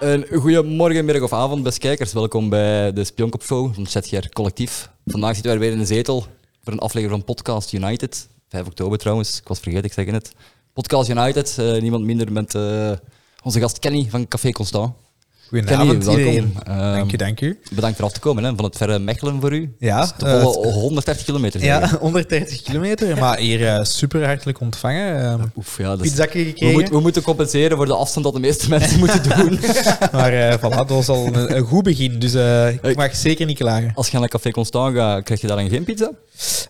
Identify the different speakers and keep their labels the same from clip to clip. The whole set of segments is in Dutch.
Speaker 1: Een goeiemorgen, middag of avond, beste kijkers. Welkom bij de Spionkop Show van ZGR Collectief. Vandaag zitten wij weer in de zetel voor een aflevering van Podcast United. 5 oktober trouwens, ik was vergeten, ik zeg het. Podcast United, eh, niemand minder met eh, onze gast Kenny van Café Constant.
Speaker 2: Goedenavond
Speaker 1: welkom.
Speaker 2: iedereen.
Speaker 1: Ehm,
Speaker 2: dank u, dank u.
Speaker 1: Bedankt voor af te komen hè, van het verre Mechelen voor u.
Speaker 2: Ja,
Speaker 1: Dat is de
Speaker 2: eh,
Speaker 1: volle 130 kilometer. zeg ik.
Speaker 2: Ja, 130 kilometer, maar hier eh, super hartelijk ontvangen. ehm,
Speaker 1: Oef, ja, dat is-
Speaker 2: pizzakken
Speaker 1: we, moet-
Speaker 2: gekregen.
Speaker 1: we moeten compenseren voor de afstand dat de meeste mensen moeten doen.
Speaker 2: Maar eh voilà, dat was al een, een goed begin, dus eh,
Speaker 1: Hey.
Speaker 2: ik mag zeker niet klagen.
Speaker 1: Als je naar Café Constant gaat, krijg je daar dan geen pizza?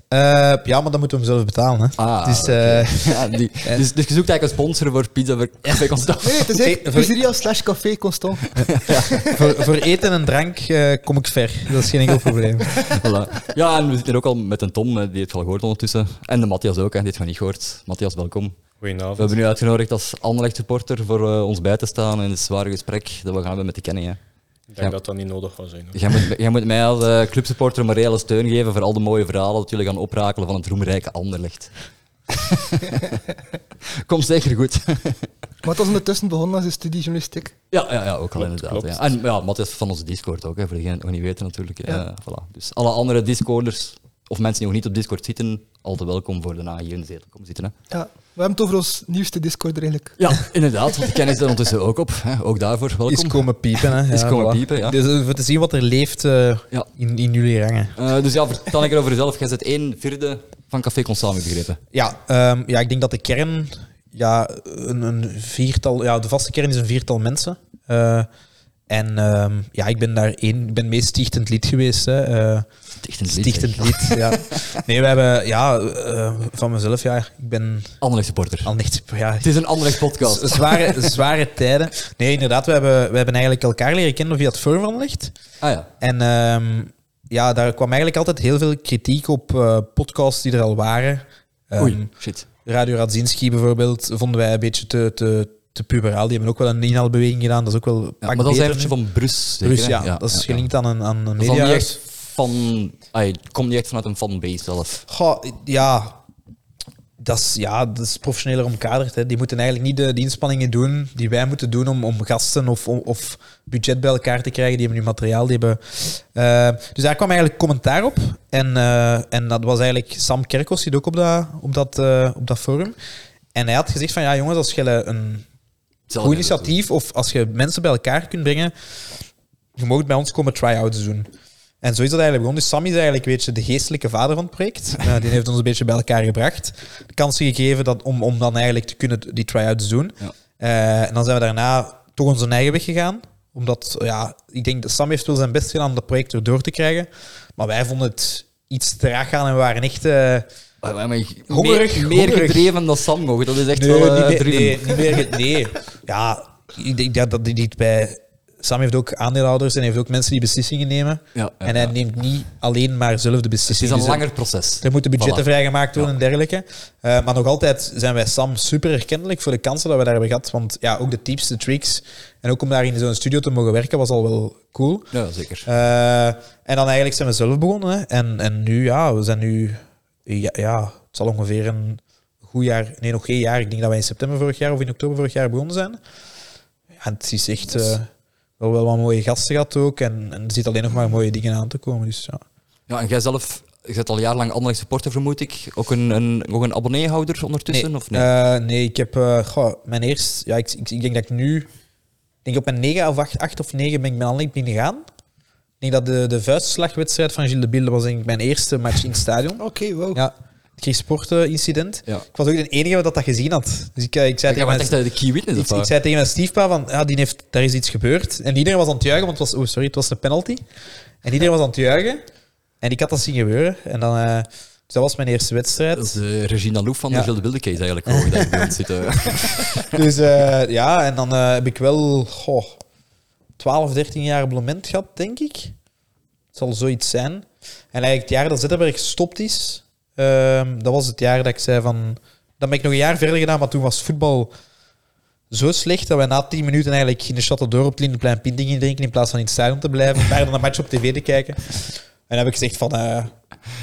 Speaker 2: Eh, ja, maar dan moeten we hem zelf betalen. Hè.
Speaker 1: Ah,
Speaker 2: dus,
Speaker 1: oké.
Speaker 2: eh,
Speaker 1: Ja, die- dus, dus je zoekt eigenlijk een sponsor voor pizza voor Café Constant.
Speaker 3: Nee, het is echt
Speaker 2: Oké, voor-
Speaker 3: pizzeria slash café Constant.
Speaker 2: voor, voor eten en drank eh, kom ik ver, dat is geen enkel probleem.
Speaker 1: Voilà. Ja, en we zitten hier ook al met een Tom, eh, die heeft wel gehoord ondertussen. En de Matthias ook, hè, die heeft nog niet gehoord. Matthias, welkom. We
Speaker 4: Goedenavond.
Speaker 1: hebben u uitgenodigd als Anderlecht supporter voor eh, ons bij te staan in het zware gesprek dat we gaan hebben met de Kenny. Hè.
Speaker 4: Ik
Speaker 1: Ja.
Speaker 4: denk dat dat niet nodig gaat zijn. hoor.
Speaker 1: Jij, moet, jij moet mij als eh, clubsupporter een reële steun geven voor al de mooie verhalen dat jullie gaan oprakelen van het roemrijke Anderlecht. Komt zeker goed.
Speaker 3: Maar het was ondertussen begonnen als een studie journalistiek.
Speaker 1: Ja, ja, ja ook al inderdaad.
Speaker 4: klopt.
Speaker 1: Ja. En ja, Matthias van onze Discord ook, hè, voor degenen die het nog niet weten natuurlijk. Eh, voilà. Dus alle andere Discorders, of mensen die nog niet op Discord zitten, altijd welkom voor daarna hier in de zetel komen zitten. Hè.
Speaker 3: Ja, we hebben het over ons nieuwste Discord eigenlijk.
Speaker 1: Ja, inderdaad, want de kennis daar ondertussen ook op. Hè. Ook daarvoor welkom.
Speaker 2: Is komen piepen. Hè.
Speaker 1: Is komen
Speaker 2: voilà.
Speaker 1: piepen, ja.
Speaker 2: Dus eh, voor te zien wat er leeft eh,
Speaker 1: Ja.
Speaker 2: in, in jullie rangen.
Speaker 1: Eh, dus ja, vertel ik erover zelf. Jij zit 1 vierde van Café Constant, heb ik begrepen.
Speaker 2: Ja, ehm, ja, ik denk dat de kern, ja, een, een viertal, ja, de vaste kern is een viertal mensen. Eh, en ehm, ja, ik ben daar één, ik ben meest stichtend lid geweest. Hè. eh,
Speaker 1: Sticht en
Speaker 2: stichtend lid, ja. Nee, we hebben, ja, eh, van mezelf, ja, ik ben
Speaker 1: Anderlecht supporter.
Speaker 2: al niet, ja,
Speaker 1: Het is een Anderlecht podcast.
Speaker 2: z- zware, zware tijden. Nee, inderdaad, we hebben, we hebben eigenlijk elkaar leren kennen via het Furvanlicht.
Speaker 1: Ah ja,
Speaker 2: En ehm, ja, daar kwam eigenlijk altijd heel veel kritiek op eh, podcasts die er al waren. Ehm,
Speaker 1: oei, shit.
Speaker 2: Radio Radzinski bijvoorbeeld vonden wij een beetje te, te, te puberaal. Die hebben ook wel een inhaalbeweging gedaan. Dat is ook wel.
Speaker 1: Ja,
Speaker 2: pak
Speaker 1: maar dat is
Speaker 2: beter
Speaker 1: eigenlijk
Speaker 2: nu.
Speaker 1: van Brus. zeker,
Speaker 2: Bruce,
Speaker 1: hè?
Speaker 2: ja, dat is
Speaker 1: ja.
Speaker 2: gelinkt aan een, aan een
Speaker 1: Dat is al niet
Speaker 2: mediahuis.
Speaker 1: echt van... Ay, het komt niet echt vanuit een fanbase zelf.
Speaker 2: Goh, ja. Dat is, ja, dat is professioneler omkaderd. Hè. Die moeten eigenlijk niet de, die inspanningen doen die wij moeten doen om, om gasten of, om- of budget bij elkaar te krijgen. Die hebben nu materiaal. Die hebben, eh, dus daar kwam eigenlijk commentaar op. En, eh, en dat was eigenlijk Sam Kerkos zit ook op dat, op, dat, eh, op dat forum. En hij had gezegd van ja jongens, als je een
Speaker 1: Zelf
Speaker 2: goed
Speaker 1: hebben ze het
Speaker 2: initiatief. Of als je mensen bij elkaar kunt brengen, je mag bij ons komen try-outs doen. En zo is dat eigenlijk begonnen. Dus Sam is eigenlijk weet je, de geestelijke vader van het project. Eh, die heeft ons een beetje bij elkaar gebracht. De kansen gegeven dat, om, om dan eigenlijk te kunnen die try-outs doen.
Speaker 1: Ja.
Speaker 2: Eh, en dan zijn we daarna toch onze eigen weg gegaan. Omdat, ja, ik denk dat Sam heeft wel zijn best gedaan om dat project erdoor te krijgen. Maar wij vonden het iets traag gaan en we waren echt... eh,
Speaker 1: Ah, maar- maar je-
Speaker 2: Hongerig,
Speaker 1: meer, meer
Speaker 2: hongerig.
Speaker 1: gedreven dan Samgo. Dat is echt
Speaker 2: Nee,
Speaker 1: wel eh,
Speaker 2: niet meer,
Speaker 1: driven.
Speaker 2: nee, niet meer. ge- Nee. Ja, ik denk dat, dat die niet bij. Sam heeft ook aandeelhouders en heeft ook mensen die beslissingen nemen.
Speaker 1: Ja, ja,
Speaker 2: en hij
Speaker 1: ja.
Speaker 2: neemt niet alleen maar zelf de
Speaker 1: Het is
Speaker 2: beslissingen.
Speaker 1: een
Speaker 2: Dus er-
Speaker 1: langer proces.
Speaker 2: Er moeten budgetten
Speaker 1: Voilà.
Speaker 2: vrijgemaakt worden en dergelijke. Eh, maar nog altijd zijn wij Sam super herkennelijk voor de kansen dat we daar hebben gehad. Want ja, ook de tips, de tricks. En ook om daar in zo'n studio te mogen werken was al wel cool.
Speaker 1: Ja, zeker.
Speaker 2: Eh, en dan eigenlijk zijn we zelf begonnen. Hè. En, en nu, ja, we zijn nu... Ja, ja, het zal ongeveer een goed jaar... Nee, nog geen jaar. Ik denk dat wij in september vorig jaar of in oktober vorig jaar begonnen zijn. Ja, en het is echt... eh, wel wel wat mooie gasten gehad ook. En, en er zitten alleen nog maar mooie dingen aan te komen. Dus ja.
Speaker 1: Ja, en jij zelf, je bent al jarenlang Anderlecht supporter, vermoed ik. Ook een, een, ook een abonneehouder ondertussen, of nee?
Speaker 2: Eh, nee, ik heb... eh, goh, mijn eerst... Ja, ik, ik, ik denk dat ik nu... Ik denk op mijn 9 of 8, 8 of 9 ben ik mijn niet binnengegaan. Ik denk dat de, de vuistslagwedstrijd van Gilles de Bilde was denk ik mijn eerste match in het stadion.
Speaker 3: Oké, wow.
Speaker 2: Ja, het Chris Sport eh, incident.
Speaker 1: Ja.
Speaker 2: Ik was ook de enige dat dat gezien had. Dus ik, eh, ik,
Speaker 1: Jij
Speaker 2: zei, tegen
Speaker 1: bent
Speaker 2: mijn,
Speaker 1: echt eh, de key witness,
Speaker 2: ik,
Speaker 1: of
Speaker 2: ik
Speaker 1: wat?
Speaker 2: zei tegen mijn stiefpa van, ja, die heeft, daar is iets gebeurd. En iedereen was aan het juichen, want het was, oh, sorry, het was een penalty. En iedereen was aan het juichen. En ik had dat zien gebeuren. En dan, eh, dus dat was mijn eerste wedstrijd.
Speaker 1: Dat is de Regina Loef van de
Speaker 2: Ja.
Speaker 1: Gilles de Wilde case eigenlijk. Hoor, dat je bij ons zit, eh.
Speaker 2: Dus eh, ja, en dan eh, heb ik wel goh, 12, 13 jaar abonnement gehad, denk ik. Het zal zoiets zijn. En eigenlijk het jaar dat Zetterberg gestopt is, ehm, dat was het jaar dat ik zei van... Dan ben ik nog een jaar verder gedaan, maar toen was voetbal zo slecht dat wij na 10 minuten eigenlijk in de Château d'Or op het Lindenplein Pint gingen drinken in plaats van in het stadion te blijven, maar dan een match op tv te kijken. En heb ik gezegd van... eh,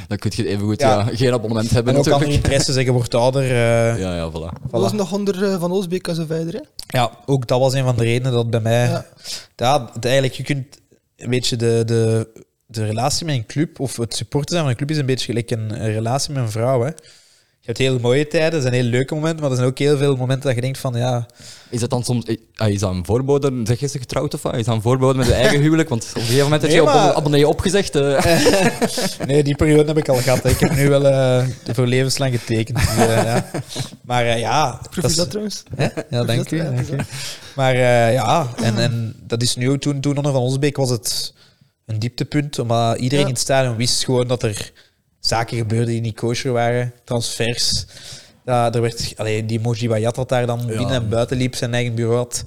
Speaker 1: Dan kun je even goed ja.
Speaker 2: Ja.
Speaker 1: geen abonnement hebben
Speaker 2: en ook andere
Speaker 1: natuurlijk.
Speaker 2: interesses, zeggen wordt ouder. eh,
Speaker 1: Ja, ja, voilà.
Speaker 3: Dat was
Speaker 2: voilà.
Speaker 3: nog onder eh, Van Oosbeek en zo verder. Hè?
Speaker 2: Ja, ook dat was een van de redenen dat bij mij.
Speaker 3: Ja.
Speaker 2: Ja. dat eigenlijk, je kunt een beetje de, de, de relatie met een club, of het supporter zijn van een club, is een beetje gelijk een, een relatie met een vrouw. Hè. Je hebt heel mooie tijden, er zijn heel leuke momenten, maar er zijn ook heel veel momenten dat je denkt van ja.
Speaker 1: Is dat dan soms... ah, Is dat een voorbode? Zeg je ze getrouwd of wat? Is dat een voorbode met je eigen huwelijk? Want op een gegeven moment heb je
Speaker 2: Nee,
Speaker 1: op-
Speaker 2: maar-
Speaker 1: abonnee opgezegd. eh.
Speaker 2: Nee, die periode heb ik al gehad. hè. Ik heb nu wel eh, voor levenslang getekend. Dus, eh, ja. Maar eh, ja,
Speaker 3: Proef
Speaker 2: dat
Speaker 3: je
Speaker 2: is-
Speaker 3: dat trouwens?
Speaker 2: Hè? Ja, dank u.
Speaker 3: dat-
Speaker 2: dank u. Maar eh, ja, en, en dat is nu ook toen, toen onder Van Onsbeek was het een dieptepunt, omdat iedereen
Speaker 3: Ja.
Speaker 2: in het stadion wist gewoon dat er zaken gebeurden die niet kosher waren, transfers. Ja, er werd, allee, die Moji Bayat dat daar dan binnen en buiten liep, zijn eigen bureau had.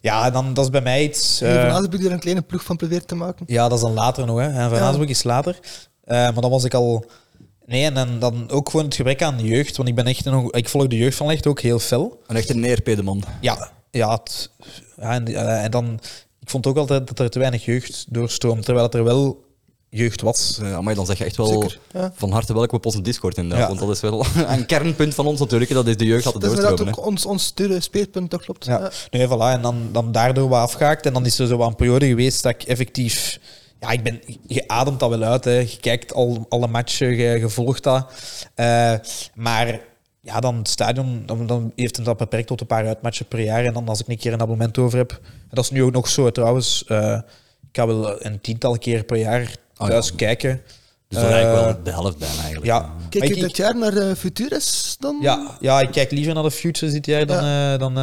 Speaker 2: Ja, en dan, dat is bij mij iets...
Speaker 3: Uh,
Speaker 2: eh,
Speaker 3: van Azenbroek die er een kleine ploeg van probeert te maken.
Speaker 2: ja, dat is dan later nog. Hè. En Van
Speaker 3: Ja.
Speaker 2: Azenbroek is later. Eh, maar dan was ik al... Nee, en dan, dan ook gewoon het gebrek aan jeugd, want ik ben echt een, ik volg de jeugd van Lecht ook heel fel.
Speaker 1: Een echte neerpedeman.
Speaker 2: Ja, ja, het- ja en, eh, en dan. Ik vond ook altijd dat er te weinig jeugd doorstroomt, terwijl het er wel jeugd was.
Speaker 1: Ja, maar Dus, eh, dan zeg je echt wel
Speaker 3: Zeker, ja.
Speaker 1: van harte welkom op onze Discord inderdaad.
Speaker 2: Ja. Dus
Speaker 1: Want dat is wel een kernpunt van ons natuurlijk. Dat is de jeugd altijd
Speaker 3: Dat is inderdaad
Speaker 1: doorstromen.
Speaker 3: ook ons, ons sturen, speerpunt, dat klopt.
Speaker 2: Ja.
Speaker 3: Ja.
Speaker 2: Nee, voilà, en dan, dan daardoor wat afgehaakt. En dan is er zo wat een periode geweest dat ik effectief. Ja, ik ben, je ademt dat wel uit. Hè. Je kijkt al alle matchen, je, je volgt dat. Eh, maar ja, dan het stadion dan, dan heeft het dat beperkt tot een paar uitmatchen per jaar. En dan als ik een keer een abonnement over heb. En dat is nu ook nog zo hè, trouwens. eh, ik ga wel een tiental keer per jaar
Speaker 1: Ah, ja.
Speaker 2: thuis kijken.
Speaker 1: Dus dan
Speaker 2: Eh,
Speaker 1: eigenlijk wel de helft bijna eigenlijk.
Speaker 2: Ja.
Speaker 3: Kijk
Speaker 2: Maar
Speaker 3: je
Speaker 2: ik-
Speaker 3: dit
Speaker 2: ik-
Speaker 3: jaar naar eh Futures dan?
Speaker 2: ja, ja, ik kijk liever naar de Futures dit jaar dan, eh, dan eh,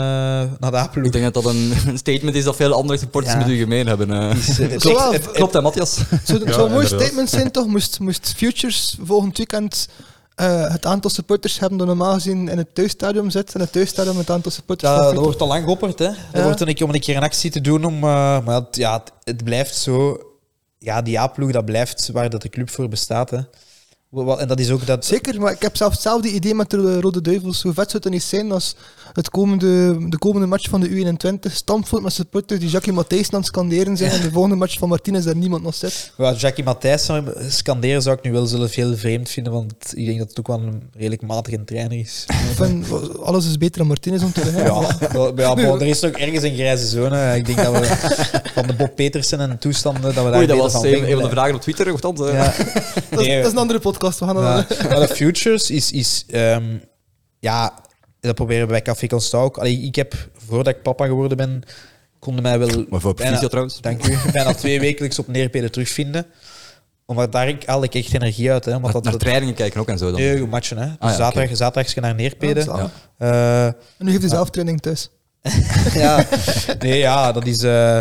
Speaker 2: naar de
Speaker 1: Ik
Speaker 2: Apeloek.
Speaker 1: denk dat dat een, een statement is dat veel andere supporters
Speaker 2: Ja.
Speaker 1: met u gemeen hebben. eh.
Speaker 3: Zo wel,
Speaker 1: Klopt, klopt hè, Matthias?
Speaker 3: Het zou, het zou een mooi statement zijn, toch? Moest, moest Futures volgend weekend eh, het aantal supporters hebben dat normaal gezien in het thuisstadion zit en het thuisstadium het aantal supporters
Speaker 2: Ja,
Speaker 3: van
Speaker 2: dat
Speaker 3: Futures.
Speaker 2: wordt al lang geopperd, hè. Dat
Speaker 3: Ja.
Speaker 2: wordt een keer om een keer een actie te doen om... eh, maar het, ja, het, het blijft zo... Ja, die A-ploeg, dat blijft waar dat de club voor bestaat, hè. Wa- wa- En dat is ook dat...
Speaker 3: Zeker, maar ik heb zelf hetzelfde idee met de eh, Rode Duivels. Hoe vet zou het dan niet zijn als het komende, de komende match van de U21 stampvoet met supporters die Jackie Matthijs aan het scanderen zijn en de volgende match van Martinez daar niemand nog zit.
Speaker 2: Waar Jackie Matthijs zou scanderen zou ik nu wel zelf heel vreemd vinden, want ik denk dat het ook wel een redelijk matige trainer is.
Speaker 3: Ik vind, alles is beter dan Martinez om te zeggen.
Speaker 2: Ja, wel- ja bon, er is nog ergens een grijze zone. Ik denk dat we van de Bob Petersen en toestanden... Dat we daar
Speaker 1: Oei, dat
Speaker 2: beter
Speaker 1: was
Speaker 2: van
Speaker 1: een, een
Speaker 2: weg
Speaker 1: van de
Speaker 2: blijven.
Speaker 1: vragen op Twitter. Of dat, eh.
Speaker 2: Ja.
Speaker 3: Dat, is,
Speaker 2: Nee,
Speaker 3: dat is een andere podcast, we gaan dat
Speaker 2: Ja. Maar de futures is... is ehm, ja, dat proberen we bij Café Constant ook. Allee, ik heb, voordat ik papa geworden ben, konden mij wel...
Speaker 1: Maar voor
Speaker 2: bijna,
Speaker 1: Proficiat trouwens.
Speaker 2: Dank u. Bijna twee wekelijks op Neerpede terugvinden. Omdat daar haal ik echt energie uit. Hè, omdat dat,
Speaker 1: Naar
Speaker 2: dat
Speaker 1: trainingen kijken ook en zo dan.
Speaker 2: nee, goed matchen. Hè. Dus
Speaker 1: Ah, ja,
Speaker 2: zaterdag,
Speaker 1: oké.
Speaker 2: zaterdag is je naar Neerpede.
Speaker 3: Ja, dat
Speaker 1: Ja.
Speaker 2: Eh,
Speaker 3: En nu heeft hij zelf training thuis.
Speaker 2: ja. Nee, ja, dat is... eh,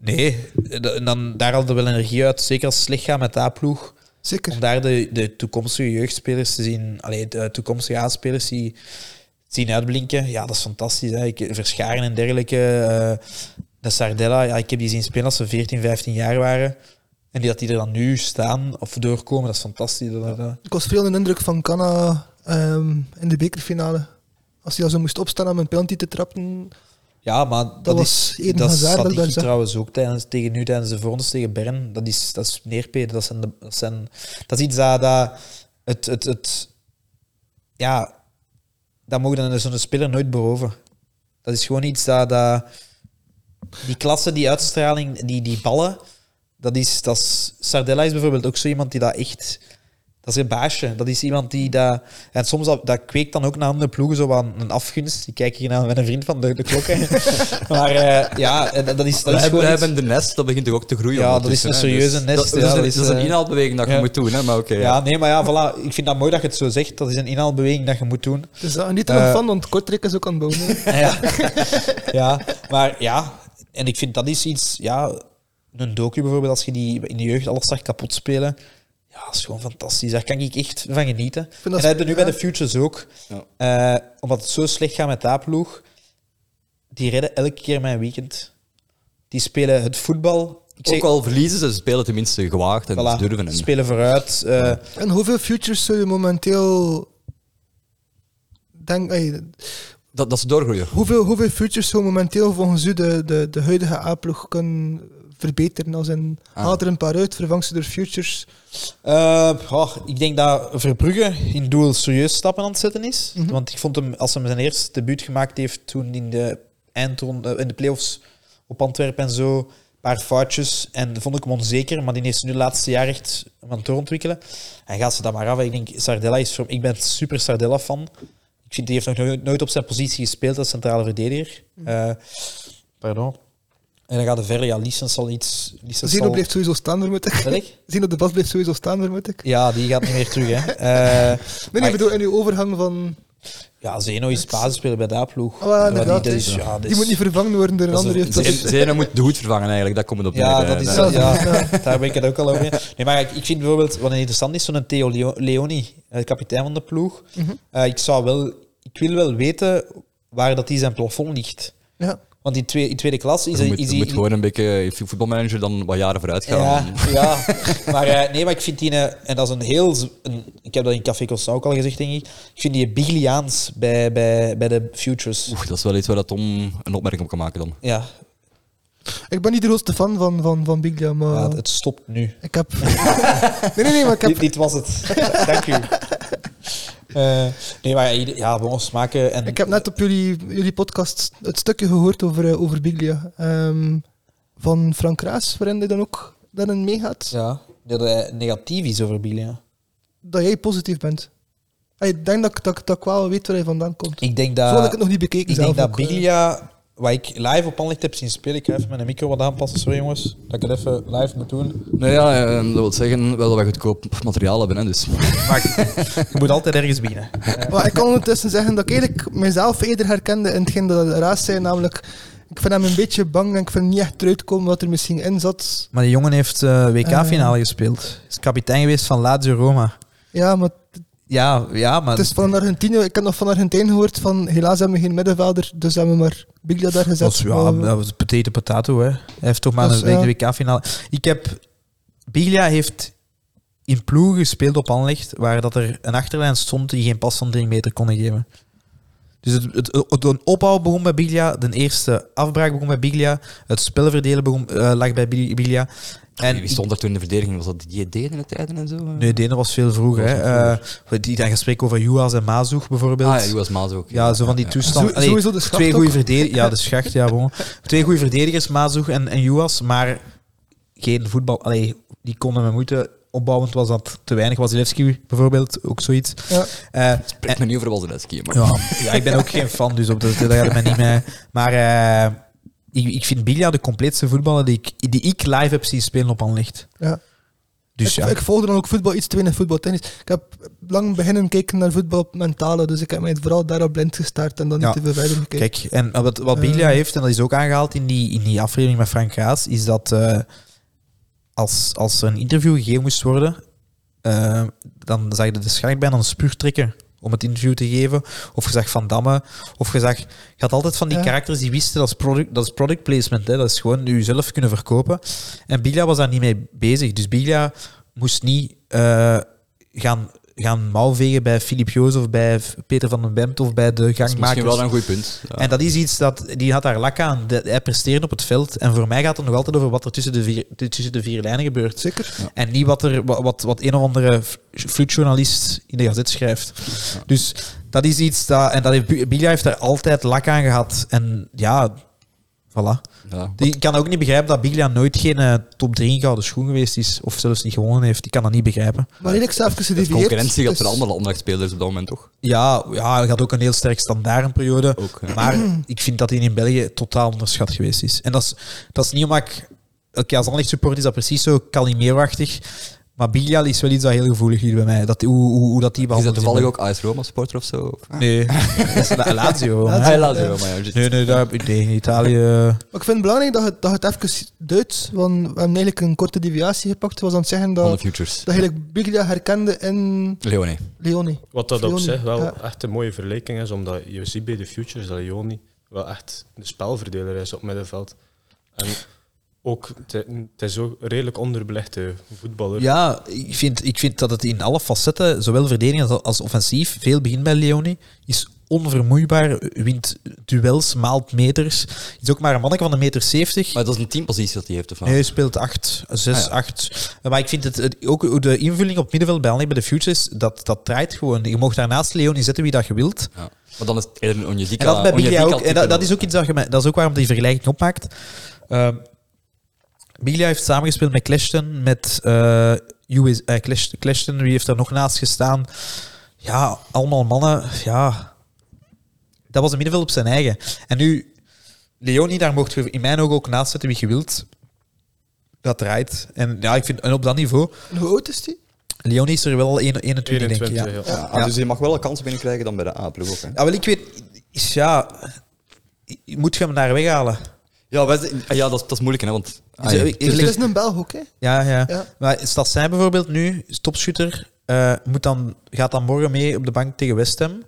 Speaker 2: nee, Da- en dan, daar haalde wel energie uit. Zeker als het slecht gaat met de A-ploeg.
Speaker 3: Zeker.
Speaker 2: Om daar de, de toekomstige jeugdspelers te zien, allee, de toekomstige A-spelers die zien uitblinken, ja, dat is fantastisch. Hè. Ik, Verscharen en dergelijke. eh de Sardella, ja, ik heb die zien spelen als ze 14, 15 jaar waren. En die dat die er dan nu staan of doorkomen, dat is fantastisch. Dat- dat- dat-
Speaker 3: Ik was veel onder de indruk van Canna ehm, in de bekerfinale. Als hij al zo moest opstaan om een penalty te trappen.
Speaker 2: Ja, maar dat,
Speaker 3: was
Speaker 2: is
Speaker 3: Eden
Speaker 2: dat is
Speaker 3: Hazard dat daar
Speaker 2: strategie
Speaker 3: zat.
Speaker 2: trouwens ook tijdens, tegen nu tijdens de voorrondes tegen Bern. Dat is, dat is neerpeden. Dat, zijn de- dat, zijn, dat is iets dat, dat het, het, het ja, dat mogen dan zo'n speler nooit beroven. Dat is gewoon iets dat, dat die klasse, die uitstraling, die, die ballen, dat is, dat is Sardella is bijvoorbeeld ook zo iemand die dat echt dat is een baasje. Dat is iemand die dat... En soms dat, dat kweekt dan ook naar andere ploegen zo aan een afgunst. Ik kijk hier naar mijn vriend van de, de klokken. maar eh, ja, en dat is, dat
Speaker 1: we
Speaker 2: is
Speaker 1: hebben,
Speaker 2: gewoon
Speaker 1: we
Speaker 2: iets-
Speaker 1: hebben de nest, dat begint toch ook te groeien.
Speaker 2: Ja, dat
Speaker 1: ondertussen,
Speaker 2: is een
Speaker 1: hè.
Speaker 2: serieuze
Speaker 1: Dus
Speaker 2: nest,
Speaker 1: Dat, dat
Speaker 2: ja,
Speaker 1: is, een-
Speaker 2: dat is,
Speaker 1: dat is een
Speaker 2: eh,
Speaker 1: inhaalbeweging dat je
Speaker 2: ja.
Speaker 1: moet doen, hè? maar oké. ja.
Speaker 2: Ja, nee, maar ja, voilà. Ik vind dat mooi dat je het zo zegt. Dat is een inhaalbeweging dat je moet doen.
Speaker 3: Dus daar niet ervan
Speaker 2: Eh.
Speaker 3: van, want Kortrijk is ook aan het bouwen. hè.
Speaker 2: ja. ja, maar ja, en ik vind dat is iets, ja, een docu bijvoorbeeld, als je die in de jeugd alles zag kapot spelen. Ja, dat is gewoon fantastisch. Daar kan ik echt van genieten. En
Speaker 3: dat
Speaker 2: dat
Speaker 3: is-
Speaker 2: hebben we nu bij
Speaker 3: ja.
Speaker 2: de Futures ook.
Speaker 1: Ja.
Speaker 2: Eh, omdat het zo slecht gaat met de A-ploeg, die redden elke keer mijn weekend. Die spelen het voetbal. Ik zeg,
Speaker 1: Ook al verliezen ze, ze spelen tenminste gewaagd en
Speaker 2: voilà,
Speaker 1: ze durven. En,
Speaker 2: spelen vooruit. eh,
Speaker 3: En hoeveel futures zou je momenteel... Denk, ey,
Speaker 1: dat, dat ze doorgroeien.
Speaker 3: hoeveel, hoeveel futures zou momenteel volgens u de, de, de huidige A-ploeg kunnen verbeteren? Als in,
Speaker 1: Ah.
Speaker 3: haal er een paar uit, vervang ze door futures.
Speaker 2: Eh, goh, ik denk dat Verbrugge in het doel serieus stappen aan het zetten is.
Speaker 3: Mhm.
Speaker 2: Want ik vond hem, als hij zijn eerste debuut gemaakt heeft toen in de eindronde, eh, in de playoffs op Antwerpen en zo, een paar foutjes. En vond ik hem onzeker, maar die heeft ze nu de laatste jaar echt aan het doorontwikkelen. En gaat ze dat maar af. Ik denk, Sardella is voor Ik ben super Sardella-fan. Ik vind, die heeft nog nooit- nooit op zijn positie gespeeld als centrale verdediger.
Speaker 3: Mhm.
Speaker 2: Eh, pardon. En dan gaat de verder. Ja, Liesens zal iets... Liesens
Speaker 3: Zeno
Speaker 2: zal-
Speaker 3: blijft sowieso staan, vermoed ik.
Speaker 2: Zeg ik?
Speaker 3: Zeno de Bas blijft sowieso staan, vermoed ik.
Speaker 2: Ja, die gaat niet meer terug, hè. Eh,
Speaker 3: Nee, nee,
Speaker 2: Maar-
Speaker 3: ik bedoel, in uw overgang van...
Speaker 2: Ja, Zeno is basisspeler bij dat ploeg.
Speaker 3: Ah, wel,
Speaker 2: Wat
Speaker 3: inderdaad,
Speaker 2: die- dat is-
Speaker 1: hè.
Speaker 2: ja, dus- dat
Speaker 3: Die
Speaker 2: is-
Speaker 3: moet niet vervangen worden door een
Speaker 2: dat is
Speaker 3: ander.
Speaker 2: een-
Speaker 3: heeft dat-
Speaker 1: Z- Zeno moet de hoed vervangen eigenlijk, daar komt het op
Speaker 2: Ja,
Speaker 1: neer,
Speaker 2: dat
Speaker 1: eh,
Speaker 2: is
Speaker 1: daar.
Speaker 2: wel, ja, daar ben ik het ook al over. in. Nee, maar ik, ik vind bijvoorbeeld, wat interessant is, zo'n Theo Leo- Leoni, eh, kapitein van de ploeg.
Speaker 3: Mhm.
Speaker 2: Eh, ik zou wel, ik wil wel weten waar dat die zijn plafond ligt.
Speaker 3: Ja.
Speaker 2: Want in tweede, in tweede klas is
Speaker 1: Je
Speaker 2: hij...
Speaker 1: moet,
Speaker 2: is
Speaker 1: je
Speaker 2: hij-
Speaker 1: moet gewoon een beetje eh, voetbalmanager dan wat jaren vooruit gaan.
Speaker 2: Ja, ja. maar eh, nee, maar ik vind die, eh, en dat is een heel, z- een, ik heb dat in Café Costa ook al gezegd, denk ik, ik vind die Bigliaans bij, bij, bij de Futures.
Speaker 1: Oeh, dat is wel iets waar dat Tom een opmerking op kan maken dan.
Speaker 2: Ja,
Speaker 3: Ik ben niet de grootste fan van, van, van Biglia, maar...
Speaker 2: ja, het stopt nu.
Speaker 3: Ik heb... nee, nee, nee, maar Oh. ik heb...
Speaker 2: Dit, dit was het. Dank u. Eh, nee, maar ieder- ja, bij ons maken. En
Speaker 3: Ik heb net op jullie, jullie podcast het stukje gehoord over, eh, over Biglia. Ehm, van Frank Raas, waarin hij dan ook daarin meegaat.
Speaker 2: ja, dat hij negatief is over Bilia.
Speaker 3: Dat jij positief bent. Ah, Ik denk dat, ik- dat, ik- dat ik wel weet waar hij vandaan komt.
Speaker 2: Ik denk
Speaker 3: Zo had ik
Speaker 2: dat,
Speaker 3: het nog niet bekeken
Speaker 2: ik
Speaker 3: zelf
Speaker 2: denk dat
Speaker 3: ook, eh.
Speaker 2: Biglia, wat ik live op Anlicht heb zien spelen, ik ga even mijn micro wat aanpassen, sorry jongens, dat ik het even live moet doen.
Speaker 1: Nou ja, eh, dat wil zeggen wel dat wij goedkoop materiaal hebben. Hè, dus.
Speaker 2: Maar ik, ik moet altijd ergens binnen.
Speaker 3: eh. Maar ik kan ondertussen zeggen dat ik eigenlijk mezelf eerder herkende in hetgeen dat Raas zei, namelijk... Ik vind hem een beetje bang en ik vind hem niet echt eruit komen wat er misschien in zat.
Speaker 2: Maar die jongen heeft eh,
Speaker 3: WK-finale
Speaker 2: gespeeld. Is kapitein geweest van Lazio Roma.
Speaker 3: Ja, maar
Speaker 2: Ja, ja, maar...
Speaker 3: het is van een Argentino. Ik heb nog van Argentijn gehoord van helaas hebben we geen middenvelder, dus hebben we maar Biglia daar gezet. Maar-
Speaker 2: was potato potato, hè. Hij heeft toch
Speaker 3: maar Dat is, een- ja. de
Speaker 2: WK-finale. Ik heb... Biglia heeft in ploeg gespeeld op Anlecht, waar dat er een achterlijn stond die geen pas van drie meter konden geven. Dus het, het, het- een opbouw begon bij Biglia, de eerste afbraak begon bij Biglia, het spelverdelen begon, eh, lag bij Bi- Biglia. En
Speaker 1: Wie stond er toen in de verdediging? Was dat die deed in de tijden en zo? eh?
Speaker 2: nee, de ene was veel vroeger.
Speaker 1: Dat was
Speaker 2: Hè. Eh, die dan gesprek over Juas en Mazoeg bijvoorbeeld.
Speaker 1: Ah, ja, US Maas ook.
Speaker 2: Ja, zo van die toestand.
Speaker 3: Zo-
Speaker 2: Allee,
Speaker 3: sowieso de schacht
Speaker 2: twee
Speaker 3: ook.
Speaker 2: goede verdedigers. Ja, de schacht, ja, bon. Twee goede verdedigers, Mazoeg en, en Juas, maar geen voetbal. Allee, die konden met moeite. Opbouwend was dat te weinig. Wasilewski bijvoorbeeld, ook zoiets.
Speaker 3: Ja.
Speaker 2: Eh,
Speaker 1: Spreek me niet over Wasilewski, maar...
Speaker 2: ja, ja, ik ben ook geen fan, dus op dat dat gaat mij niet mee. Maar eh, ik, ik vind Bilja de compleetste voetballer die ik, die ik live heb zien spelen op Anlicht.
Speaker 3: Ja.
Speaker 2: Dus
Speaker 3: ik,
Speaker 2: ja,
Speaker 3: ik volgde dan ook voetbal iets te weinig voetbal tennis. Ik heb lang beginnen kijken naar voetbal op mentale, dus ik heb mij vooral daarop blind gestart en dan
Speaker 2: Ja.
Speaker 3: niet te veel verder gekeken.
Speaker 2: Kijk, en wat, wat Biglia
Speaker 3: Eh.
Speaker 2: heeft, en dat is ook aangehaald in die, in die aflevering met Frank Gaas, is dat eh, als, als er een interview gegeven moest worden, eh, dan zag je de schacht bijna een spuurtrekker om het interview te geven. Of je zag Van Damme, of je zag... Je had altijd van die
Speaker 3: Ja.
Speaker 2: karakters die wisten, dat is product, dat is product placement, hè, dat is gewoon jezelf kunnen verkopen. En Biglia was daar niet mee bezig. Dus Biglia moest niet eh, gaan... Gaan mouwvegen bij Filip Joos of bij F- Peter van den Bemt of bij de
Speaker 1: dat is misschien
Speaker 2: gangmakers.
Speaker 1: wel een goed punt. Ja.
Speaker 2: En dat is iets dat die had daar lak aan. De- hij presteerde op het veld. En voor mij gaat het nog altijd over wat er tussen de vier, t- tussen de vier lijnen gebeurt.
Speaker 3: Zeker.
Speaker 2: En niet wat, er, wa- wat, wat een of andere f- flutjournalist in de gazet schrijft. Dus dat is iets dat. En dat heeft, Bu- Bilja heeft daar altijd lak aan gehad. En ja, voilà.
Speaker 1: Ja.
Speaker 2: Ik kan ook niet begrijpen dat Biglia nooit geen eh, top 3 gouden schoen geweest is. Of zelfs niet gewonnen heeft. Ik kan dat niet begrijpen.
Speaker 3: Maar redelijk zelf
Speaker 1: De
Speaker 3: gedivieerd.
Speaker 1: concurrentie gaat
Speaker 3: dus-
Speaker 1: voor andere landmachtspelers op dat moment, toch?
Speaker 2: Ja, ja, hij had ook een heel sterk standaardperiode.
Speaker 1: Ook, ja.
Speaker 2: Maar ik vind dat hij in België totaal onderschat geweest is. En dat is, dat is niet omdat ik... Oké, als Anderlecht support is dat precies zo Calimero-achtig. Maar Bilial is wel iets dat heel gevoelig hier bij mij. Dat, hoe, hoe, hoe dat die
Speaker 1: Is dat
Speaker 2: behandeld
Speaker 1: toevallig ook AS Roma supporter of zo? Of-
Speaker 2: Nee, dat is La- Lazio. hè.
Speaker 1: Ah, Lazio Roma, ja. juist.
Speaker 2: Nee, nee, daar, nee, in Italië...
Speaker 3: Maar ik vind het belangrijk dat het, dat het even duidt, want we hebben eigenlijk een korte deviatie gepakt. Ik was aan het zeggen
Speaker 1: Van de
Speaker 3: dat,
Speaker 1: Futures.
Speaker 3: dat eigenlijk Biglia herkende in
Speaker 1: Leone.
Speaker 3: Leone.
Speaker 4: Wat dat op
Speaker 3: Leoni,
Speaker 4: zich wel
Speaker 3: ja.
Speaker 4: echt een mooie vergelijking is, omdat je ziet bij de Futures dat Leoni wel echt de spelverdeler is op middenveld. En ook, het- het is ook een redelijk onderbelichte voetballer.
Speaker 2: Ja, ik vind, ik vind dat het in alle facetten, zowel verdedigend als offensief, veel begint bij Leoni, is onvermoeibaar, wint duels, maalt meters. Is ook maar een manneke van een meter 70.
Speaker 1: Maar dat is een teampositie dat hij heeft, of wat?
Speaker 2: Nee, hij speelt 8, 6,
Speaker 1: Ah, ja.
Speaker 2: 8. Maar ik vind het, het- ook hoe de invulling op het middenveld bij Allee, bij de Futures, dat, dat draait gewoon. Je mocht daarnaast Leon inzetten wie dat je wilt.
Speaker 1: Ja. Maar dan is het eerder een Onyedika.
Speaker 2: En dat bij Biglia ook. En dat, dat is ook
Speaker 1: type.
Speaker 2: iets dat je me- dat is ook waarom die vergelijking opmaakt. Ehm Biglia heeft samengespeeld met Clashton, met eh US, eh, Clash- Clashton, wie heeft daar nog naast gestaan? Ja, allemaal mannen. Ja, dat was een middenveld op zijn eigen. En nu, Leonie, daar mocht je in mijn ogen ook naast zetten wie je wilt. Dat draait. En, ja, ik vind, en op dat niveau,
Speaker 3: Hoe oud is die?
Speaker 2: Leonie is er wel al 21, 21 denk ik. Ja.
Speaker 4: 21, ja.
Speaker 1: Ja. Ah, Dus je mag wel een kans binnenkrijgen dan bij de A-ploeg ook. Hè?
Speaker 2: Ja, wel, ik weet... is- Ja, moet je hem daar weghalen?
Speaker 1: Ja, wij zijn- ja dat, is- dat is moeilijk, hè, want... Ah, ja.
Speaker 2: ik-
Speaker 3: Het
Speaker 2: ik-
Speaker 3: is een Belg ook, hè?
Speaker 2: dus- Ja, ja.
Speaker 3: Ja.
Speaker 2: Maar staat zij bijvoorbeeld nu, is topschutter, eh, moet dan, gaat dan morgen mee op de bank tegen West Ham?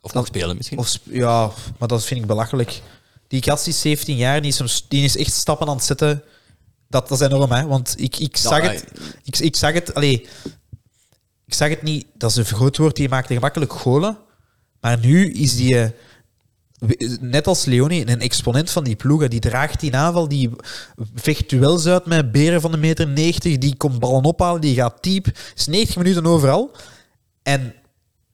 Speaker 1: Of nog spelen misschien.
Speaker 2: Of, sp- ja, maar dat vind ik belachelijk. Die gast is 17 jaar, die is, hem, s- die is echt stappen aan het zetten. Dat, dat is enorm, hè? Want ik, ik
Speaker 1: Ja,
Speaker 2: zag
Speaker 1: hij-
Speaker 2: het. Ik, ik zag het. Allee, ik zag het niet. Dat is een vergrootwoord. Die maakte gemakkelijk golen. Maar nu is die. eh, we- Net als Leonie, een exponent van die ploegen. Die draagt die aanval, die vecht duels uit met beren van de meter 90. Die komt ballen ophalen, die gaat diep. Is 90 minuten overal. En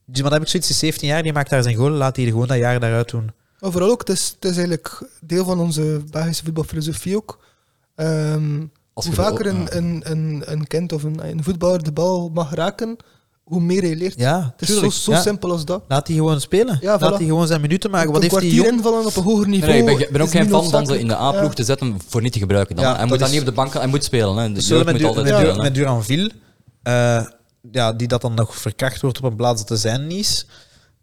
Speaker 2: dus, maar dan heb ik zoiets, die is 17 jaar, die maakt daar zijn goal, laat die er gewoon dat jaar daaruit doen.
Speaker 3: Maar vooral ook, het is, het is eigenlijk deel van onze Belgische voetbalfilosofie ook. Ehm,
Speaker 1: Als
Speaker 3: hoe
Speaker 1: je de-
Speaker 3: vaker
Speaker 1: ja.
Speaker 3: een, een, een, een kind of een, een voetballer de bal mag raken, hoe meer hij leert.
Speaker 2: Ja,
Speaker 3: het is
Speaker 2: tuurlijk,
Speaker 3: zo, zo
Speaker 2: ja.
Speaker 3: simpel als dat.
Speaker 2: Laat die gewoon spelen.
Speaker 3: Ja,
Speaker 2: Laat
Speaker 3: voilà.
Speaker 2: die gewoon zijn minuten maken. Wat
Speaker 3: een
Speaker 2: heeft die
Speaker 3: kwartier
Speaker 2: jong...
Speaker 3: invallen op een hoger niveau.
Speaker 1: Nee, nee, ik ben, ik ben ook
Speaker 3: is niet
Speaker 1: geen fan van ze
Speaker 3: noodzakelijk.
Speaker 1: in de A-ploeg
Speaker 3: Ja.
Speaker 1: te zetten voor niet te gebruiken. Dan.
Speaker 2: Ja,
Speaker 1: hij
Speaker 2: dat
Speaker 1: moet dan
Speaker 2: is-
Speaker 1: niet op de bank gaan, hij moet spelen. Hè. De
Speaker 2: Zullen
Speaker 1: jeugd
Speaker 2: met,
Speaker 1: moet
Speaker 2: Dur-
Speaker 1: altijd
Speaker 2: met,
Speaker 1: spelen.
Speaker 2: Dur-
Speaker 1: hè.
Speaker 2: met Duranville, eh, ja, die dat dan nog verkracht wordt op een plaats dat te zijn niet is,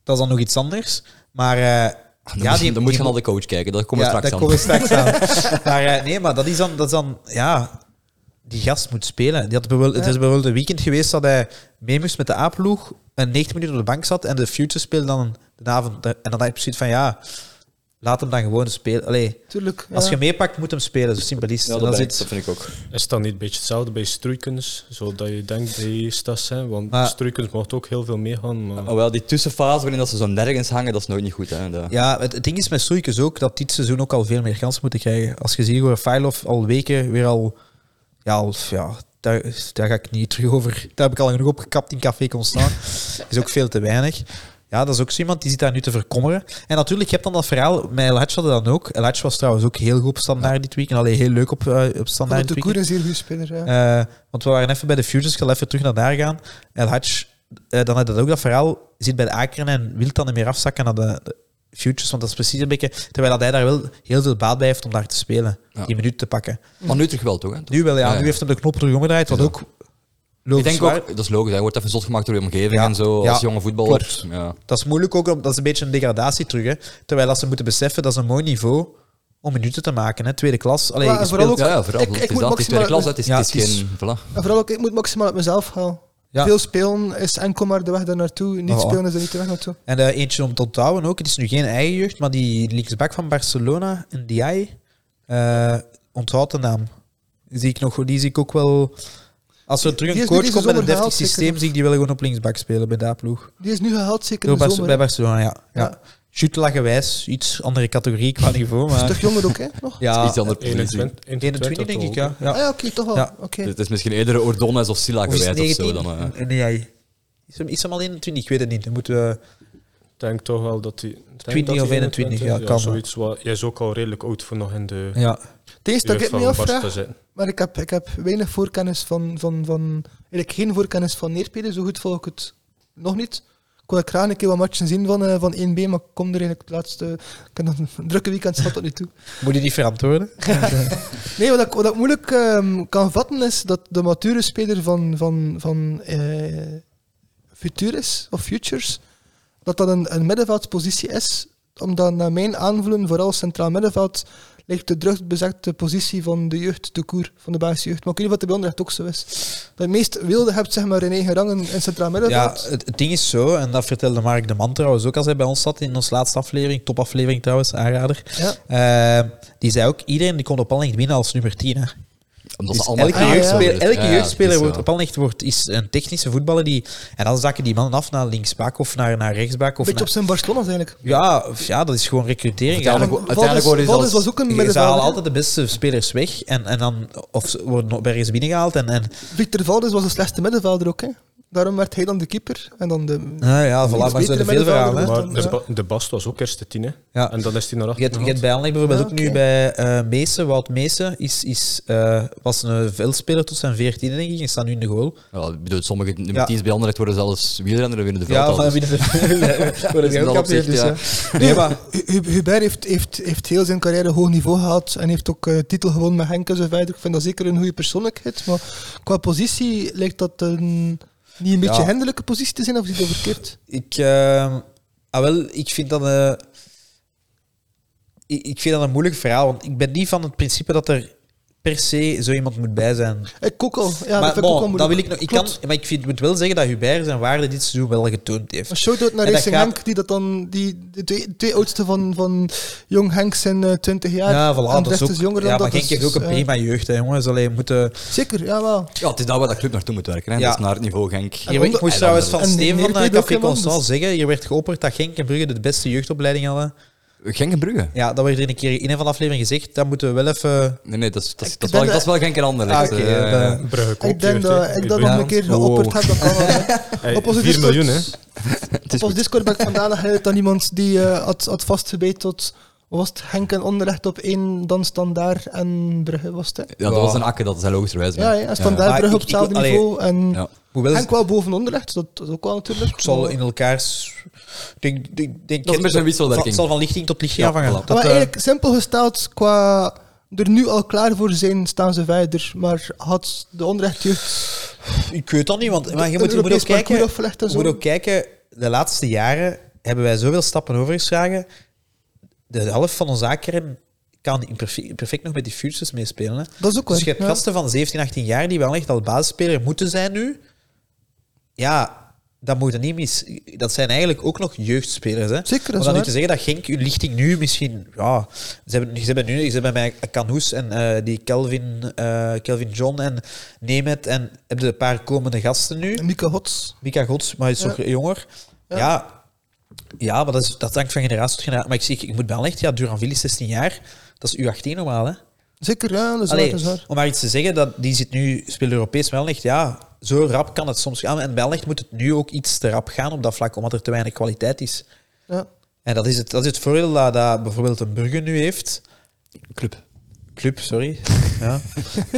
Speaker 2: dat is dan nog iets anders. Maar eh,
Speaker 1: Ah, Dan
Speaker 2: ja,
Speaker 1: moet-
Speaker 2: die,
Speaker 1: dan moet je
Speaker 2: die-
Speaker 1: naar de coach kijken, daar komen
Speaker 2: ja,
Speaker 1: we straks
Speaker 2: daar
Speaker 1: aan.
Speaker 2: komen we straks aan. maar eh, nee, maar dat is, dan, dat is dan, ja, die gast moet spelen. Die had bijvoorbeeld, Het is bijvoorbeeld een weekend geweest dat hij mee moest met de A-ploeg en 90 minuten op de bank zat en de Future speelde dan de avond. En dan had ik precies van, ja, laat hem dan gewoon spelen. Allee,
Speaker 3: Tuurlijk.
Speaker 2: als
Speaker 3: ja.
Speaker 2: je meepakt, moet hem spelen. Zo simpel is het.
Speaker 1: Ja,
Speaker 2: En
Speaker 1: dat,
Speaker 2: dat is
Speaker 1: ben ik-
Speaker 2: iets-
Speaker 1: dat vind ik ook.
Speaker 4: Is het dan niet een beetje hetzelfde bij stroeikens? Zodat je denkt, die is dat zijn. Want
Speaker 2: Maar-
Speaker 4: stroeikens mocht ook heel veel meegaan. Maar...
Speaker 1: Oh, wel, die tussenfase waarin dat ze zo nergens hangen, dat is nooit niet goed. Hè. De-
Speaker 2: Ja, het, het ding is met Soeikens ook dat dit seizoen ook al veel meer kansen moeten krijgen. Als je ziet hoe Failov al weken weer al... Ja, al- ja daar, daar ga ik niet terug over. Daar heb ik al genoeg opgekapt in Café Constant. is ook veel te weinig. Ja, dat is ook zo iemand die zit daar nu te verkommeren. En natuurlijk, je hebt dan dat verhaal met El Hadj hadden dan ook. El Hadj was trouwens ook heel goed op standaard dit weekend. Allee, heel leuk op, eh, op
Speaker 3: Ik vond
Speaker 2: standaard
Speaker 3: de
Speaker 2: dit
Speaker 3: Koer
Speaker 2: weekend.
Speaker 3: een zeer goede speler. Ja.
Speaker 2: Eh, want we waren even bij de Futures, ik zal even terug naar daar gaan. El Hadj, eh, dan had dat ook dat verhaal, zit bij de Akeren en wil dan niet meer afzakken naar de, de Futures, want dat is precies een beetje... Terwijl dat hij daar wel heel veel baat bij heeft om daar te spelen,
Speaker 1: Ja.
Speaker 2: die minuut te pakken.
Speaker 1: Maar nu terug wel, toch? Hè?
Speaker 2: Nu wel, ja,
Speaker 1: Ja, ja.
Speaker 2: nu heeft hem de knop terug omgedraaid, wat
Speaker 1: Ja.
Speaker 2: ook... logisch
Speaker 1: ik denk
Speaker 2: waar-
Speaker 1: ook, dat is logisch, hij wordt even zot gemaakt door de omgeving
Speaker 2: Ja,
Speaker 1: en zo,
Speaker 2: ja,
Speaker 1: als jonge voetballer.
Speaker 2: klopt.
Speaker 1: Ja.
Speaker 2: Dat is moeilijk ook, om- dat is een beetje een degradatie terug. Hè. Terwijl als ze moeten beseffen, dat is een mooi niveau om minuten te maken. Hè. Tweede klas, alleen
Speaker 3: Maar
Speaker 2: je
Speaker 3: vooral
Speaker 2: speelt...
Speaker 1: Ja, ja, vooral.
Speaker 3: Ik-
Speaker 1: het
Speaker 3: ik
Speaker 1: is
Speaker 3: moet
Speaker 1: dat, het is tweede
Speaker 3: maximaal-
Speaker 1: klas, hè, het is,
Speaker 2: Ja,
Speaker 1: het
Speaker 2: het
Speaker 1: is
Speaker 2: is-
Speaker 1: geen... Voilà.
Speaker 3: En vooral ook, ik moet maximaal uit mezelf halen.
Speaker 2: Ja.
Speaker 3: Veel spelen is enkel maar de weg daar naartoe. Niet
Speaker 2: Oh.
Speaker 3: spelen is er niet de weg naartoe.
Speaker 2: En eh, eentje om te onthouden ook. Het is nu geen eigen jeugd, maar die linksback van Barcelona, een DI, eh onthoud de naam. Die zie ik, nog, die zie ik ook wel... Als er terug
Speaker 3: Die
Speaker 2: een
Speaker 3: is
Speaker 2: coach
Speaker 3: nu
Speaker 2: komt met een
Speaker 3: deze zomer
Speaker 2: deftig
Speaker 3: gehaald,
Speaker 2: systeem,
Speaker 3: zeker?
Speaker 2: zie ik die wel gewoon op linksback spelen bij dat ploeg.
Speaker 3: Die is nu gehaald, zeker
Speaker 2: Door
Speaker 3: in de
Speaker 2: Barce-
Speaker 3: zomer.
Speaker 2: bij
Speaker 3: hè.
Speaker 2: Barcelona, ja. ja.
Speaker 3: Ja.
Speaker 2: Shoot lagenwijs, iets andere categorie qua niveau,
Speaker 3: Is toch
Speaker 2: maar...
Speaker 3: jonger ook, hè? Nog?
Speaker 2: Ja,
Speaker 1: Iets anders.
Speaker 4: 21,
Speaker 2: 21 denk ik,
Speaker 4: toch
Speaker 2: ja.
Speaker 4: ook?
Speaker 3: Ah
Speaker 2: ja.
Speaker 3: ja, oké, toch wel.
Speaker 2: Ja.
Speaker 3: Oké.
Speaker 1: Het is misschien eerder Ordones of Silla
Speaker 2: Of is
Speaker 1: gewijd
Speaker 2: het
Speaker 1: Ah, of zo.
Speaker 2: 19?
Speaker 1: Dan, eh.
Speaker 2: Een DI. Is hem, is hem al 21? Ik weet het niet. Dan moeten we...
Speaker 4: Ik denk toch wel dat hij...
Speaker 2: 20 of 21, ja, kan wel.
Speaker 4: Zoiets wat, jij is ook al redelijk oud voor nog in de
Speaker 2: Ja.
Speaker 3: Het eerste dat
Speaker 4: jeugd
Speaker 3: ik me
Speaker 4: van Barca
Speaker 3: afvraag,
Speaker 4: zitten.
Speaker 3: maar ik heb, ik heb weinig voorkennis van, van, van... Eigenlijk geen voorkennis van Neerpede, zo goed volg ik het nog niet. Ik wil ook graag een keer wat matchen zien van, eh, van 1B, maar ik kom er eigenlijk het laatste... Ik heb nog een drukke weekend, schat tot nu toe.
Speaker 2: Moet je die verantwoorden?
Speaker 3: Nee, wat ik, wat ik moeilijk ehm, kan vatten is dat de mature speler van, van, van eh, Futuris of Futures, dat dat een, een middenveldspositie is, omdat naar mijn aanvoelen, vooral centraal middenveld, ligt de drukbezette positie van de jeugd, de koer, van de Belgische jeugd. Maar ik weet niet of dat bij Anderlecht ook zo is. Dat je het meest wilde hebt, zeg maar, in eigen rangen in centraal
Speaker 2: Ja,
Speaker 3: middenveld.
Speaker 2: het, het ding is zo, en dat vertelde Mark de Man trouwens ook als hij bij ons zat in onze laatste aflevering, topaflevering trouwens, aanrader.
Speaker 3: Ja.
Speaker 2: Eh, die zei ook, iedereen die kon op al winnen als nummer 10. Hè.
Speaker 1: Omdat ze
Speaker 2: Dus
Speaker 1: allemaal
Speaker 2: elke
Speaker 1: kaarten
Speaker 2: jeugdspeler,
Speaker 1: worden.
Speaker 2: elke
Speaker 1: Ja,
Speaker 2: jeugdspeler
Speaker 1: dus,
Speaker 2: wordt
Speaker 1: ja.
Speaker 2: op Anderlecht wordt, is een technische voetballer. Die, en dan zakken die mannen af naar linksbaak of naar, naar rechtsbaak. Of
Speaker 3: beetje op
Speaker 2: naar,
Speaker 3: zijn barst gewonnen, eigenlijk.
Speaker 2: ja, f- ja, dat is gewoon recrutering.
Speaker 1: Vertel
Speaker 2: Ja,
Speaker 1: me uiteindelijk worden ze
Speaker 3: Valdes
Speaker 1: als-
Speaker 3: was ook een
Speaker 2: Je- Ze halen
Speaker 3: middenvelder.
Speaker 2: altijd de beste spelers weg. En, en dan, of ze worden nog ergens binnengehaald. En, en
Speaker 3: Victor Valdes was de slechtste middenvelder ook. Hè. Daarom werd hij dan de keeper. En dan de...
Speaker 2: nou ja, voilà, maar ze
Speaker 3: betere
Speaker 2: zijn er veel verhalen. hè.
Speaker 3: middenvelder
Speaker 4: Maar
Speaker 3: dan,
Speaker 4: de,
Speaker 3: ja.
Speaker 4: Ba- de Bast was ook eerste tien, hè.
Speaker 2: Ja.
Speaker 4: En dan is hij
Speaker 2: Je
Speaker 4: naar achter
Speaker 2: hebt, je hebt
Speaker 4: gehaald.
Speaker 2: bij Anderlecht bijvoorbeeld
Speaker 3: Ja,
Speaker 2: ook nu
Speaker 3: oké.
Speaker 2: bij eh Meesen. Wout Meesen is, is, eh, was een veldspeler tot zijn 14 denk ik. En staat nu in de goal.
Speaker 1: Ja, ik bedoel, sommige nummer
Speaker 2: Ja.
Speaker 1: 10's bij Anderlecht worden zelfs wielrenner winnen de
Speaker 2: Ja,
Speaker 1: veld.
Speaker 2: maar binnen de voor de
Speaker 1: Dus in dus. dat
Speaker 2: wereldkampioen,
Speaker 1: opzicht,
Speaker 2: dus,
Speaker 1: ja.
Speaker 2: ja. Nee, maar
Speaker 3: Hu- Hu- Hubert heeft, heeft, heeft heel zijn carrière hoog niveau gehad en heeft ook eh, titel gewonnen met Henk en zo verder. Ik vind dat zeker een goede persoonlijkheid. Maar qua positie lijkt dat een, niet een beetje
Speaker 2: Ja.
Speaker 3: hendelijke positie te zijn, of is dat verkeerd?
Speaker 2: Ik, eh, ah, wel, ik vind dat eh, ik, ik vind dat een moeilijk verhaal, want ik ben niet van het principe dat er per se zo iemand moet bij zijn.
Speaker 3: Ik ook al. Ja, dat
Speaker 2: maar
Speaker 3: vind ik
Speaker 2: bon,
Speaker 3: ook al
Speaker 2: dat
Speaker 3: moeilijk.
Speaker 2: wil ik nog. Ik kan,
Speaker 3: Klopt.
Speaker 2: maar ik vind, moet wel zeggen dat Hubert zijn waarde dit seizoen wel getoond
Speaker 3: Een
Speaker 2: heeft.
Speaker 3: shout-out naar
Speaker 2: En dat
Speaker 3: Racing
Speaker 2: gaat-
Speaker 3: Henk, die dat dan, die, de twee, twee oudste van, van Jong Henk zijn eh, 20 jaar.
Speaker 2: Ja, voilà,
Speaker 3: en
Speaker 2: dat
Speaker 3: de
Speaker 2: is
Speaker 3: rest
Speaker 2: ook,
Speaker 3: is jonger
Speaker 2: ja,
Speaker 3: dan
Speaker 2: maar
Speaker 3: dat.
Speaker 2: Genk heeft ook
Speaker 3: dus,
Speaker 2: een
Speaker 3: eh,
Speaker 2: prima jeugd, hè, jongens. Alleen moeten...
Speaker 3: Zeker, jawel.
Speaker 1: Ja, het is daar waar dat club naartoe moet werken. Hè.
Speaker 2: Ja.
Speaker 1: Dat is naar het niveau Genk.
Speaker 2: Hier, ik moest
Speaker 1: En
Speaker 2: trouwens van
Speaker 3: en
Speaker 2: Steven van de
Speaker 3: Neerbeet ook,
Speaker 2: Café
Speaker 3: hè, man,
Speaker 2: Constant
Speaker 3: dus-
Speaker 2: zeggen, hier werd geopperd dat Genk en Brugge de beste jeugdopleiding hadden.
Speaker 1: Genk en Brugge.
Speaker 2: Ja, dat werd er een keer in een van de afleveringen gezegd. Dat moeten we wel even...
Speaker 1: Nee, nee, dat is, dat is, dat is,
Speaker 3: ben
Speaker 1: wel,
Speaker 3: de-
Speaker 1: dat is wel Genk en Anderlecht.
Speaker 2: Ah, oké,
Speaker 1: eh,
Speaker 2: eh, ben-
Speaker 4: Brugge
Speaker 3: Ik denk
Speaker 4: koopjeugd,
Speaker 3: dat
Speaker 4: hè.
Speaker 3: ik
Speaker 4: Ik
Speaker 3: dat
Speaker 4: ben-
Speaker 3: nog een keer
Speaker 1: Wow.
Speaker 3: geopperd heb. Dat kan wel, hè.
Speaker 4: Hey,
Speaker 3: op onze
Speaker 4: 4
Speaker 3: Discord.
Speaker 4: miljoen, hè.
Speaker 1: het is
Speaker 3: Op ons
Speaker 1: goed.
Speaker 3: Discord ben ik vandaan herinnerd aan iemand die eh, had, had vastgebeten tot wat was het Henk en Onderrecht op één, dan Standaard en Brugge was het. hè?
Speaker 1: Ja, dat
Speaker 2: Ja.
Speaker 1: was een akke, dat is logischerwijs.
Speaker 3: Ja, ja, en Standaard,
Speaker 2: Ja. Maar
Speaker 3: Brugge op
Speaker 2: ik- ik-
Speaker 3: hetzelfde
Speaker 2: allee,
Speaker 3: niveau en
Speaker 1: Ja.
Speaker 2: Hoewel
Speaker 3: Henk wel boven Onderrecht, dat dat is ook wel natuurlijk.
Speaker 2: Het zal in elkaars. Ik denk, ik denk,
Speaker 1: Dat is een beetje een wisselwerking.
Speaker 2: Het zal van lichting tot lichting
Speaker 1: Ja,
Speaker 2: afhangen.
Speaker 1: voilà.
Speaker 2: Dat,
Speaker 3: maar
Speaker 2: eh,
Speaker 3: eigenlijk, simpel gesteld, qua er nu al klaar voor zijn, staan ze verder. Maar had de Onderrechtjeugd
Speaker 2: ik weet dat niet, want maar je,
Speaker 3: een
Speaker 2: moet, je moet ook
Speaker 3: Europees parcours
Speaker 2: kijken.
Speaker 3: afgelegd en
Speaker 2: Je
Speaker 3: zo?
Speaker 2: moet ook kijken, de laatste jaren hebben wij zoveel stappen overgeslagen. De helft van onze zaken kan in perfe- perfect nog met die futures meespelen. Hè.
Speaker 3: Dat is ook wel.
Speaker 2: Dus je hebt
Speaker 3: ja.
Speaker 2: gasten van 17, 18 jaar die wel echt al basisspeler moeten zijn nu. Ja, dat moet je niet mis. Dat zijn eigenlijk ook nog jeugdspelers. Hè.
Speaker 3: Zeker, dat is
Speaker 2: Om dan nu
Speaker 3: waar.
Speaker 2: te zeggen dat Genk hun lichting nu misschien... Ja, ze hebben, ze hebben nu ze hebben bij Canoes en eh, die Kelvin, eh, Kelvin John en Nemeth en hebben een paar komende gasten nu.
Speaker 3: Mika Hots.
Speaker 2: Mika Gods, maar hij is
Speaker 3: Ja.
Speaker 2: nog jonger. Ja.
Speaker 3: Ja.
Speaker 2: ja. maar dat, is, dat hangt van generatie tot generatie. Maar ik zie, ik moet wel echt, ja, Duranville is 16 jaar. Dat is U18 normaal, hè?
Speaker 3: Zeker, ja, dat is waar,
Speaker 2: Allee,
Speaker 3: dat is waar.
Speaker 2: om maar iets te zeggen, dat, die zit nu, speelt Europees wel echt, ja, zo rap kan het soms gaan. En bij Anderlecht moet het nu ook iets te rap gaan op dat vlak, omdat er te weinig kwaliteit is.
Speaker 3: Ja.
Speaker 2: En dat is het, dat is het voordeel dat, dat bijvoorbeeld een burger nu heeft.
Speaker 1: Club.
Speaker 2: Club, sorry. Ja.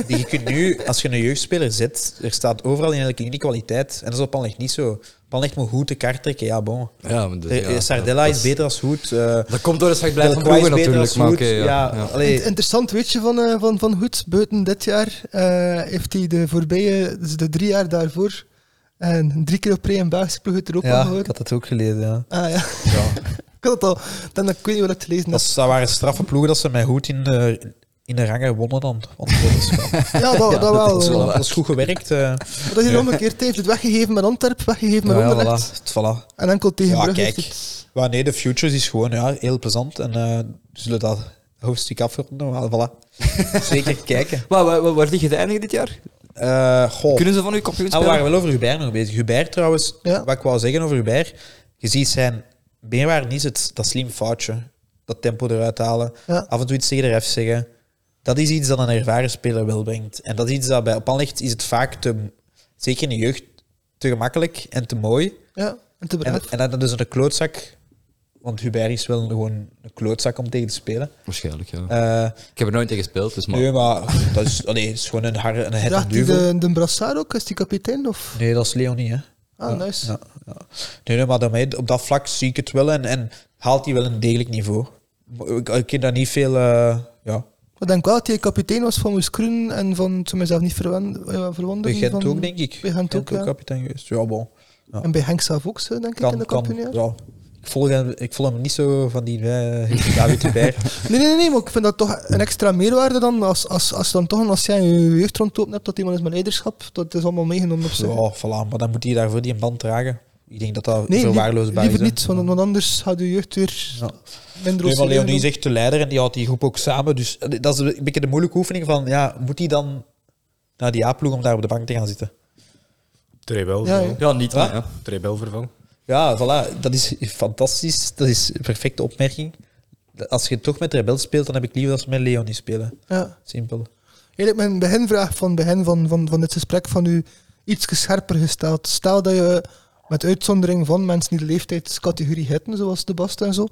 Speaker 2: Die je kunt nu, als je een jeugdspeler zet, er staat overal in elke linie kwaliteit. En dat is op Anderlecht niet zo. Anderlecht moet goed de kaart trekken, ja, bon.
Speaker 1: Ja, maar dus,
Speaker 2: Eh, eh,
Speaker 1: ja,
Speaker 2: Sardella
Speaker 1: dat
Speaker 2: is beter als goed. eh
Speaker 1: Dat komt door het slecht blijven van
Speaker 2: Delcroix
Speaker 1: Brugge natuurlijk.
Speaker 2: als
Speaker 1: Maar
Speaker 2: goed.
Speaker 1: oké, ja.
Speaker 2: ja,
Speaker 1: ja.
Speaker 2: allee.
Speaker 3: Int- Interessant weetje van, eh, van, van Hoed. Buiten dit jaar eh, heeft hij de voorbije, dus de drie jaar daarvoor, en drie keer op rij een Belgische ploeg uit Europa
Speaker 2: Ja, ik
Speaker 3: gehouden.
Speaker 2: had dat ook gelezen, ja.
Speaker 3: Ah ja,
Speaker 2: ja.
Speaker 3: ik had het al. Dan, ik weet niet wat ik het gelezen heb.
Speaker 2: Dat, dat waren straffe ploegen dat ze mij goed in de, in de rangen wonnen dan. Want dat is wel-
Speaker 3: Ja, dat,
Speaker 2: ja,
Speaker 3: dat wel.
Speaker 2: Dat is,
Speaker 3: eh.
Speaker 2: wel-
Speaker 1: waar.
Speaker 2: dat is goed gewerkt. eh.
Speaker 3: Maar dat is hier omgekeerd. Hij heeft het weggegeven met Antwerp, weggegeven met
Speaker 2: Ja,
Speaker 3: Anderlecht.
Speaker 2: voilà. Het- voilà.
Speaker 3: En enkel tegen
Speaker 2: Ja,
Speaker 3: Brugge.
Speaker 2: kijk.
Speaker 3: heeft het-
Speaker 2: Maar nee, de Futures is gewoon ja, heel plezant. En eh, we zullen dat hoofdstuk afronden. Maar voilà. Zeker kijken.
Speaker 1: Maar waar, waar, waar liggen de eindigen dit jaar?
Speaker 2: Eh goh.
Speaker 1: Kunnen ze van uw kampioen
Speaker 2: Ah, we
Speaker 1: spelen?
Speaker 2: waren wel over Hubert nog bezig. Hubert trouwens,
Speaker 3: Ja.
Speaker 2: wat ik wou zeggen over Hubert. Je ziet zijn meerwaarde is het, dat slim foutje. Dat tempo eruit halen.
Speaker 3: Ja.
Speaker 2: Af en toe iets tegen de ref zeggen. Dat is iets dat een ervaren speler wel brengt. En dat is iets dat bij op Anderlecht is het vaak te, zeker in de jeugd, te gemakkelijk en te mooi.
Speaker 3: Ja, en te
Speaker 2: En,
Speaker 3: braaf.
Speaker 2: en dat is een klootzak. Want Hubert is wel gewoon een klootzak om tegen te spelen.
Speaker 1: Waarschijnlijk, ja.
Speaker 2: Eh,
Speaker 1: Ik heb er nooit tegen gespeeld, dus maar...
Speaker 2: nee, maar dat is, allee, het is gewoon een harde een het
Speaker 3: Draagt hij de, de brassard ook? Is die kapitein? Of?
Speaker 2: Nee, dat is Leonie, hè.
Speaker 3: Ah,
Speaker 2: Ja,
Speaker 3: nice.
Speaker 2: Ja, ja. Nee, nee, maar daarmee, op dat vlak zie ik het wel en, en haalt hij wel een degelijk niveau. Ik, ik ken daar niet veel. eh, ja.
Speaker 3: Ik denk wel dat hij kapitein was van Moes Kroen en van, toen mezelf niet verwen- eh,
Speaker 2: Bij
Speaker 3: verwonderen.
Speaker 2: Gent
Speaker 3: van-
Speaker 2: ook, denk ik.
Speaker 3: bij Gent ook, ja.
Speaker 2: kapitein geweest. Ja, bon. Ja.
Speaker 3: En bij Henk zelf ook, zo, denk ik, in
Speaker 2: Kan,
Speaker 3: de
Speaker 2: kan.
Speaker 3: kampioen.
Speaker 2: Ja. Ik, volg hem, ik volg hem niet zo van die eh, David Hubert.
Speaker 3: Nee, nee, nee, nee, maar ik vind dat toch een extra meerwaarde dan. Als, als, als, dan toch, als jij je jeugd rondlopen hebt, dat iemand is met leiderschap, dat is allemaal meegenomen op zich.
Speaker 2: Zo, oh, voilà. Maar dan moet hij daarvoor die een band dragen. Ik denk dat dat
Speaker 3: nee,
Speaker 2: verwaarloosbaar
Speaker 3: liever
Speaker 2: is. hè.
Speaker 3: niet, want, want anders gaat je jeugd weer
Speaker 2: Ja.
Speaker 3: minder
Speaker 2: Nee, maar
Speaker 3: oscilleren.
Speaker 2: eh, Leonie is echt de leider en die houdt die groep ook samen. Dus dat is een beetje de moeilijke oefening van, ja, moet hij dan naar die A-ploeg om daar op de bank te gaan zitten.
Speaker 4: Trebel
Speaker 3: Ja,
Speaker 4: vervang.
Speaker 1: Ja, niet.
Speaker 2: Wat?
Speaker 1: maar ja.
Speaker 4: Trebel vervang.
Speaker 2: Ja, voilà. Dat is fantastisch. Dat is een perfecte opmerking. Als je toch met Rebel speelt, dan heb ik liever dat ze met Leonie spelen.
Speaker 3: Ja.
Speaker 2: Simpel.
Speaker 3: Eigenlijk mijn beginvraag van begin van, van, van dit gesprek van u iets scherper gesteld. Stel dat je, met uitzondering van mensen die de leeftijdscategorie hitten, zoals de Bast en zo,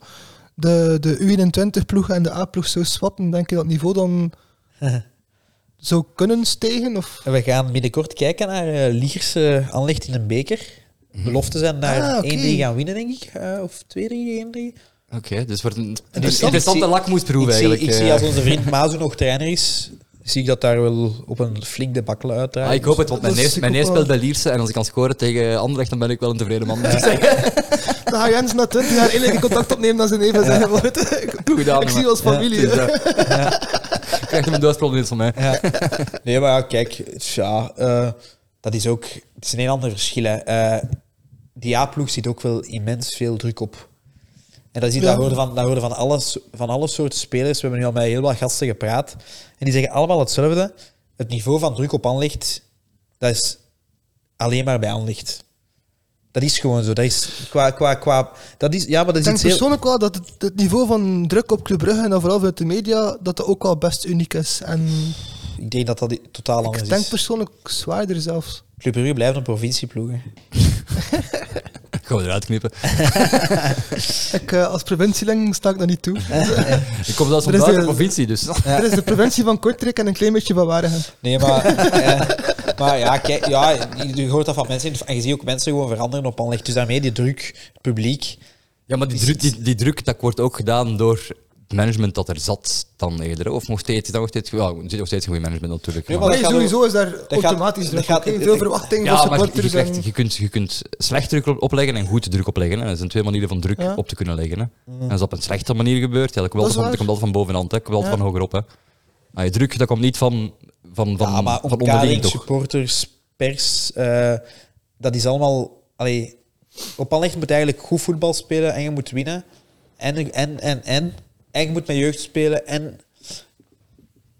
Speaker 3: de, de U21-ploeg en de A-ploeg zou swappen, denk je dat het niveau dan zou kunnen stijgen? Of?
Speaker 2: We gaan binnenkort kijken naar eh, Lierse Anlecht in een beker. Belofte zijn daar
Speaker 3: Ah,
Speaker 2: 1-3
Speaker 3: oké.
Speaker 2: gaan winnen, denk ik. Eh, of 2-3, 1-3.
Speaker 1: Oké, dus wordt een, een
Speaker 2: interessant-
Speaker 1: interessante
Speaker 2: ik zie-
Speaker 1: lakmoesproef
Speaker 2: ik zie,
Speaker 1: eigenlijk.
Speaker 2: ik
Speaker 1: eh.
Speaker 2: zie als onze vriend Mazu nog trainer is, zie ik dat daar wel op een flink debakkel uitdraait.
Speaker 1: Ah, ik hoop het, want mijn
Speaker 3: Dat is
Speaker 1: neer, mijn
Speaker 3: ook
Speaker 1: neer
Speaker 3: wel-
Speaker 1: speelt bij Lierse en als ik kan scoren tegen Anderlecht, dan ben ik wel een tevreden man.
Speaker 3: Dan ga Jens na 20 jaar eindelijk in contact opnemen dat ze even zeggen, "Marit, ik,
Speaker 1: Goed gedaan,
Speaker 3: ik
Speaker 1: jongen.
Speaker 3: zie je als familie.
Speaker 1: Het is, eh, Krijgt hem een duitsprobleem van mij.
Speaker 2: Ja. Nee, maar ja, kijk, ja, eh, dat is ook. Het is een heel ander verschil. Hè. Eh, die A-ploeg zit ook wel immens veel druk op. En dat, is, iets-
Speaker 3: Ja.
Speaker 2: dat hoorde, van, dat hoorde van, alles, van alle soorten spelers. We hebben nu al met heel wat gasten gepraat. En die zeggen allemaal hetzelfde. Het niveau van druk op aanlicht, dat is alleen maar bij aanlicht. Dat is gewoon zo. Dat is qua, qua, qua, dat is, ja, maar dat
Speaker 3: Ik
Speaker 2: is
Speaker 3: denk
Speaker 2: iets heel...
Speaker 3: persoonlijk wel dat het, het niveau van druk op Club Brugge en dan vooral vanuit de media, dat dat ook wel best uniek is. En
Speaker 2: Ik denk dat dat totaal anders
Speaker 3: ik
Speaker 2: is.
Speaker 3: denk persoonlijk zwaarder zelfs.
Speaker 2: Club Brugge blijft een provincieploeg. hè.
Speaker 1: Ik ga hem eruit knippen.
Speaker 3: Ik, eh, als preventieling sta ik dat niet toe.
Speaker 1: Ik kom zelfs van
Speaker 3: Er is
Speaker 1: buiten de
Speaker 3: een-
Speaker 1: provincie, dus...
Speaker 3: Er is de preventie van Kortrijk en een klein beetje van Waregem.
Speaker 2: Nee, maar, eh, maar ja, kijk, ja, je je hoort dat van mensen. En je ziet ook mensen gewoon veranderen op aanleg. Dus daarmee die druk, het publiek.
Speaker 1: Ja, maar die druk, die, die druk dat wordt ook gedaan door het management dat er zat dan eerder. hè? Of nog steeds, dan nog steeds, ja, er zit nog steeds een goed management natuurlijk.
Speaker 2: Nee,
Speaker 1: maar-
Speaker 2: dat
Speaker 3: Nee,
Speaker 2: gaat
Speaker 3: sowieso is daar
Speaker 2: gaat-
Speaker 3: automatisch
Speaker 2: dat
Speaker 3: druk
Speaker 2: gaat-
Speaker 3: op, hè.
Speaker 2: ik-
Speaker 3: Veel
Speaker 2: ik-
Speaker 3: verwachting van
Speaker 1: ja, maar je, je
Speaker 3: supporters.
Speaker 1: krijgt-
Speaker 3: en-
Speaker 1: je kunt, je kunt slecht druk op- opleggen en goed druk opleggen. Hè. Dat zijn twee manieren van druk
Speaker 3: Ja.
Speaker 1: op te kunnen leggen. Hè. En als dat op een slechte manier gebeurt, ja, dat komt
Speaker 3: Dat is
Speaker 1: altijd van, dat
Speaker 3: waar.
Speaker 1: komt altijd van bovenhand, hè. dat komt altijd
Speaker 3: Ja.
Speaker 1: van hogerop. Hè. Maar je druk dat komt niet van, van, van,
Speaker 2: ja, maar
Speaker 1: van onderling,
Speaker 2: omkadering,
Speaker 1: toch?
Speaker 2: supporters, pers. eh, dat is allemaal. Allee, op aanleg moet je eigenlijk goed voetbal spelen en je moet winnen. En, en, en, en. En je moet met jeugd spelen. En,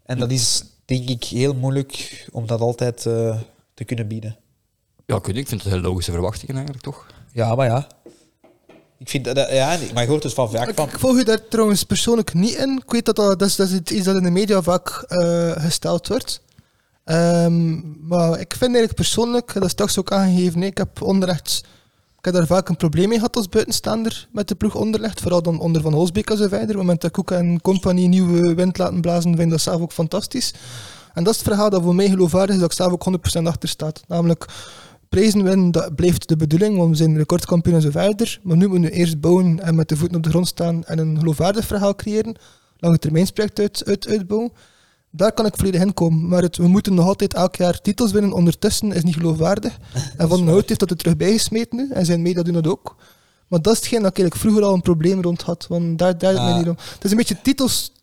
Speaker 2: en dat is denk ik heel moeilijk om dat altijd eh, te kunnen bieden.
Speaker 1: Ja, kun je, ik vind het heel logische verwachtingen eigenlijk, toch?
Speaker 2: Ja, maar ja. Ik vind dat, dat- ja, maar je hoort dus van vaak
Speaker 3: Ik,
Speaker 2: van
Speaker 3: ik volg je daar trouwens persoonlijk niet in. Ik weet dat dat, dat, is, dat is iets dat in de media vaak eh, gesteld wordt. Ehm, maar ik vind eigenlijk persoonlijk, dat is straks ook aangegeven, nee, ik heb onderrechts... Ik heb daar vaak een probleem mee gehad als buitenstaander met de ploeg onderlegd. Vooral dan onder Van Holsbeek als verder. Op het moment dat Koek en compagnie nieuwe wind laten blazen, vind ik dat zelf ook fantastisch. En dat is het verhaal dat voor mij geloofwaardig is, dat ik zelf ook 100% achter staat. Namelijk, prijzen winnen, dat blijft de bedoeling, want we zijn recordkampioen en zo verder. Maar nu moeten we eerst bouwen en met de voeten op de grond staan en een geloofwaardig verhaal creëren. Lange termijnsproject uit, uit, uitbouwen. Daar kan ik volledig in komen. Maar het, we moeten nog altijd elk jaar titels winnen. Ondertussen is niet geloofwaardig. En Van den Hout heeft dat er terug bijgesmeten nu. En zijn media doen dat ook. Maar dat is hetgeen dat ik eigenlijk vroeger al een probleem rond had. Want daar, daar het mij
Speaker 2: Ah.
Speaker 3: niet om. Het is een beetje titels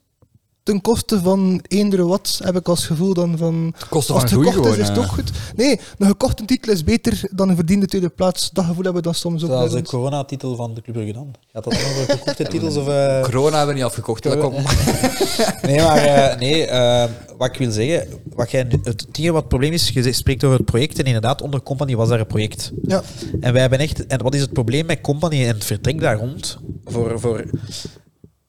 Speaker 3: ten koste van eender wat, heb ik als gevoel dan van...
Speaker 1: kosten van
Speaker 3: Als het
Speaker 1: groei
Speaker 3: gekocht
Speaker 1: gewoon.
Speaker 3: is, is het
Speaker 1: eh.
Speaker 3: ook goed. Nee, een gekochte titel is beter dan een verdiende tweede plaats. Dat gevoel hebben we dan soms ook.
Speaker 2: Dat is
Speaker 3: wel
Speaker 2: de
Speaker 3: eens.
Speaker 2: coronatitel van de Club Brugge dan. Gaat dat dan over gekochte titels? Of, eh?
Speaker 1: Corona hebben we niet afgekocht. hè,
Speaker 3: Eh,
Speaker 1: Dat komt.
Speaker 2: Nee, maar eh, nee, eh, wat ik wil zeggen, wat jij, nu- het enige wat het probleem is, je spreekt over het project en inderdaad, onder Company was daar een project.
Speaker 3: Ja,
Speaker 2: En wij hebben echt, en wat is het probleem met Company en het vertrek daar rond? Voor, voor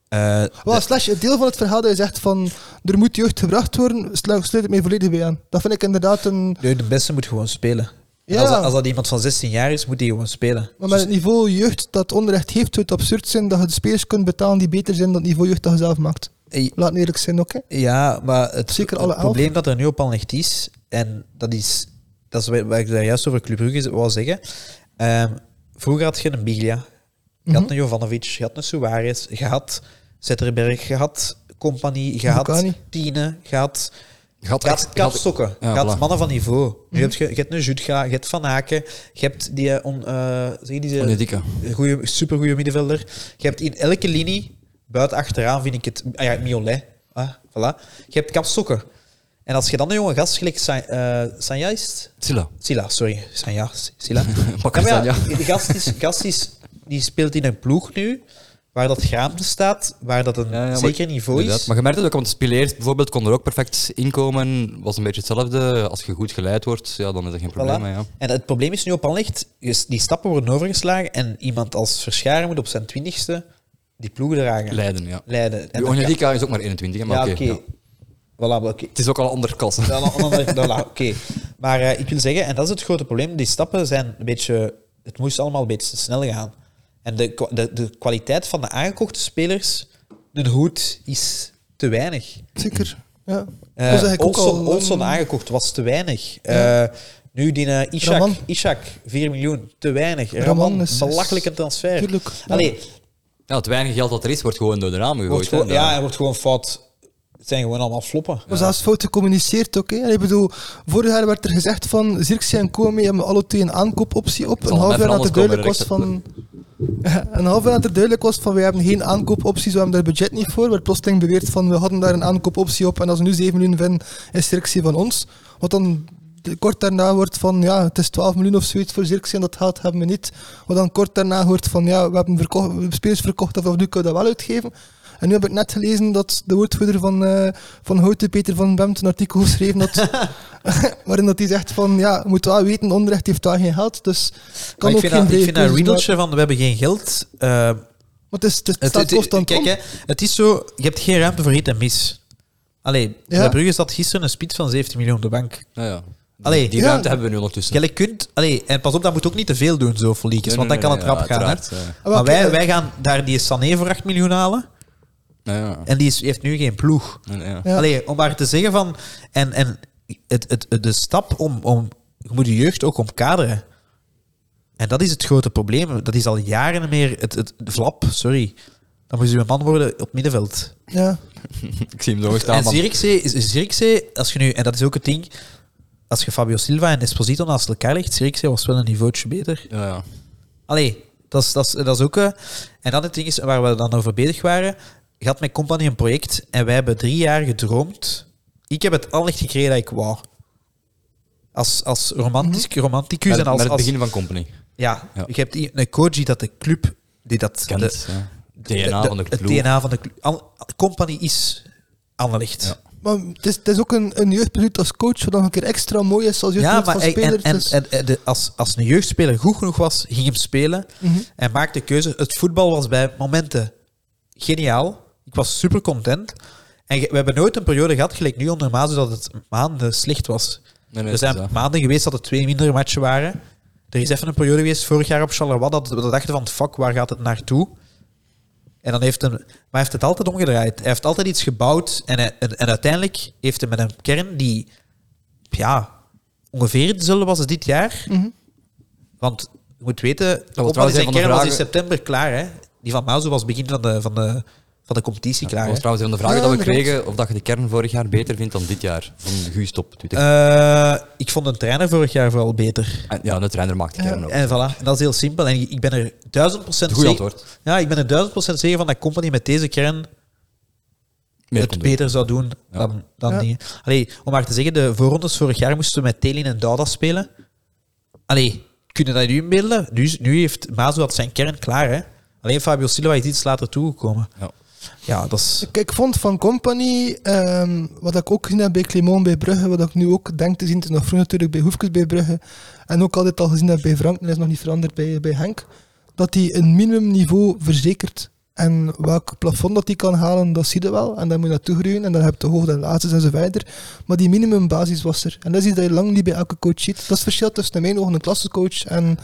Speaker 2: eh,
Speaker 3: wel, slash, het deel van het verhaal dat je zegt van er moet jeugd gebracht worden, slu- sluit ik mij volledig bij aan. Dat vind ik inderdaad een...
Speaker 2: de, de beste moet gewoon spelen. En
Speaker 3: Ja.
Speaker 2: Als, dat- als dat iemand van 16 jaar is, moet hij gewoon spelen. Dus,
Speaker 3: Maar met het niveau jeugd dat onderrecht heeft, zou het absurd zijn dat je de spelers kunt betalen die beter zijn dan het niveau jeugd dat je zelf maakt.
Speaker 2: Dus-
Speaker 3: Laat me eerlijk zijn ook, hè.
Speaker 2: Ja, maar het,
Speaker 3: Zeker
Speaker 2: het
Speaker 3: alle elf.
Speaker 2: probleem dat er nu op Anlecht is, en dat is, dat is wat wat ik daar juist over Club Brugge wou zeggen. Ehm, vroeger had je een Biglia, je had
Speaker 3: Mhm.
Speaker 2: een Jovanovic, je had een Suarez, je had Zetterberg, je had Compagnie, je had
Speaker 3: Boukani.
Speaker 2: Tine, je
Speaker 1: Gaat
Speaker 2: had, je had
Speaker 1: echt- gaat-
Speaker 2: Kapstokken,
Speaker 1: Ja,
Speaker 2: je had
Speaker 1: voilà.
Speaker 2: mannen van niveau.
Speaker 3: Mhm.
Speaker 2: Nu heb je, je hebt een Jutga, je hebt Van Aken, je hebt die, eh, on, eh, zeg je die,
Speaker 1: Van die dikke.
Speaker 2: goeie, supergoeie middenvelder. Je hebt in elke linie, buiten achteraan vind ik het... Ah ja, Miolet. Ah, voilà. Je hebt kapstokken. En als je dan een jonge gast gelijk Sa- eh, Sanja is... het?
Speaker 1: Silla.
Speaker 2: Silla, sorry. Sanja, S- Silla.
Speaker 1: Bakker
Speaker 2: Ja, maar ja,
Speaker 1: Sanja.
Speaker 2: die gast, is, gast is, die speelt in een ploeg nu waar dat graamte staat, waar dat een
Speaker 1: Ja, ja, maar-
Speaker 2: zeker niveau
Speaker 1: Inderdaad.
Speaker 2: is.
Speaker 1: Maar je merkt het ook, want Spileers bijvoorbeeld kon er ook perfect inkomen. Was een beetje hetzelfde. Als je goed geleid wordt, ja, dan is dat geen probleem. hè, Ja.
Speaker 2: En het probleem is nu op Anlicht, die stappen worden overgeslagen en iemand als Verscharen moet op zijn twintigste die ploeg dragen.
Speaker 1: Leiden, ja.
Speaker 2: Leiden. En
Speaker 1: Die
Speaker 2: dat kan-
Speaker 1: Onelika is ook maar 21, hè, maar
Speaker 2: Ja,
Speaker 1: oké.
Speaker 2: oké.
Speaker 1: ja.
Speaker 2: Voilà, maar oké.
Speaker 1: Het is ook al een andere klasse.
Speaker 2: Dan een ander- dan- Oké. Maar eh, ik wil zeggen, en dat is het grote probleem, die stappen zijn een beetje... Het moest allemaal een beetje te snel gaan. En de, kwa- de, de kwaliteit van de aangekochte spelers, de hoed, is te weinig.
Speaker 3: Zeker. Ja. Dat is
Speaker 2: Eh
Speaker 3: eigenlijk ook
Speaker 2: Olson,
Speaker 3: al,
Speaker 2: Olson
Speaker 3: ehm,
Speaker 2: aangekocht was te weinig. Eh, nu die eh, Ishak,
Speaker 3: Raman.
Speaker 2: Ishak, 4 miljoen, te weinig. Raman,
Speaker 3: Raman is-
Speaker 2: belachelijke transfer.
Speaker 3: Tuurlijk, ja.
Speaker 2: Allee,
Speaker 1: Ja, het weinig geld dat er is, wordt gewoon door de ramen gegooid.
Speaker 2: wordt gewoon,
Speaker 1: hè, daar.
Speaker 2: ja, hij wordt gewoon fout. Het zijn gewoon allemaal floppen.
Speaker 3: Maar zelfs fout gecommuniceerd ook. Hè. En Ik bedoel, vorig jaar werd er gezegd van Zirkzee en Kome hebben alle twee een aankoopoptie op.
Speaker 1: zal
Speaker 3: Een
Speaker 1: net
Speaker 3: half jaar
Speaker 1: van
Speaker 3: dat
Speaker 1: alles
Speaker 3: er duidelijk was
Speaker 1: komen,
Speaker 3: van... Een half jaar dat er duidelijk was van we hebben geen aankoopopties, we hebben daar budget niet voor. Werd plotseling beweerd van we hadden daar een aankoopoptie op en als we nu 7 miljoen vinden, is Zirkzee van ons. Wat dan kort daarna wordt van ja, het is 12 miljoen of zoiets voor Zirkzee en dat geld hebben we niet. Wat dan kort daarna hoort van ja, we hebben verkocht, we hebben spelers verkocht of nu kunnen we dat wel uitgeven. En nu heb ik net gelezen dat de woordvoerder van, eh van Houten, Peter van Bemt, een artikel geschreven dat, waarin dat hij zegt van, ja, je moet wel weten, onrecht heeft daar geen geld, dus kan
Speaker 2: Maar
Speaker 3: ook
Speaker 2: ik vind dat,
Speaker 3: geen
Speaker 2: ik
Speaker 3: vrije
Speaker 2: vind dat
Speaker 3: keuzes maken.
Speaker 2: riedeltje van we hebben geen geld. eh,
Speaker 3: Maar het, is, het,
Speaker 2: het,
Speaker 3: staat
Speaker 2: het,
Speaker 3: constant
Speaker 2: kijk,
Speaker 3: om.
Speaker 2: hè, het is zo, je hebt geen ruimte voor hit en mis. Allee,
Speaker 3: Ja.
Speaker 2: bij Brugge zat gisteren een spits van 17 miljoen op de bank.
Speaker 1: Ja, ja. Die-
Speaker 2: Allee.
Speaker 1: die
Speaker 3: Ja.
Speaker 1: ruimte hebben we nu ondertussen.
Speaker 2: Jij kunt, allee, en pas op, dat moet ook niet te veel doen, zo foliekjes,
Speaker 1: Nee,
Speaker 2: want
Speaker 1: nee,
Speaker 2: dan kan
Speaker 1: nee,
Speaker 2: het rap
Speaker 1: ja,
Speaker 2: gaan. hè.
Speaker 1: uiteraard, eh. ja.
Speaker 3: Ah, wel,
Speaker 2: Maar wij,
Speaker 3: kijk,
Speaker 2: wij gaan daar die Sané voor 8 miljoen halen.
Speaker 1: Ja, ja.
Speaker 2: En die is, heeft nu geen ploeg.
Speaker 1: Ja, ja.
Speaker 3: Ja.
Speaker 2: Allee, om maar te zeggen van... En, en het, het, het- de stap om, om... Je moet je jeugd ook omkaderen. En dat is het grote probleem. Dat is al jaren meer... Het, het, de flap, sorry. Dan moet je een man worden op middenveld.
Speaker 3: Ja,
Speaker 1: Ik zie hem zo staan,
Speaker 2: en
Speaker 1: man.
Speaker 2: Zirkzee, is- is Zirkzee, als je nu... En dat is ook het ding... Als je Fabio Silva en Esposito naast elkaar legt, Zirkzee was wel een niveautje beter.
Speaker 1: Ja, ja.
Speaker 2: Allee, dat is, dat is, dat is ook... eh, en dan het ding is waar we dan over bezig waren. Je had met Company een project en wij hebben drie jaar gedroomd. Ik heb het allicht gekregen dat ik wou. Als, als romantisch, romanticus
Speaker 1: Met,
Speaker 2: en als...
Speaker 1: met Mhm. het
Speaker 2: als-
Speaker 1: begin van Company.
Speaker 2: ja,
Speaker 1: Ja.
Speaker 2: je hebt i- een coach die dat de club... Die dat
Speaker 1: Kent,
Speaker 2: de-
Speaker 1: ja.
Speaker 2: de-
Speaker 1: DNA
Speaker 2: de-
Speaker 1: van de
Speaker 2: Het
Speaker 1: ploeg.
Speaker 2: DNA van de club. Al- Company is Anderlicht.
Speaker 1: Ja.
Speaker 3: maar het is, het is ook een, een jeugdproduct als coach, wat nog een keer extra mooi is als
Speaker 2: Ja,
Speaker 3: jeugdproduct
Speaker 2: maar
Speaker 3: van
Speaker 2: en, en,
Speaker 3: spelers.
Speaker 2: en,
Speaker 3: dus-
Speaker 2: en de- als, als een jeugdspeler goed genoeg was, ging hem spelen
Speaker 3: Mhm.
Speaker 2: en maakte keuze. Het voetbal was bij momenten geniaal. Ik was super content. En ge- we hebben nooit een periode gehad, gelijk nu onder Maas, dat het maanden slecht was.
Speaker 1: Nee, nee,
Speaker 2: er
Speaker 1: dat
Speaker 2: zijn
Speaker 1: is waar.
Speaker 2: maanden geweest dat er twee mindere matchen waren. Er is even een periode geweest, vorig jaar op Charleroi, dat we dachten van, fuck, waar gaat het naartoe? En dan heeft hem, maar hij heeft het altijd omgedraaid. Hij heeft altijd iets gebouwd. En, hij- en, en uiteindelijk heeft hij met een kern die ja, ongeveer zullen was als dit jaar. Want je moet weten,
Speaker 1: Mhm. trouwens
Speaker 2: Company
Speaker 1: een
Speaker 2: zijn
Speaker 1: van de
Speaker 2: kern was in
Speaker 1: vragen-
Speaker 2: september klaar. Hè? Die van Mazo was begin van de, van de, van de competitie klaar.
Speaker 1: Dat was
Speaker 2: hè.
Speaker 1: trouwens een van de vragen
Speaker 3: Ja,
Speaker 1: dat we
Speaker 3: inderdaad.
Speaker 1: kregen, of dat je de kern vorig jaar beter vindt dan dit jaar. Van Guus Top. Twitter.
Speaker 2: Eh, ik vond een trainer vorig jaar vooral beter.
Speaker 1: En ja, de trainer maakt de kern ook.
Speaker 2: En voilà, dat is heel simpel. En ik ik ben er duizend procent
Speaker 1: Goed
Speaker 2: zeker-
Speaker 1: antwoord.
Speaker 2: Ja, ik ben er duizend procent zeker van dat Company met deze kern
Speaker 1: Meer
Speaker 2: het
Speaker 1: komt er.
Speaker 2: beter zou doen dan, dan
Speaker 3: Ja.
Speaker 2: die. Allee, om maar te zeggen, de voorrondes vorig jaar moesten we met Telin en Dauda spelen. Allee, kunnen dat nu inbeelden? Nu, is- nu heeft Mazo dat zijn kern klaar, hè? Alleen Fabio Silva is iets later toegekomen.
Speaker 1: Ja.
Speaker 2: Ja, dat is...
Speaker 3: Ik, ik vond van Company, ehm, wat ik ook gezien heb bij Clement bij Brugge, wat ik nu ook denk te zien, het is nog vroeg natuurlijk bij Hoefkes bij Brugge, en ook altijd al gezien heb bij Frank, en dat is nog niet veranderd bij, bij Henk, dat hij een minimumniveau verzekert. En welk plafond dat hij kan halen, dat zie je wel. En dan moet je naartoe groeien. En dan heb je hoogte en laatste en zo verder. Maar die minimumbasis was er. En dat is iets dat je lang niet bij elke coach ziet. Dat is het verschil tussen in mijn ogen een klassecoach en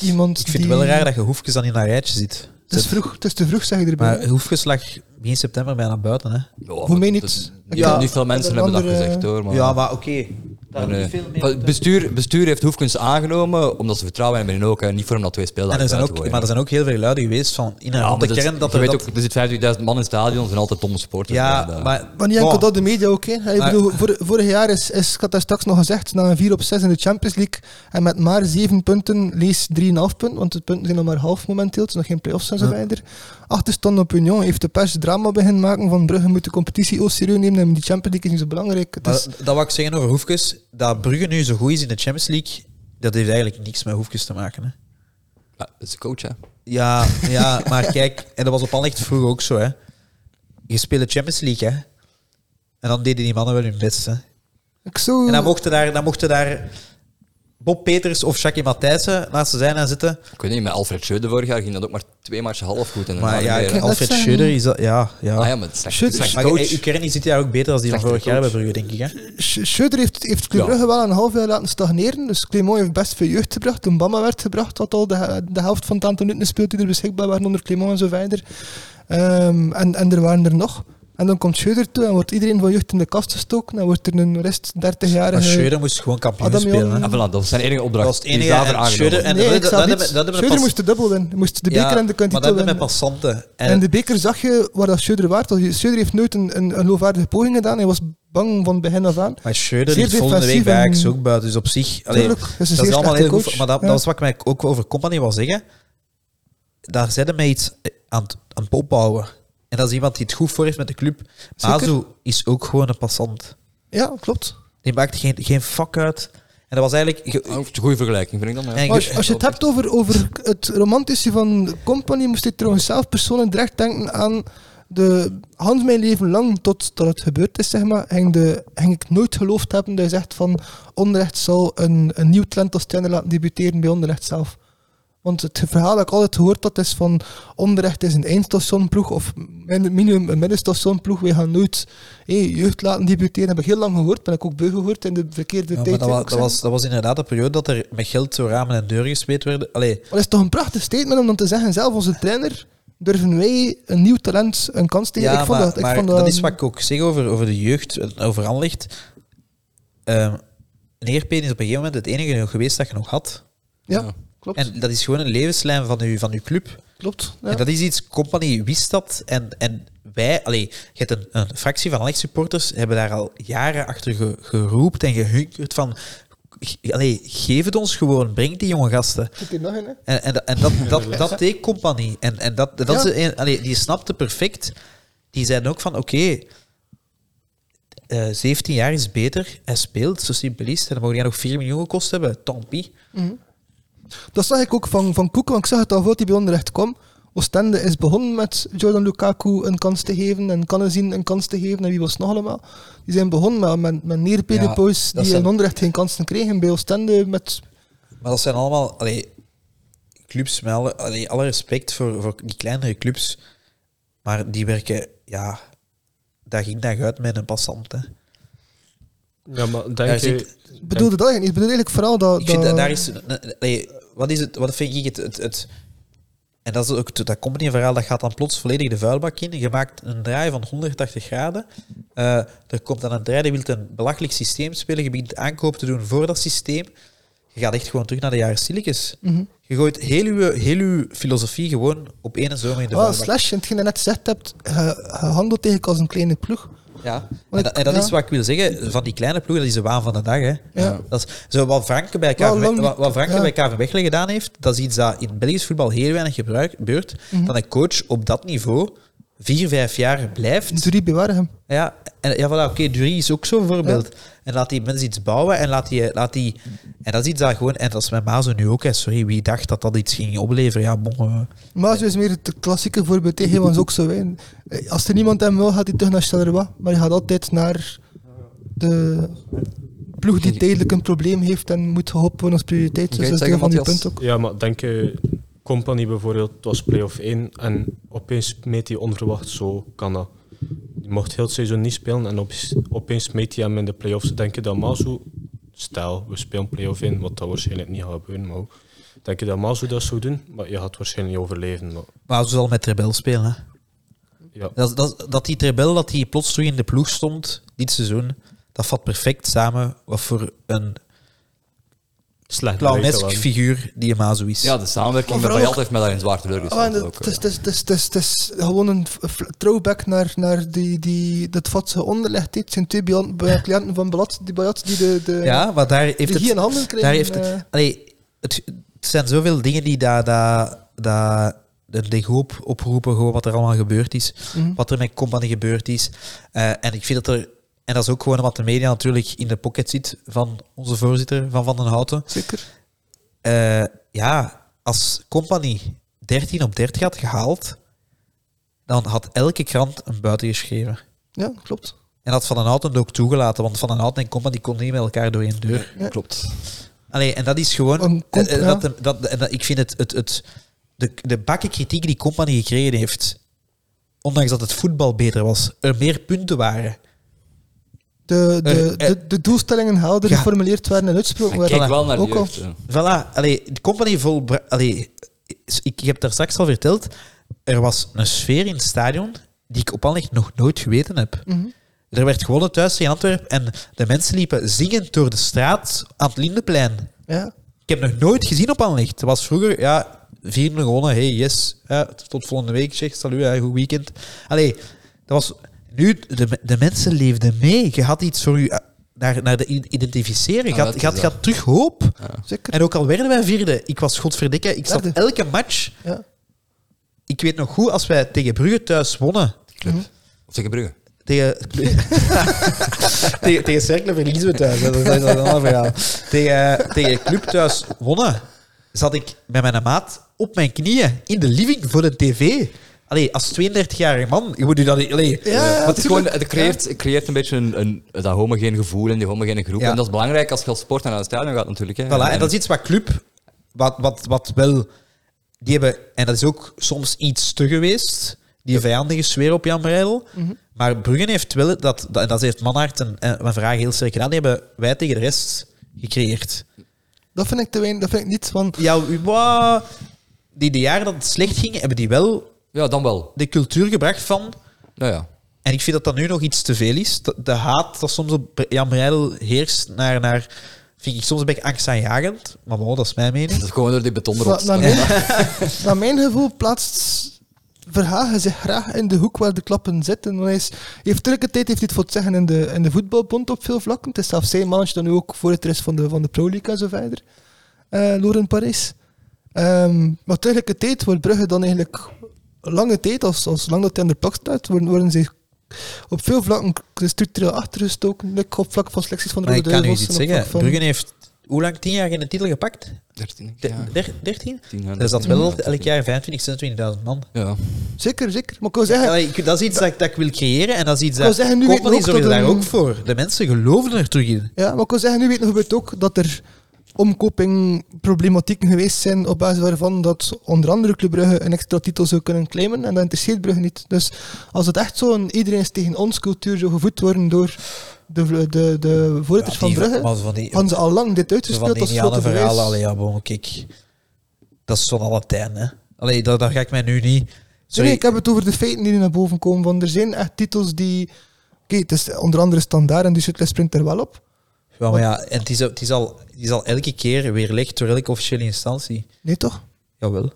Speaker 3: iemand
Speaker 2: Ik vind
Speaker 3: die... Dus-
Speaker 2: het wel raar dat je Hoefkes dan in een rijtje ziet.
Speaker 3: Het is vroeg, het is te vroeg, zeg je erbij.
Speaker 2: Maar Hoefkes lag begin september bijna buiten, hè?
Speaker 1: Ja,
Speaker 3: Voor mij
Speaker 1: dat-
Speaker 3: niet.
Speaker 1: dat-
Speaker 3: Ja,
Speaker 1: niet veel mensen
Speaker 3: dat
Speaker 1: hebben dat
Speaker 3: andere-
Speaker 1: gezegd hoor. Maar,
Speaker 2: ja, maar oké.
Speaker 1: maar, eh, maar het bestuur, bestuur heeft Hoefkens aangenomen omdat ze vertrouwen hebben in ook en niet voor hem dat twee speeldagen
Speaker 2: En er zijn
Speaker 1: uit te
Speaker 2: ook,
Speaker 1: gooien.
Speaker 2: maar er zijn ook heel veel luiden geweest van in en rond de
Speaker 1: maar
Speaker 2: kern
Speaker 1: is-
Speaker 2: dat
Speaker 1: je
Speaker 2: er
Speaker 1: weet
Speaker 2: dat...
Speaker 1: ook, er zitten 50.000 man in het stadion, zijn altijd domme supporters.
Speaker 2: ja,
Speaker 1: dat-
Speaker 2: maar...
Speaker 3: Maar niet
Speaker 2: Wow.
Speaker 3: enkel dat, de media ook. Hè. Ik
Speaker 2: Maar-
Speaker 3: bedoel, vor- vorig jaar is, is, ik had daar straks nog gezegd, na een 4 op 6 in de Champions League en met maar 7 punten, lees 3,5 punten, want de punten zijn nog maar half momenteel, het is nog geen play-offs en zo verder. Achterstand op Union heeft de pers drama beginnen maken van Brugge moet de competitie ook serieus nemen en die Champions League is niet zo belangrijk. Het
Speaker 2: Maar
Speaker 3: is,
Speaker 2: dat, dat wou ik zeggen over Hoefkes. Dat Brugge nu zo goed is in de Champions League, dat heeft eigenlijk niks met Hoefkes te maken. Hè.
Speaker 1: Ja, dat is coach, hè.
Speaker 2: Ja, ja, maar kijk, en dat was op Anderlecht vroeger ook zo, hè. Je speelde Champions League, hè. En dan deden die mannen wel hun best, hè.
Speaker 3: Ik zou...
Speaker 2: En dan mochten daar, dan mochten daar Bob Peters of Jackie Matthijssen naast ze zijn en zitten.
Speaker 1: Ik weet niet, met Alfred Schöder vorig jaar ging dat ook maar twee matchen half goed. En daarna
Speaker 2: Maar ja,
Speaker 1: weer-
Speaker 3: ik-
Speaker 2: Alfred
Speaker 3: dat zijn-
Speaker 2: Schudder is dat... Ja, ja.
Speaker 1: Ah ja, maar het is slecht-
Speaker 3: Schöder-
Speaker 1: slecht
Speaker 2: Maar
Speaker 1: coach.
Speaker 2: eh, Ukraine zit daar ook beter als die van
Speaker 1: Slechte
Speaker 2: vorig jaar bij
Speaker 1: coach.
Speaker 2: Brugge, denk ik, hè.
Speaker 3: Sch- Schöder heeft, heeft Club
Speaker 1: Ja.
Speaker 3: Brugge wel een half jaar laten stagneren. Dus Clément heeft best veel jeugd gebracht. Toen Bamba werd gebracht, had al de, de helft van het aantal minuten gespeeld die er beschikbaar waren onder Clément en zo verder. Ehm, en, en er waren er nog. En dan komt Schöder toe en wordt iedereen van jeugd in de kast gestoken. Dan wordt er een rest 30-jarige...
Speaker 2: Maar Schudder moest gewoon kampioen
Speaker 3: Adam
Speaker 2: spelen, hè.
Speaker 3: Jan-
Speaker 1: Ah, voilà, dat was zijn enige
Speaker 2: Dat
Speaker 1: opdracht.
Speaker 2: was het
Speaker 1: Die is
Speaker 2: enige.
Speaker 1: daarvoor
Speaker 2: En
Speaker 1: aangenomen.
Speaker 2: Schudder, en
Speaker 3: nee,
Speaker 2: dat-
Speaker 3: ik
Speaker 2: dat-
Speaker 3: snap
Speaker 2: dat-
Speaker 3: iets.
Speaker 2: dat- dat- dat-
Speaker 3: Schöder
Speaker 2: pas-
Speaker 3: moest de dubbel winnen. Hij moest de
Speaker 2: Ja,
Speaker 3: beker en de
Speaker 2: Maar dat
Speaker 3: kantito
Speaker 2: hebben
Speaker 3: winnen.
Speaker 2: we passanten. En,
Speaker 3: En de beker zag je waar dat Schöder waard was. Schöder heeft nooit een, een, een loofwaardige poging gedaan. Hij was bang van begin af aan.
Speaker 2: Maar Schöder
Speaker 3: Zeer
Speaker 2: ligt volgende week bij Ajax
Speaker 3: defensief en-
Speaker 2: ook buiten, dus op zich... allee,
Speaker 3: Tuurlijk, dat is een
Speaker 2: dat is
Speaker 3: zeer
Speaker 2: allemaal
Speaker 3: slechte
Speaker 2: heel
Speaker 3: coach.
Speaker 2: goed. Maar dat,
Speaker 3: Ja.
Speaker 2: dat is wat ik mij ook over Company wil zeggen. Daar zijn we iets eh, aan het, aan het opbouwen. En dat is iemand die het goed voor heeft met de club.
Speaker 3: Zeker.
Speaker 2: Mazu is ook gewoon een passant.
Speaker 3: Ja, klopt.
Speaker 2: Die maakt geen, geen fuck uit. En dat was eigenlijk... ge-
Speaker 1: Ah, Een goede vergelijking, vind ik dan.
Speaker 2: En
Speaker 1: Ja.
Speaker 2: Ik-
Speaker 3: Als, als je het hebt over, over het romantische van Company, moest ik trouwens zelf persoonlijk direct denken aan de Hans mijn leven lang, totdat het gebeurd is, zeg maar, ging, de, ging ik nooit geloofd hebben dat je zegt van onrecht zal een, een nieuw talent als trainer laten debuteren bij onrecht zelf. Want het verhaal dat ik altijd gehoord had is van onrecht is een eindstationploeg of min- minimum een middenstationploeg. Wij gaan nooit hey, jeugd laten debuteren. Dat heb ik heel lang gehoord, ben ik ook beu gehoord in de verkeerde
Speaker 2: Ja, maar
Speaker 3: tijd.
Speaker 2: dat,
Speaker 3: wil
Speaker 2: wa-
Speaker 3: ik
Speaker 2: dat,
Speaker 3: zeggen.
Speaker 2: was, dat was inderdaad een periode dat er met geld zo ramen en deuren gespeeld werden. Allee,
Speaker 3: Maar dat is toch een prachtig statement om dan te zeggen, zelf onze trainer, durven wij een nieuw talent een kans te geven?
Speaker 2: ja,
Speaker 3: ik vond
Speaker 2: maar,
Speaker 3: dat, ik
Speaker 2: maar
Speaker 3: vond
Speaker 2: dat, is wat ik ook zeg over, over de jeugd, en over Anderlecht. Ehm Neerpeen is op een gegeven moment het enige nog geweest dat je nog had.
Speaker 3: Ja,
Speaker 1: Ja.
Speaker 3: klopt.
Speaker 2: En dat is gewoon een levenslijn van uw, van uw club.
Speaker 3: klopt ja.
Speaker 2: En dat is iets, Company wist dat. En, en wij, allee, je hebt een, een fractie van Alex supporters, hebben daar al jaren achter ge, geroept en gehunkerd van... ge- Allee, geef het ons gewoon, breng die jonge gasten.
Speaker 3: Zit hier nog in, hè?
Speaker 2: En, en, en dat, dat, dat deed Company. En, en dat, dat is
Speaker 3: Ja.
Speaker 2: een, allee, die snapte perfect. Die zeiden ook van, oké, eh, 17 jaar is beter. Hij speelt, zo simpel is het. En dan mogen die nog 4 miljoen gekost hebben. Tant pis.
Speaker 3: Dat zag ik ook van, van Koeken, want ik zag het al voordat hij bij onrecht kwam. Oostende is begonnen met Jordan Lukaku een kans te geven en Kannezien een kans te geven en wie was het nog allemaal. Die zijn begonnen met, met, met neerpedepois
Speaker 2: Ja, dat
Speaker 3: die
Speaker 2: zijn-
Speaker 3: in onrecht geen kansen kregen bij Oostende met...
Speaker 2: Maar dat zijn allemaal allee, clubs met alle, allee, alle respect voor, voor die kleinere clubs. Maar die werken, ja, daar ging dag uit met een passant. Hè.
Speaker 4: Ja, maar
Speaker 2: Daar
Speaker 4: denk je...
Speaker 2: zit-
Speaker 3: Ik bedoelde dat eigenlijk niet. Ik bedoel eigenlijk vooral dat...
Speaker 2: Ik vind dat
Speaker 3: dat-
Speaker 2: daar is. nee, wat is het? Wat vind ik het. het, het en dat, is ook, het- dat company verhaal dat gaat dan plots volledig de vuilbak in. Je maakt een draai van 180 graden. Eh, er komt dan een draai, die wil een belachelijk systeem spelen. Je begint aankoop te doen voor dat systeem. Je gaat echt gewoon terug naar de jaren Silicus. Je gooit heel uw, heel uw filosofie gewoon op één zomer in de
Speaker 3: Ah,
Speaker 2: vuilbak.
Speaker 3: slash, en hetgeen je net gezegd hebt, ge- gehandeld eigenlijk als een kleine ploeg.
Speaker 2: Ja. En,
Speaker 3: Want
Speaker 2: dat, en dat
Speaker 3: ik-
Speaker 2: is
Speaker 3: ja.
Speaker 2: wat ik wil zeggen, van die kleine ploeg, dat is de waan van de dag. Hè.
Speaker 3: Ja.
Speaker 2: Dat is, zo wat Franken bij
Speaker 3: Wel
Speaker 2: KV,
Speaker 3: lang-
Speaker 2: wat, wat Franken bij
Speaker 3: ja.
Speaker 2: KV Mechelen gedaan heeft, dat is iets dat in Belgisch voetbal heel weinig gebruik- gebeurt.
Speaker 3: Mhm.
Speaker 2: Dat een coach op dat niveau vier, vijf jaar blijft.
Speaker 3: Drie bewaren hem.
Speaker 2: Ja, en, ja voilà, oké, Dury is ook zo'n voorbeeld. En laat die mensen iets bouwen en laat die... Laat die en dat is iets dat gewoon... En dat is met Mazo nu ook. Hè. Sorry, wie dacht dat dat iets ging opleveren? Ja, bon... eh.
Speaker 3: Maar zo is meer het klassieke voorbeeld. hè. Hij was ook zo. hè. Als er niemand hem wil, gaat hij terug naar Charleroi. Maar hij gaat altijd naar de ploeg die tijdelijk een probleem heeft en moet geholpen worden als prioriteit. Dus
Speaker 1: Kun je
Speaker 3: dat
Speaker 1: het
Speaker 3: is
Speaker 1: zeggen,
Speaker 3: deel van die
Speaker 1: Matthias?
Speaker 3: punt ook.
Speaker 4: Ja, maar denk je... Company bijvoorbeeld, het was play-off 1 en opeens meet hij onverwacht zo kan dat. Die mocht heel het seizoen niet spelen en opeens, opeens meet hij hem in de play-offs. Denk je dat Mazu... Stel, we spelen play-off 1, wat dat waarschijnlijk niet gaat gebeuren, maar... Denk je dat Mazu dat zou doen? Maar je gaat waarschijnlijk niet overleven, maar...
Speaker 2: Mazo zal met Rebel spelen, hè.
Speaker 4: Ja.
Speaker 2: Dat, dat, dat die Trebel dat die plots terug in de ploeg stond dit seizoen, dat vat perfect samen wat voor een
Speaker 4: Slecht beleid
Speaker 2: clownesk
Speaker 4: dat wel.
Speaker 2: figuur die Amazo is.
Speaker 1: ja, de samenwerking met
Speaker 3: Maar vooral
Speaker 1: Bayat heeft mij daarin zwaar teleurgesteld.
Speaker 3: Ah, en
Speaker 1: ook,
Speaker 3: het,
Speaker 1: eh.
Speaker 3: is, het, is, het, is, het, is, het is gewoon een f- f- throwback naar, naar die, die, dat vatse onderleg. dit. Het zijn twee bilan- bij- cliënten van Balat die, Bayat die de, de,
Speaker 2: Ja, maar daar heeft
Speaker 3: die
Speaker 2: het...
Speaker 3: hier in handen kregen.
Speaker 2: daar heeft
Speaker 3: eh.
Speaker 2: het, allee, het, het zijn zoveel dingen die daar daar daar de, de hoop oproepen, gewoon wat er allemaal gebeurd is.
Speaker 3: Mhm.
Speaker 2: Wat er met Company gebeurd is. Eh, en ik vind dat er... En dat is ook gewoon wat de media natuurlijk in de pocket zit van onze voorzitter, van Van den Houten.
Speaker 3: Zeker.
Speaker 2: Eh, ja, als Company 13 op 30 had gehaald, dan had elke krant een buiten geschreven.
Speaker 3: Ja, klopt.
Speaker 2: En had Van den Houten het ook toegelaten, want Van den Houten en Company konden niet met elkaar door één deur.
Speaker 1: Klopt.
Speaker 2: Allee, en dat is gewoon...
Speaker 3: Een kop,
Speaker 2: eh, eh,
Speaker 3: ja.
Speaker 2: dat, de- dat, en dat, ik vind het... het, het de, de bakken kritiek die Company gekregen heeft, ondanks dat het voetbal beter was, er meer punten waren.
Speaker 3: De, de,
Speaker 2: Eh, eh.
Speaker 3: de, de doelstellingen helder
Speaker 2: Ja.
Speaker 3: geformuleerd werden en uitsproken
Speaker 1: Ik
Speaker 3: werden.
Speaker 1: kijk wel naar die
Speaker 3: Ook al-
Speaker 1: jeugd, ja.
Speaker 2: Voilà, allee, de Company vol... Allee, ik, ik heb daar straks al verteld, er was een sfeer in het stadion die ik op echt nog nooit geweten heb.
Speaker 3: Mhm.
Speaker 2: Er werd gewonnen thuis in Antwerpen en de mensen liepen zingend door de straat aan het Lindeplein.
Speaker 3: Ja.
Speaker 2: Ik heb nog nooit gezien op Anlicht. Het was vroeger, ja, 4-0 gewonnen. Hey, yes. Ja, tot volgende week, zeg. Salut, ja, goed weekend. Allee, dat was... Nu, de, de mensen leefden mee. Je had iets voor je... eh, Naar, naar de i- identificering.
Speaker 1: Ah,
Speaker 2: Je had,
Speaker 1: dat
Speaker 2: je had,
Speaker 1: is
Speaker 2: je had terug hoop.
Speaker 3: Zeker.
Speaker 2: En ook al werden wij vierde, ik was godverdikke, ik zat
Speaker 3: Derde.
Speaker 2: elke match...
Speaker 3: Ja.
Speaker 2: Ik weet nog goed, als wij tegen Brugge thuis wonnen...
Speaker 1: Klopt. Of tegen Brugge.
Speaker 2: Tegen, tegen, tegen Cercle verliezen we thuis. hè. Dat is, dat is een ander verhaal. eh, Tegen, tegen Club thuis wonnen, zat ik met mijn maat op mijn knieën in de living voor de tv. Allee, als 32-jarige man, je moet je dat... niet- Allee, eh,
Speaker 3: Ja,
Speaker 1: Maar het, is gewoon,
Speaker 3: tuurlijk.
Speaker 1: het, creëert, het creëert een beetje een, een, dat homogene gevoel en die homogene groep.
Speaker 2: Ja.
Speaker 1: En dat is belangrijk als je als sporter naar het stadion gaat natuurlijk. Hè.
Speaker 2: Voilà, en dat is iets wat club, wat, wat, wat wel. Die hebben, en dat is ook soms iets te geweest, die vijandige sfeer op Jan Breidel. Maar Bruggen heeft wel, dat, dat, en dat heeft Manhart en, en Van Vraag heel sterk gedaan, die hebben wij tegen de rest gecreëerd.
Speaker 3: Dat vind ik te weinig, dat vind ik niet. Want
Speaker 2: Ja, u- wa- die de jaren dat het slecht ging, hebben die wel
Speaker 1: Ja, dan wel.
Speaker 2: de cultuur gebracht van.
Speaker 1: Nou ja.
Speaker 2: En ik vind dat dat nu nog iets te veel is. De, de haat dat soms op Bre- Jan Breidel heerst naar, naar. Vind ik soms een beetje angstaanjagend. Maar bon, dat is mijn mening.
Speaker 1: Dat is gewoon door die betonrots.
Speaker 3: naar mijn, naar mijn gevoel plaatst Verhagen zich graag in de hoek waar de klappen zitten. Want Hij is, hij heeft terug tijd heeft hij het voor het zeggen in de, in de voetbalbond op veel vlakken. Het is zelfs zijn mannetje dan nu ook voor het rest van de, van de Pro League en zo verder. Eh Loren Paris. Ehm, maar tegelijkertijd wordt Brugge dan eigenlijk lange tijd, als, als lang dat hij aan de plak staat, worden, worden ze op veel vlakken structureel achtergestoken. Like op vlak van selecties van de
Speaker 2: Maar ik
Speaker 3: Rode
Speaker 2: kan u
Speaker 3: Duivels.
Speaker 2: iets
Speaker 3: en op vlak
Speaker 2: zeggen.
Speaker 3: van-
Speaker 2: Bruggen heeft hoe lang? 10 jaar geen titel gepakt?
Speaker 1: 13,
Speaker 2: De-
Speaker 1: ja.
Speaker 2: der- 13?
Speaker 1: Tien jaar,
Speaker 2: Er zat
Speaker 1: dertien,
Speaker 2: wel
Speaker 1: ja,
Speaker 2: elk jaar 25, 26.000 man.
Speaker 1: Ja.
Speaker 3: Zeker, zeker. Maar ik wil zeggen,
Speaker 2: Allee, ik- dat is iets dat, ik- dat ik wil creëren en dat is iets
Speaker 3: Ik wou
Speaker 2: dat.
Speaker 3: zeggen, nu
Speaker 2: Company
Speaker 3: weten we ook
Speaker 2: zorgde
Speaker 3: dat
Speaker 2: daar
Speaker 3: een-
Speaker 2: ook voor. De mensen geloven er terug in.
Speaker 3: Ja, maar ik wil zeggen, nu weet nog gebeurt ook dat er omkopingproblematieken geweest zijn op basis waarvan dat onder andere Club Brugge een extra titel zou kunnen claimen en dat interesseert Brugge niet. Dus als het echt zo'n iedereen is tegen ons cultuur zou gevoed worden door de, vl- de, de
Speaker 2: Ja,
Speaker 3: voorzitters
Speaker 2: die-
Speaker 3: van Brugge,
Speaker 2: maar Van die,
Speaker 3: hadden ze al lang dit
Speaker 2: van
Speaker 3: uitgespeeld
Speaker 2: die
Speaker 3: als grote
Speaker 2: Indianen verhalen.
Speaker 3: verhaal.
Speaker 2: Allee, ja, bon, kijk. Dat is zo'n Latijn, hè. Allee, daar, daar ga ik mij nu niet... Sorry,
Speaker 3: Nee, ik heb het over de feiten die nu naar boven komen. Want er zijn echt titels die... Oké, het is onder andere standaard en die Shuttle springt er wel op.
Speaker 2: Ja, maar ja, en het is, al- het, is al, het is al elke keer weer lekt door elke officiële instantie.
Speaker 3: Nee toch?
Speaker 2: Jawel.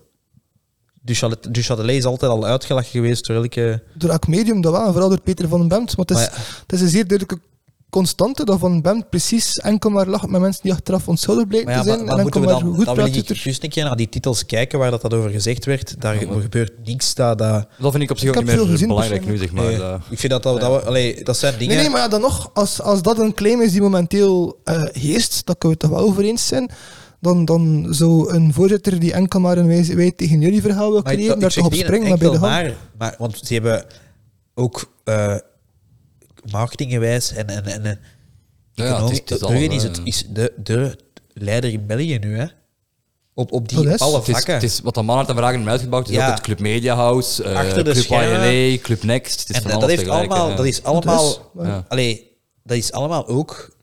Speaker 2: Duchatel- Duchatelet is altijd al uitgelachen geweest door elke...
Speaker 3: Door elk medium dat wel, en vooral door Peter van den Bemt. Want het is,
Speaker 2: Maar Ah, ja.
Speaker 3: het is een zeer duidelijke constante dat van Bemt precies enkel maar lacht met mensen die achteraf onschuldig blijken
Speaker 2: Maar ja,
Speaker 3: te zijn.
Speaker 2: maar, maar
Speaker 3: en enkel
Speaker 2: moeten we
Speaker 3: maar
Speaker 2: dan,
Speaker 3: goed
Speaker 2: dan wil
Speaker 3: praat
Speaker 2: ik
Speaker 3: Twitter.
Speaker 2: juist een keer naar die titels kijken waar dat, dat over gezegd werd. Daar gebeurt niks. Dat, dat,
Speaker 1: Dat vind ik op zich ook
Speaker 3: Ik heb
Speaker 1: niet meer
Speaker 3: veel gezien,
Speaker 1: belangrijk nu, zeg maar. eh,
Speaker 2: nee.
Speaker 1: Dat-
Speaker 2: ik vind dat dat, dat, we- allee, dat zijn dingen.
Speaker 3: Nee, nee, maar ja, dan nog, als, als dat een claim is die momenteel eh, heerst, dat kunnen we het toch wel over eens zijn, dan, dan zou een voorzitter die enkel maar een wij, wij tegen jullie verhaal wil
Speaker 2: Maar ik-
Speaker 3: creëren,
Speaker 2: ik
Speaker 3: daar
Speaker 2: zeg
Speaker 3: toch op
Speaker 2: niet
Speaker 3: springen, maar
Speaker 2: enkel
Speaker 3: bij de hand.
Speaker 2: maar, maar, want ze hebben ook eh marketinggewijs en, en, en, en
Speaker 1: Ja, ja, het is- eh, het is
Speaker 2: Brugge
Speaker 1: alles,
Speaker 2: is,
Speaker 1: hè.
Speaker 2: het, is de, de leider in België nu, hè? Op, op
Speaker 3: Dat
Speaker 2: die
Speaker 3: is-
Speaker 2: alle
Speaker 1: Het is,
Speaker 2: vakken.
Speaker 1: het is wat de mannen te vragen hebben uitgebouwd. Het is
Speaker 2: Ja.
Speaker 1: ook het Club Media House, eh,
Speaker 2: Achter de
Speaker 1: Club
Speaker 2: schermen.
Speaker 1: YLA, Club Next. Het is
Speaker 2: en
Speaker 1: van
Speaker 2: dat,
Speaker 1: alles
Speaker 2: heeft
Speaker 1: tegelijk, eh.
Speaker 2: allemaal,
Speaker 1: hè.
Speaker 2: dat is allemaal,
Speaker 1: maar- Ja.
Speaker 2: allee, dat is allemaal ook,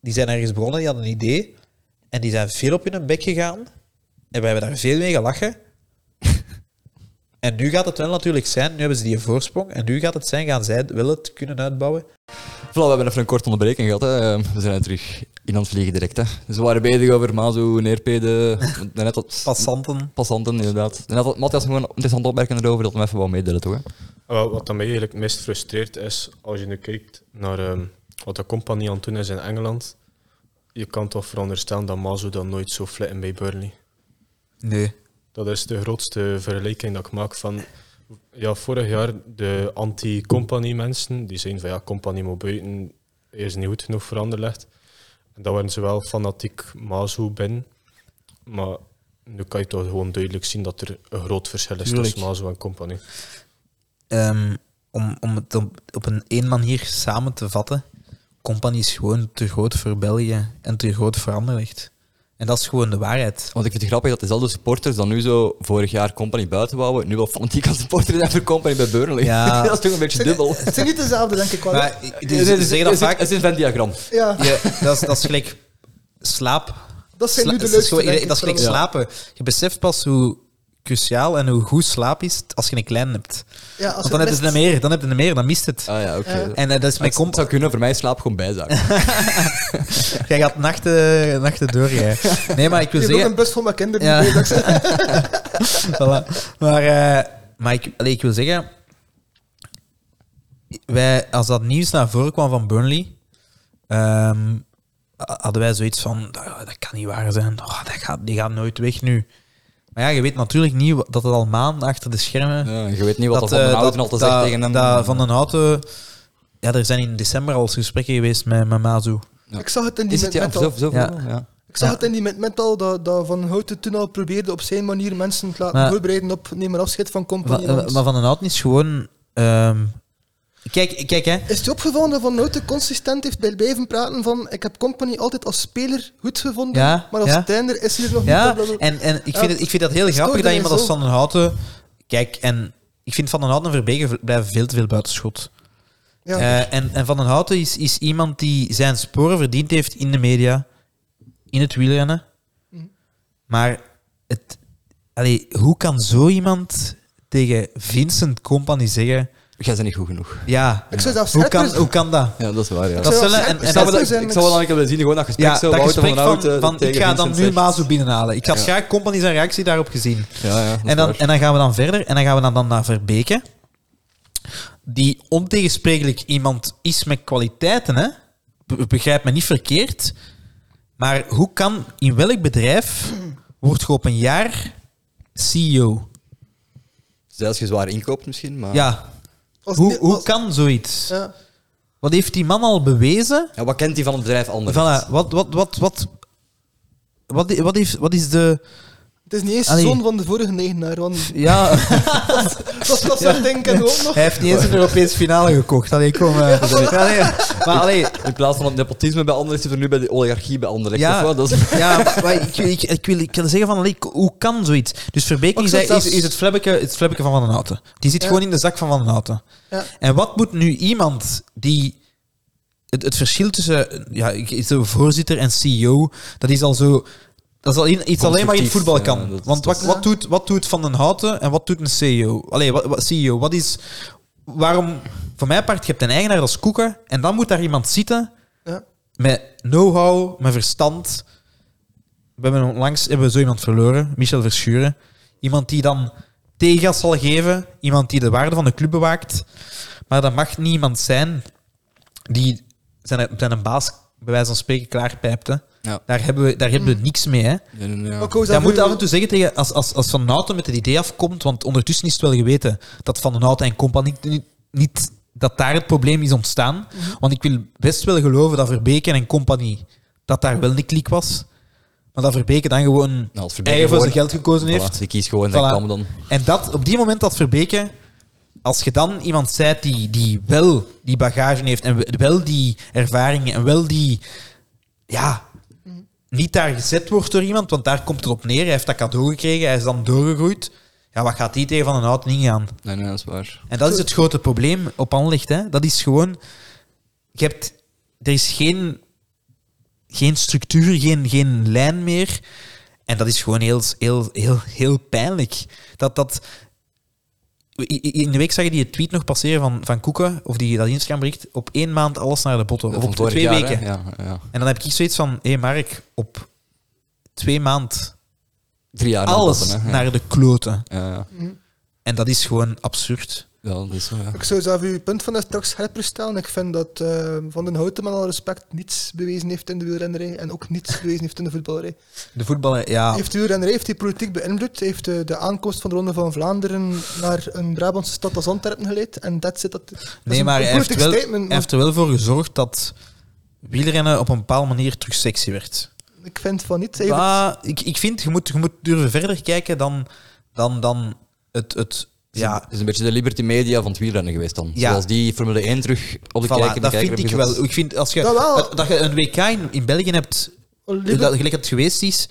Speaker 2: die zijn ergens begonnen, die hadden een idee, en die zijn veel op hun bek gegaan, en we hebben daar veel mee gelachen. en nu gaat het wel natuurlijk zijn, nu hebben ze die voorsprong, en nu gaat het zijn, gaan zij wel het kunnen uitbouwen.
Speaker 1: Voilà, we hebben even een korte onderbreking gehad. Hè. Eh, We zijn er terug in aan het vliegen direct. Hè. Dus we waren bezig over Mazo, Neerpede, daarnet tot
Speaker 2: Passanten.
Speaker 1: passanten inderdaad. En dat Matthias nog een interessante opmerking erover, dat we hem even wou meedelen, toch? Hè?
Speaker 4: En wel, wat dat mij eigenlijk het meest frustreert is, als je nu kijkt naar ehm, wat de compagnie aan het doen is in Engeland, je kan toch veronderstellen dat Mazo dan nooit zo flitten bij Burnley.
Speaker 2: Nee.
Speaker 4: Dat is de grootste vergelijking dat ik maak van... Ja, vorig jaar de anti-company mensen, die zijn van ja, company moet buiten, hij is niet goed genoeg voor Anderlecht. En dan waren ze wel fanatiek Mazo binnen. Maar nu kan je toch gewoon duidelijk zien dat er een groot verschil is
Speaker 2: Tuurlijk.
Speaker 4: tussen Mazo en Company.
Speaker 2: Ehm, om, om het op, op een één manier samen te vatten, Company is gewoon te groot voor België en te groot voor Anderlecht. En dat is gewoon de waarheid.
Speaker 1: Want ik vind het grappig dat dezelfde supporters dan nu zo vorig jaar Company buiten wouden, nu wel fanatiek als supporters zijn voor Company bij Burnley.
Speaker 2: Ja.
Speaker 1: dat is toch een beetje dubbel.
Speaker 3: Het zijn niet dezelfde, denk ik wel.
Speaker 2: Maar ik- die zeggen dat
Speaker 1: het, is-
Speaker 2: vaak.
Speaker 1: het is een Venn-diagram.
Speaker 3: ja,
Speaker 2: Ja, dat, is, dat is gelijk slaap.
Speaker 3: dat zijn nu
Speaker 2: Sla-
Speaker 3: de
Speaker 2: dat is
Speaker 3: leukste.
Speaker 2: gewoon-
Speaker 3: denk ik,
Speaker 2: dat is gelijk
Speaker 3: vooral.
Speaker 2: slapen. Je beseft pas hoe cruciaal en hoe goed slaap is als je een klein hebt.
Speaker 3: Ja, als
Speaker 2: Want dan heb je
Speaker 3: het
Speaker 2: het
Speaker 3: best-
Speaker 2: meer, dan heb je het meer, dan mist het.
Speaker 1: Ah ja, oké.
Speaker 3: Ja.
Speaker 2: En eh, dat is
Speaker 1: Maar
Speaker 2: met
Speaker 1: ik het
Speaker 2: compa.
Speaker 1: zou kunnen, voor mij is slaap gewoon bijzaak.
Speaker 2: Jij gaat nachten, nachten door, jij. Nee, maar ik wil
Speaker 3: Ik heb ook
Speaker 2: zeggen...
Speaker 3: een bus voor mijn kinderen.
Speaker 2: Ja.
Speaker 3: die weet dat ze-
Speaker 2: voilà. Maar, eh, maar ik, allee, ik wil zeggen, wij, als dat nieuws naar voren kwam van Burnley, ehm, ha- hadden wij zoiets van, dat, dat kan niet waar zijn, Oh, dat gaat, die gaat nooit weg nu. Maar ja, je weet natuurlijk niet wa- dat het al maanden achter de schermen...
Speaker 1: Ja, je weet niet wat dat, er
Speaker 2: eh,
Speaker 1: van de Houten al te
Speaker 2: dat-
Speaker 1: zeggen tegen hem. eh,
Speaker 2: dat Van den Houten... Ja, er zijn in december al eens gesprekken geweest met, met Mazu.
Speaker 1: Ja.
Speaker 3: Ik zag het in die
Speaker 1: Is het
Speaker 3: met-
Speaker 1: ja,
Speaker 3: mental.
Speaker 1: zo, zo
Speaker 2: Ja.
Speaker 1: veel, ja.
Speaker 3: Ik zag
Speaker 2: Ja.
Speaker 3: het in die met- mental dat, dat Van Houten toen al probeerde op zijn manier mensen te laten
Speaker 2: Maar-
Speaker 3: voorbereiden op neem maar afscheid van
Speaker 2: Maar,
Speaker 3: Compagnie.
Speaker 2: maar Van den Houten is gewoon... ehm, kijk, kijk, hè.
Speaker 3: Is het je opgevallen dat Van Houten consistent heeft bij blijven praten van ik heb Company altijd als speler goed gevonden,
Speaker 2: Ja,
Speaker 3: maar als
Speaker 2: ja.
Speaker 3: trainer is hij er nog niet.
Speaker 2: Ja,
Speaker 3: blablabla.
Speaker 2: en, en ik,
Speaker 3: Ja,
Speaker 2: vind het, ik vind dat heel grappig
Speaker 3: het stoort
Speaker 2: dat
Speaker 3: mij
Speaker 2: iemand als
Speaker 3: zo.
Speaker 2: Van den Houten... Kijk, en ik vind Van den Houten en Verbeke v- blijven veel te veel buitenschot.
Speaker 3: Ja.
Speaker 2: Eh, en, en Van den Houten is, is iemand die zijn sporen verdiend heeft in de media, in het wielrennen.
Speaker 3: Mhm.
Speaker 2: Maar het, allee, hoe kan zo iemand tegen Vincent Company zeggen...
Speaker 1: Jij bent niet goed genoeg.
Speaker 2: Ja,
Speaker 3: Ik zou zelfs
Speaker 2: hoe kan,
Speaker 3: scherper-
Speaker 2: hoe kan dat?
Speaker 1: Ja, dat is waar, ja.
Speaker 2: Dat
Speaker 3: zou
Speaker 2: zullen-
Speaker 3: wel
Speaker 2: en- en
Speaker 1: ik
Speaker 3: scherper
Speaker 1: zou wel, ik,
Speaker 3: zijn
Speaker 1: ik
Speaker 3: met-
Speaker 1: zou wel aan willen zien, gewoon dat gesprek
Speaker 2: Ja,
Speaker 1: zo,
Speaker 2: dat
Speaker 1: Wouter
Speaker 2: gesprek
Speaker 1: van
Speaker 2: van,
Speaker 1: Houten eh,
Speaker 2: van, ik
Speaker 1: tegen
Speaker 2: ga dan nu
Speaker 1: Vincent zegt.
Speaker 2: Mazo binnenhalen. Ik had
Speaker 1: Ja.
Speaker 2: graag Company zijn reactie daarop gezien.
Speaker 1: Ja, ja, dat is
Speaker 2: En dan,
Speaker 1: waar.
Speaker 2: en dan gaan we dan verder en dan gaan we dan, dan naar Verbeke. Die ontegensprekelijk iemand is met kwaliteiten, hè? Be- begrijp me niet verkeerd. Maar hoe kan, in welk bedrijf wordt je op een jaar E CEO?
Speaker 1: Zelfs je zwaar inkoopt misschien, maar...
Speaker 2: Ja,
Speaker 3: Als
Speaker 2: hoe,
Speaker 3: die-
Speaker 2: hoe
Speaker 3: als-
Speaker 2: kan zoiets?
Speaker 3: ja.
Speaker 2: Wat heeft die man al bewezen?
Speaker 1: Ja, wat kent hij van het bedrijf anders?
Speaker 2: Voilà, wat, wat, wat, wat, wat, wat, heeft, wat is de.
Speaker 3: Het is niet eens
Speaker 2: Allee.
Speaker 3: zoon van de vorige eigenaar, want
Speaker 2: Ja,
Speaker 3: dat was dat denk ik ook nog.
Speaker 2: hij heeft niet eens een Europese finale gekocht. Allee, kom. eh, allee, maar allee,
Speaker 1: In plaats van het nepotisme bij anderen zitten we nu bij de oligarchie bij anderen.
Speaker 2: Ja.
Speaker 1: Ja. Of wat? Dat is...
Speaker 2: Ja, maar ik, ik, ik, wil, ik wil zeggen van, allee, hoe kan zoiets? Dus Verbeek
Speaker 3: Maar
Speaker 2: is,
Speaker 3: ik zou
Speaker 2: is,
Speaker 3: zelfs-
Speaker 2: is het flabbeke het flabbeke van Van den Houten. Die zit
Speaker 3: Ja.
Speaker 2: gewoon in de zak van Van den Houten.
Speaker 3: Ja.
Speaker 2: En wat moet nu iemand die... Het, het verschil tussen ja, ik- ik- zo voorzitter en CEO, dat is al zo... Dat is al in- iets alleen maar in het voetbal
Speaker 1: Constructief,
Speaker 2: kan.
Speaker 1: ja, dat is-
Speaker 2: Want wat,
Speaker 1: dat
Speaker 3: is-
Speaker 2: wat, doet, wat doet Van den Houten en wat doet een CEO? Allee, wat, wat, CEO, wat is... Waarom... Voor mijn part, je hebt een eigenaar als Koeken en dan moet daar iemand zitten
Speaker 3: Ja.
Speaker 2: met know-how, met verstand. We hebben onlangs hebben we zo iemand verloren, Michel Verschuren. Iemand die dan tegengas zal geven, iemand die de waarde van de club bewaakt. Maar dat mag niet iemand zijn die zijn, zijn een baas, bij wijze van spreken, klaarpijpt. Hè.
Speaker 1: Ja.
Speaker 2: Daar, hebben we, daar hebben we niks mee. Hè.
Speaker 1: Ja, ja, ja.
Speaker 3: Maar ik wou
Speaker 2: Dat
Speaker 3: zeggen,
Speaker 2: moet af en toe zeggen tegen, als, als, als Van Houten met het idee afkomt, want ondertussen is het wel geweten dat Van den Houten en Compagnie niet, niet dat daar het probleem is ontstaan. Want ik wil best wel geloven dat Verbeke en Compagnie dat daar wel een klik was. Maar dat Verbeke dan gewoon
Speaker 1: Nou, als Verbeke
Speaker 2: eigen voor zijn
Speaker 1: gewoon-
Speaker 2: geld gekozen heeft.
Speaker 1: Voilà, ik kies gewoon zijn
Speaker 2: Voilà.
Speaker 1: kam dan.
Speaker 2: En dat, op die moment dat Verbeke, als je dan iemand zijt die, die wel die bagage heeft en we- wel die ervaringen en wel die, ja, niet daar gezet wordt door iemand, want daar komt het op neer. Hij heeft dat cadeau gekregen, hij is dan doorgegroeid. Ja, wat gaat die tegen van een houten ingaan?
Speaker 1: Nee, nee, dat is waar.
Speaker 2: En dat is het grote probleem op Anlicht. Hè? Dat is gewoon... Je hebt, er is geen, geen structuur, geen, geen lijn meer. En dat is gewoon heel, heel, heel, heel pijnlijk. Dat, dat, I- i- in de week zag je die tweet nog passeren van, van Koeken, of die dat Instagram bericht, op één maand alles naar de botten. Of
Speaker 1: Van
Speaker 2: op
Speaker 1: vorig
Speaker 2: twee
Speaker 1: jaar, hè.
Speaker 2: weken.
Speaker 1: Ja, ja.
Speaker 2: En dan heb ik zoiets van, hé hey Mark, op twee maand
Speaker 1: Drie jaar na
Speaker 2: alles
Speaker 1: dat dan, hè.
Speaker 2: naar de kloten.
Speaker 1: Ja, ja.
Speaker 2: En dat is gewoon absurd.
Speaker 1: ja, dat is zo, ja.
Speaker 3: Ik zou zelf uw punt van daar straks scherper stellen. Ik vind dat eh, Van den Houten met alle respect niets bewezen heeft in de wielrennerij en ook niets bewezen heeft in de voetballerij.
Speaker 2: De voetballer, ja...
Speaker 3: Heeft de wielrennerij heeft die politiek beïnvloed, heeft de, de aankomst van de Ronde van Vlaanderen naar een Brabantse stad als Antwerpen geleid en dat zit dat... dat is
Speaker 2: Nee,
Speaker 3: een
Speaker 2: maar hij heeft,
Speaker 3: politiek
Speaker 2: wel, hij
Speaker 3: statement, maar-
Speaker 2: heeft er wel voor gezorgd dat wielrennen op een bepaalde manier terug sexy werd.
Speaker 3: Ik vind van niet. Hij heeft het-
Speaker 2: Maar ik, ik vind, je moet, je moet durven verder kijken dan, dan, dan het, het... Ja,
Speaker 1: Het is een beetje de Liberty Media van het wielrennen geweest dan.
Speaker 2: Ja.
Speaker 1: Zoals die Formule 1 terug op de
Speaker 2: voilà,
Speaker 1: kijker
Speaker 2: dat
Speaker 1: de kijker
Speaker 2: vind ik
Speaker 1: heeft gezet.
Speaker 2: wel. Ik vind, als je,
Speaker 3: Dat wel.
Speaker 2: dat, dat je een WK in, in België hebt,
Speaker 3: Liber-
Speaker 2: dat, gelijk het geweest is,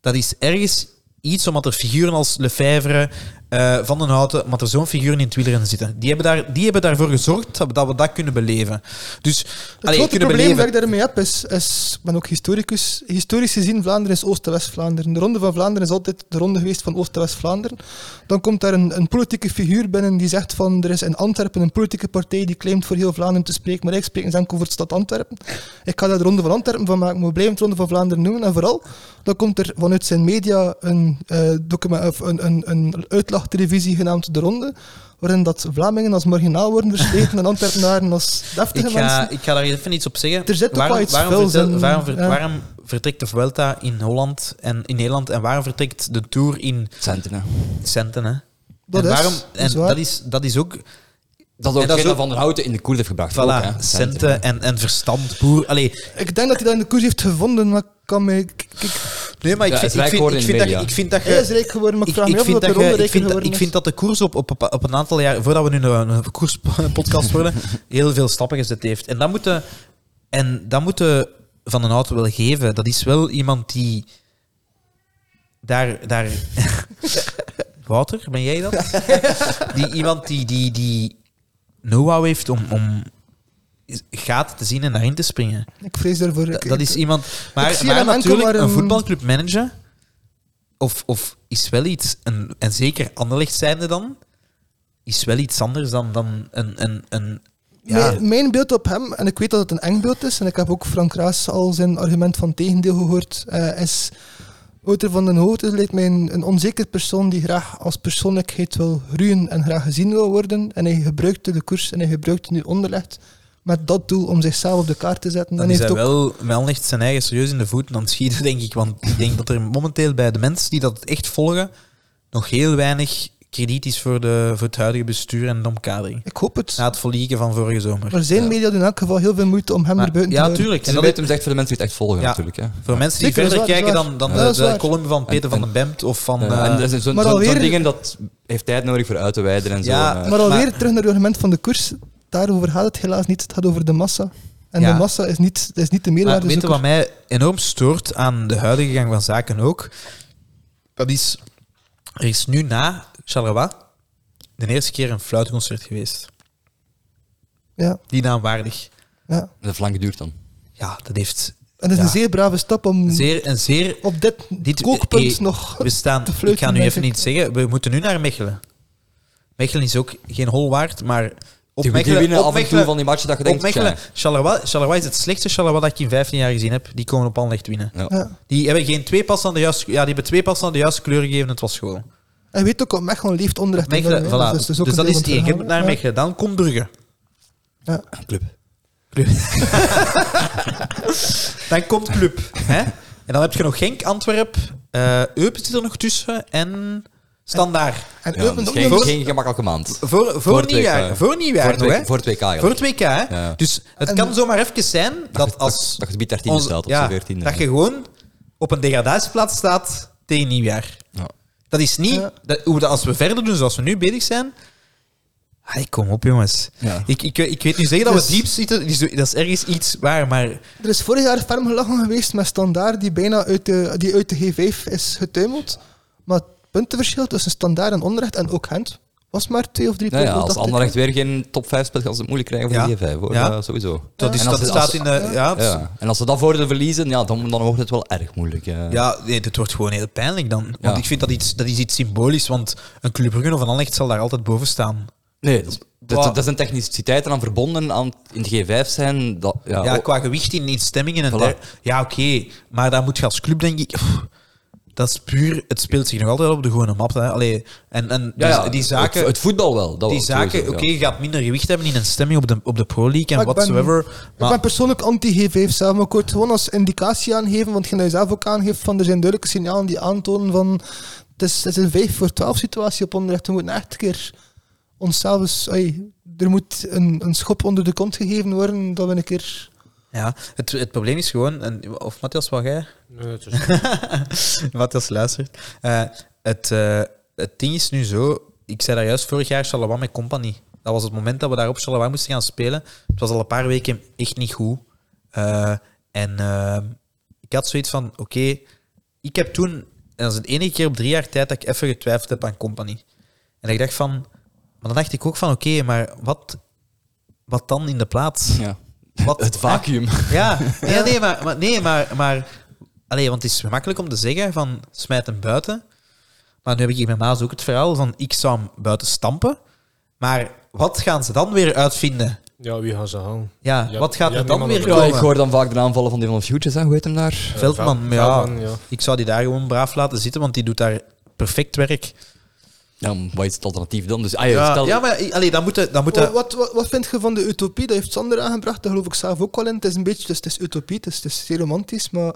Speaker 2: dat is ergens iets omdat er figuren als Lefebvre, eh, Van den Houten, omdat er zo'n figuren in het wielrennen zitten. Die hebben, daar, die hebben daarvoor gezorgd dat we dat, we dat kunnen beleven. Dus,
Speaker 3: Het grote probleem dat ik daarmee heb is, is, ik ben ook historicus, historisch gezien Vlaanderen is Oost- en West-Vlaanderen. De Ronde van Vlaanderen is altijd de ronde geweest van Oost- en West-Vlaanderen. Dan komt daar een, een politieke figuur binnen die zegt van, er is in Antwerpen een politieke partij die claimt voor heel Vlaanderen te spreken, maar ik spreek eens enkel voor de stad Antwerpen. Ik ga daar de Ronde van Antwerpen van maken, maar we blijven de Ronde van Vlaanderen noemen. En vooral, dan komt er vanuit zijn media een, eh document, of een, een, een uitlachtelevisie genaamd De Ronde, waarin dat Vlamingen als marginaal worden versleten en Antwerpenaren als deftige
Speaker 2: Ik ga,
Speaker 3: mensen.
Speaker 2: ik ga daar even iets op zeggen.
Speaker 3: Er zit ook wel iets
Speaker 2: waarom,
Speaker 3: vuils
Speaker 2: vertel-
Speaker 3: in,
Speaker 2: waarom, ver-
Speaker 3: ja.
Speaker 2: waarom vertrekt de Vuelta in Holland en in Nederland en waarom vertrekt de Tour in
Speaker 1: Centen, hè.
Speaker 2: centen? Hè?
Speaker 3: Dat
Speaker 2: en
Speaker 3: is,
Speaker 2: waarom, en
Speaker 3: is waar.
Speaker 2: dat, is, dat is ook,
Speaker 1: Dat ook
Speaker 2: En dat is
Speaker 1: Gerda
Speaker 2: ook-
Speaker 1: van der Houten in de koers heeft gebracht. ook,
Speaker 2: voilà, eh,
Speaker 1: hè. Centen, hè.
Speaker 2: centen en, en verstand, boer. Allee,
Speaker 3: Ik denk dat hij dat in de koers heeft gevonden, maar ik kan me. ik- ik- ik-
Speaker 2: nee, maar ik
Speaker 1: Ja, het
Speaker 2: vind- ik
Speaker 1: rijk
Speaker 2: vind-
Speaker 1: worden
Speaker 2: ik
Speaker 1: in
Speaker 2: vind dat je-
Speaker 1: media.
Speaker 2: ik vind dat
Speaker 3: Hij is
Speaker 2: je
Speaker 3: rijk geworden, maar ik
Speaker 2: Ik,
Speaker 3: vraag me
Speaker 2: ik
Speaker 3: af of
Speaker 2: vind,
Speaker 3: dat
Speaker 2: dat
Speaker 3: de
Speaker 2: je-
Speaker 3: ronde
Speaker 2: ik,
Speaker 3: rijk
Speaker 2: vind, dat- ik
Speaker 3: geworden is.
Speaker 2: vind dat de koers op, op, op een aantal jaar, voordat we nu een, een koerspodcast worden, heel veel stappen gezet heeft. En dat moeten en dat moeten Van den Hout wel geven. Dat is wel iemand die daar... daar Wouter, ben jij dat? die iemand die, die, die know-how heeft om, om gaten te zien en daarin te springen.
Speaker 3: Ik vrees daarvoor.
Speaker 2: Dat,
Speaker 3: ik-
Speaker 2: dat is iemand. Maar,
Speaker 3: zie hem
Speaker 2: maar
Speaker 3: enkel
Speaker 2: natuurlijk,
Speaker 3: maar
Speaker 2: een...
Speaker 3: een-
Speaker 2: voetbalclub managen. Of, of is wel iets. Een, en zeker Anderlecht zijnde dan. Is wel iets anders dan, dan een. een, een ja,
Speaker 3: Mijn, mijn beeld op hem, en ik weet dat het een eng beeld is, en ik heb ook Frank Raas al zijn argument van tegendeel gehoord, eh, is Wouter van den Houten lijkt mij een, een onzeker persoon die graag als persoonlijkheid wil groeien en graag gezien wil worden. En hij gebruikte de koers en hij gebruikte nu onderlegd met dat doel om zichzelf op de kaart te zetten.
Speaker 2: dan
Speaker 3: en
Speaker 2: is
Speaker 3: heeft
Speaker 2: hij
Speaker 3: ook
Speaker 2: wel met Anderlecht zijn eigen serieus in de voet aan het schieten, denk ik. Want ik denk dat er momenteel bij de mensen die dat echt volgen. nog heel weinig krediet is voor, de, voor het huidige bestuur en de omkadering.
Speaker 3: Ik hoop het.
Speaker 2: Na het verlieken van vorige zomer.
Speaker 3: maar zijn media doen in elk geval heel veel moeite om hem
Speaker 2: Maar-
Speaker 3: er buiten te
Speaker 2: ja,
Speaker 3: houden.
Speaker 2: tuurlijk.
Speaker 1: En
Speaker 2: En
Speaker 1: dat
Speaker 2: dat,
Speaker 1: weet hem zegt voor de mensen die het echt volgen,
Speaker 2: Ja.
Speaker 1: natuurlijk. Hè. Eh,
Speaker 2: Voor mensen die
Speaker 3: Zeker,
Speaker 2: verder
Speaker 3: dat is waar,
Speaker 2: kijken
Speaker 3: dat is
Speaker 2: dan, dan
Speaker 3: waar. Ja,
Speaker 2: de,
Speaker 3: dat is
Speaker 2: de
Speaker 3: waar.
Speaker 2: column van Peter
Speaker 1: En-
Speaker 2: van
Speaker 1: en-
Speaker 2: den Bemt of van...
Speaker 1: En,
Speaker 2: eh,
Speaker 1: en dat is zo'n
Speaker 3: maar
Speaker 1: zo'n-
Speaker 3: alweer-
Speaker 1: zo'n dingen dat heeft tijd nodig voor uit te wijden en zo.
Speaker 2: Ja,
Speaker 1: en, eh,
Speaker 3: Maar alweer
Speaker 2: Maar-
Speaker 3: terug naar het argument van de koers. Daarover gaat het helaas niet. Het gaat over de massa. En
Speaker 2: Ja.
Speaker 3: de massa is niet, is niet de
Speaker 2: maar
Speaker 3: meerwaarde.
Speaker 2: ah, weet je wat mij enorm stoort aan de huidige gang van zaken ook? Dat is... Er is nu na Charleroi de eerste keer een fluitconcert geweest.
Speaker 3: Ja,
Speaker 2: Die naamwaardig.
Speaker 3: ja.
Speaker 1: de flank duurt dan.
Speaker 2: Ja, dat heeft
Speaker 3: En dat is
Speaker 2: Ja.
Speaker 3: een zeer brave stap om
Speaker 2: zeer, een zeer...
Speaker 3: op dit,
Speaker 2: Dit-
Speaker 3: kookpunt
Speaker 2: eh,
Speaker 3: nog...
Speaker 2: We staan,
Speaker 3: te fluiten,
Speaker 2: ik ga nu
Speaker 3: denk
Speaker 2: even
Speaker 3: ik.
Speaker 2: niet zeggen, we moeten nu naar Mechelen. Mechelen is ook geen hol waard, maar
Speaker 1: Die,
Speaker 2: op
Speaker 1: die
Speaker 2: Mechelen...
Speaker 1: winnen
Speaker 2: op
Speaker 1: af en toe
Speaker 2: Mechelen-
Speaker 1: van die matchen dat je
Speaker 2: Op
Speaker 1: denkt...
Speaker 2: Mechelen,
Speaker 1: tja,
Speaker 2: eh, Charleroi, Charleroi is het slechtste Charleroi dat ik in 15 jaar gezien heb. Die komen op Anderlecht winnen.
Speaker 1: ja.
Speaker 3: Ja.
Speaker 2: Die hebben geen twee passen aan de juiste, ja, die hebben twee passen aan de juiste kleur gegeven. Het was gewoon.
Speaker 3: En weet ook, op Mechelen leeft onderrecht. in
Speaker 2: Mechelen,
Speaker 3: België, hè.
Speaker 2: voilà.
Speaker 3: Dus
Speaker 2: Dus,
Speaker 3: dat is ook een
Speaker 2: dat
Speaker 3: deel
Speaker 2: is
Speaker 3: van het
Speaker 2: één. Je
Speaker 3: verhaal.
Speaker 2: moet naar
Speaker 3: Ja.
Speaker 2: Mechelen. Dan komt Brugge.
Speaker 1: Club.
Speaker 2: Club. dan komt Club. Hè? En dan heb je nog Genk, Antwerp, eh Eupen zit er nog tussen en Standaard.
Speaker 3: En
Speaker 1: Ja,
Speaker 3: Eupen
Speaker 1: dat is
Speaker 3: ook
Speaker 1: geen,
Speaker 3: nog-
Speaker 1: geen gemakkelijke maand.
Speaker 2: Voor, voor,
Speaker 1: Voor het
Speaker 2: nieuwjaar.
Speaker 1: WK.
Speaker 2: Voor nieuwjaar
Speaker 1: Voor het
Speaker 2: nog,
Speaker 1: WK,
Speaker 2: hè?
Speaker 1: voor het WK
Speaker 2: Voor
Speaker 1: eigenlijk.
Speaker 2: het WK, hè?
Speaker 1: Ja.
Speaker 2: Dus het
Speaker 3: En-
Speaker 2: kan zomaar even zijn dat als...
Speaker 1: Dat je gebied 13
Speaker 2: Onze-
Speaker 1: staat of
Speaker 2: ja,
Speaker 1: zo 14.
Speaker 2: Dat je gewoon op een degradatieplaats staat tegen nieuwjaar.
Speaker 1: Ja.
Speaker 2: Dat is niet...
Speaker 3: Ja.
Speaker 2: dat- hoe dat, als we verder doen zoals we nu bezig zijn... Ai, kom op, jongens.
Speaker 1: Ja.
Speaker 2: Ik, ik, ik weet niet zeggen dat
Speaker 3: Dus-
Speaker 2: we diep zitten. die zo- Dat is ergens iets waar, maar...
Speaker 3: Er is vorig jaar ferm gelachen geweest met Standaard, die bijna uit de, die uit de G5 is getuimeld. Maar het puntenverschil tussen Standaard en Onderrecht, en ook Gent, was maar twee of drie
Speaker 1: Nou ja,
Speaker 3: punten,
Speaker 1: als
Speaker 3: dacht ik.
Speaker 1: Anderlecht weer geen top 5 speelt, gaan ze het moeilijk krijgen voor
Speaker 2: Ja.
Speaker 1: de G5. Hoor.
Speaker 2: Ja.
Speaker 1: Ja, sowieso.
Speaker 2: Dat, is,
Speaker 1: En als
Speaker 2: dat
Speaker 1: het-
Speaker 2: staat
Speaker 1: als-
Speaker 2: in de... Ja, ja.
Speaker 1: Ja. En als ze dat voordeel verliezen, ja, dan, dan wordt het wel erg moeilijk. eh.
Speaker 2: nee, dit wordt gewoon heel pijnlijk dan. Want
Speaker 1: Ja.
Speaker 2: ik vind dat, iets, dat is iets symbolisch, want een Club Brugge of een Anderlecht zal daar altijd boven staan.
Speaker 1: Nee, dat, dat,
Speaker 2: Wow.
Speaker 1: dat zijn techniciteiten aan verbonden aan in de G5 zijn. Dat, ja,
Speaker 2: Ja,
Speaker 1: oh,
Speaker 2: qua gewicht in, in stemmingen en
Speaker 1: Voilà.
Speaker 2: der- Ja, oké. Maar daar moet je als club, denk ik... pff, dat is puur... Het speelt zich nog altijd op de gewone map. Hè. Allee, en en
Speaker 1: ja,
Speaker 2: dus
Speaker 1: ja,
Speaker 2: die zaken...
Speaker 1: Het, het voetbal wel. Dat
Speaker 2: die
Speaker 1: wel,
Speaker 2: zaken,
Speaker 1: sowieso,
Speaker 2: oké,
Speaker 1: ja.
Speaker 2: je gaat minder gewicht hebben in een stemming op de, op de Pro League en
Speaker 3: Maar ik ben-
Speaker 2: whatsoever.
Speaker 3: Ik
Speaker 2: maar
Speaker 3: ben persoonlijk anti-G5 zelf, maar ik word gewoon als indicatie aangeven, want je nou zelf ook aangeeft van er zijn duidelijke signalen die aantonen van het is, het is een 5 voor 12 situatie op onderrecht. We moeten echt een keer onszelf eens, oei, er moet een, een schop onder de kont gegeven worden dat we een keer
Speaker 2: Ja, het, het probleem is gewoon, en, of Matthias, wat jij?
Speaker 4: Nee, het is-
Speaker 2: Matthias luistert. Eh, het, eh, het ding is nu zo, ik zei daar juist vorig jaar Charleroi met Company. Dat was het moment dat we daar op Charleroi moesten gaan spelen. Het was al een paar weken echt niet goed. Eh, en eh, ik had zoiets van, oké, ik heb toen, en dat is de enige keer op drie jaar tijd dat ik even getwijfeld heb aan Company. En ik dacht van, maar dan dacht ik ook van, oké, maar wat, wat dan in de plaats?
Speaker 1: Ja.
Speaker 2: Wat,
Speaker 1: Het vacuüm.
Speaker 2: Ja, nee, nee, maar, maar, nee, maar, maar allee, want het is gemakkelijk om te zeggen van smijt hem buiten. Maar nu heb ik hier met Maas ook het verhaal van ik zou hem buiten stampen. Maar wat gaan ze dan weer uitvinden?
Speaker 4: ja, wie gaan ze halen?
Speaker 2: Ja,
Speaker 4: Ja,
Speaker 2: wat gaat
Speaker 4: ja,
Speaker 2: er dan
Speaker 4: niemand
Speaker 2: weer
Speaker 4: nodig.
Speaker 1: Ja,
Speaker 2: komen?
Speaker 1: ik hoor dan vaak de aanvallen van die van Futures, hè. hoe heet hem daar?
Speaker 4: Eh,
Speaker 2: Veldman,
Speaker 4: Vel-
Speaker 2: maar ja.
Speaker 4: Veldman, ja.
Speaker 2: Ik zou die daar gewoon braaf laten zitten, want die doet daar perfect werk.
Speaker 1: Ja, maar wat is het alternatief dan? Dus, ah, ja,
Speaker 2: Ja,
Speaker 1: stel, Oh,
Speaker 2: ja maar allee, dan moet... je- Dan moet je-
Speaker 3: Wat, wat, wat, wat vind je van de utopie? Dat heeft Sander aangebracht, daar geloof ik zelf ook wel in. Het is een beetje, dus het is utopie, het is, het is zeer romantisch, maar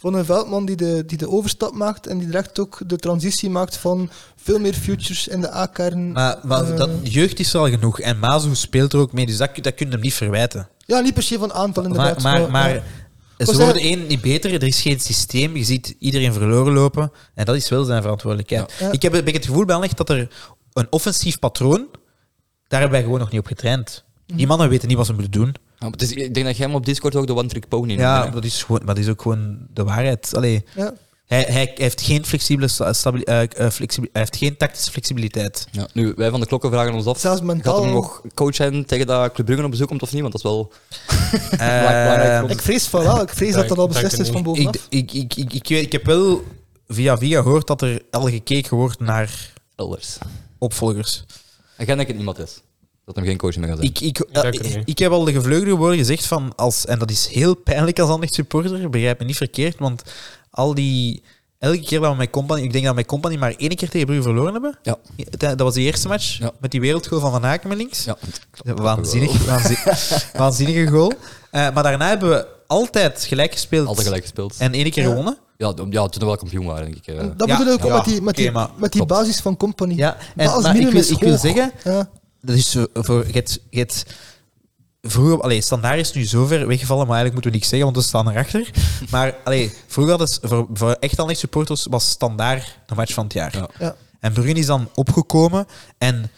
Speaker 3: van een Veldman die de, die de overstap maakt en die direct ook de transitie maakt van veel meer futures in de A-kern.
Speaker 2: maar maar
Speaker 3: Eh.
Speaker 2: dat, jeugd is er al genoeg. En Mazu speelt er ook mee, dus dat, dat kun je hem niet verwijten.
Speaker 3: Ja, niet per se van aantal
Speaker 2: Maar,
Speaker 3: inderdaad.
Speaker 2: maar, maar
Speaker 3: ja.
Speaker 2: ze
Speaker 3: Was
Speaker 2: worden
Speaker 3: dat-
Speaker 2: één niet beter, er is geen systeem, je ziet iedereen verloren lopen. En dat is wel zijn verantwoordelijkheid.
Speaker 3: Ja. Ja.
Speaker 2: Ik heb een beetje het gevoel bij Anderlecht dat er een offensief patroon, daar hebben wij gewoon nog niet op getraind. Die mannen weten niet wat ze moeten doen.
Speaker 1: Ja, maar het is- ik denk dat jij hem op Discord ook de One Trick Pony noemde,
Speaker 2: Ja,
Speaker 1: hè.
Speaker 2: dat is, gewoon, maar dat is ook gewoon de waarheid. Allee,
Speaker 3: Ja.
Speaker 2: hij, hij heeft geen flexibele sta- stabi- eh, eh, flexibel- hij heeft geen tactische flexibiliteit.
Speaker 1: Ja, nu, wij van de klokken vragen ons af.
Speaker 3: Zelfs
Speaker 1: Gaat
Speaker 3: mentaal-
Speaker 1: hem nog coach zijn tegen dat Club Brugge op bezoek komt of niet? Want dat is wel...
Speaker 2: Eh,
Speaker 3: Ik vrees van wel, ik vrees dat dat al
Speaker 4: Dank-
Speaker 3: beslist
Speaker 4: dank
Speaker 3: is van
Speaker 4: u
Speaker 3: bovenaf.
Speaker 2: ik, ik, ik, ik, ik, weet- ik heb wel via via gehoord dat er al gekeken wordt naar
Speaker 1: Elders.
Speaker 2: opvolgers.
Speaker 1: En jij denkt het niemand is. Dat hem geen coach meer gaat zijn.
Speaker 2: Ik, ik,
Speaker 4: denk
Speaker 2: ik,
Speaker 4: het niet.
Speaker 2: ik heb al de gevleugelde woorden gezegd van als, en dat is heel pijnlijk als Anderlecht supporter, begrijp me niet verkeerd, want al die elke keer dat we met company, ik denk dat we met company maar één keer tegen Brugge verloren hebben. eh,
Speaker 1: Ja.
Speaker 2: Dat was die eerste match
Speaker 1: Ja.
Speaker 2: met die wereldgoal van Van Aken met links.
Speaker 1: Ja.
Speaker 2: Waanzinnig, waanzinnig, waanzinnige goal. Eh, maar daarna hebben we altijd gelijk gespeeld
Speaker 1: Altijd gelijk gespeeld.
Speaker 2: en één keer
Speaker 3: Ja.
Speaker 2: gewonnen.
Speaker 1: Ja, d- ja, toen we wel kampioen waren, denk ik. eh.
Speaker 3: Dat
Speaker 2: Ja,
Speaker 3: bedoel ik ook
Speaker 2: ja,
Speaker 3: met die, met die,
Speaker 2: oké, maar-
Speaker 3: met die
Speaker 1: Klopt.
Speaker 3: basis van company.
Speaker 2: Ja, en,
Speaker 3: Dat als
Speaker 2: maar ik
Speaker 3: minimum
Speaker 2: wil,
Speaker 3: is
Speaker 2: ik wil
Speaker 3: hoog.
Speaker 2: zeggen,
Speaker 3: Ja.
Speaker 2: dat is zo- voor, je hebt- je hebt vroeger, allee, standaard is nu zo ver weggevallen, maar eigenlijk moeten we niks zeggen, want we staan erachter. Maar allee, vroeger hadden ze- voor, voor echt Anderlecht supporters was standaard de match van het jaar.
Speaker 1: Ja.
Speaker 3: Ja.
Speaker 2: En Brugge is dan opgekomen en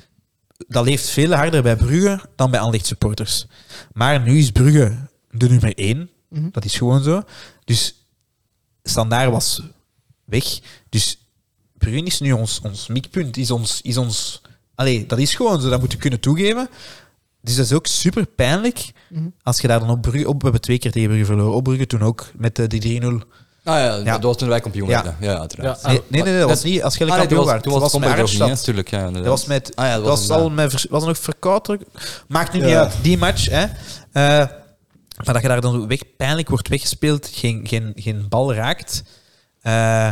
Speaker 2: dat leeft veel harder bij Brugge dan bij Anderlecht supporters. Maar nu is Brugge de nummer één.
Speaker 3: Mhm.
Speaker 2: Dat is gewoon zo. Dus standaard was weg. Dus Brugge is nu ons, ons mikpunt. Is ons, is ons, allee, dat is gewoon zo. Dat moeten we kunnen toegeven. Dus dat is ook super pijnlijk.
Speaker 3: Mhm.
Speaker 2: Als je daar dan op Brugge... Op, we hebben twee keer tegen Brugge verloren. Op Brugge toen ook, met eh, die 3-0. Nee,
Speaker 1: Ah ja, dat was toen wij kampioen
Speaker 2: Ja.
Speaker 1: werden. Ja, uiteraard.
Speaker 4: Ja,
Speaker 2: nee, nee, dat was niet. Als je
Speaker 1: Ah, nee, toen
Speaker 2: kampioen
Speaker 1: was,
Speaker 2: werd.
Speaker 1: toen
Speaker 2: Dat
Speaker 1: was
Speaker 2: met
Speaker 1: Comberg ook niet, hè,
Speaker 2: Arnstad.
Speaker 1: natuurlijk. Ja,
Speaker 2: Dat was
Speaker 1: inderdaad.
Speaker 2: met.
Speaker 1: Ah ja,
Speaker 2: dat
Speaker 1: dat
Speaker 2: was,
Speaker 1: was een,
Speaker 2: al
Speaker 1: eh,
Speaker 2: met. vers- Was nog verkoud. er- Maakt nu niet
Speaker 1: Ja.
Speaker 2: uit. Die match, hè. Eh, maar dat je daar dan zo weg, pijnlijk wordt weggespeeld, geen, geen, geen bal raakt. Eh,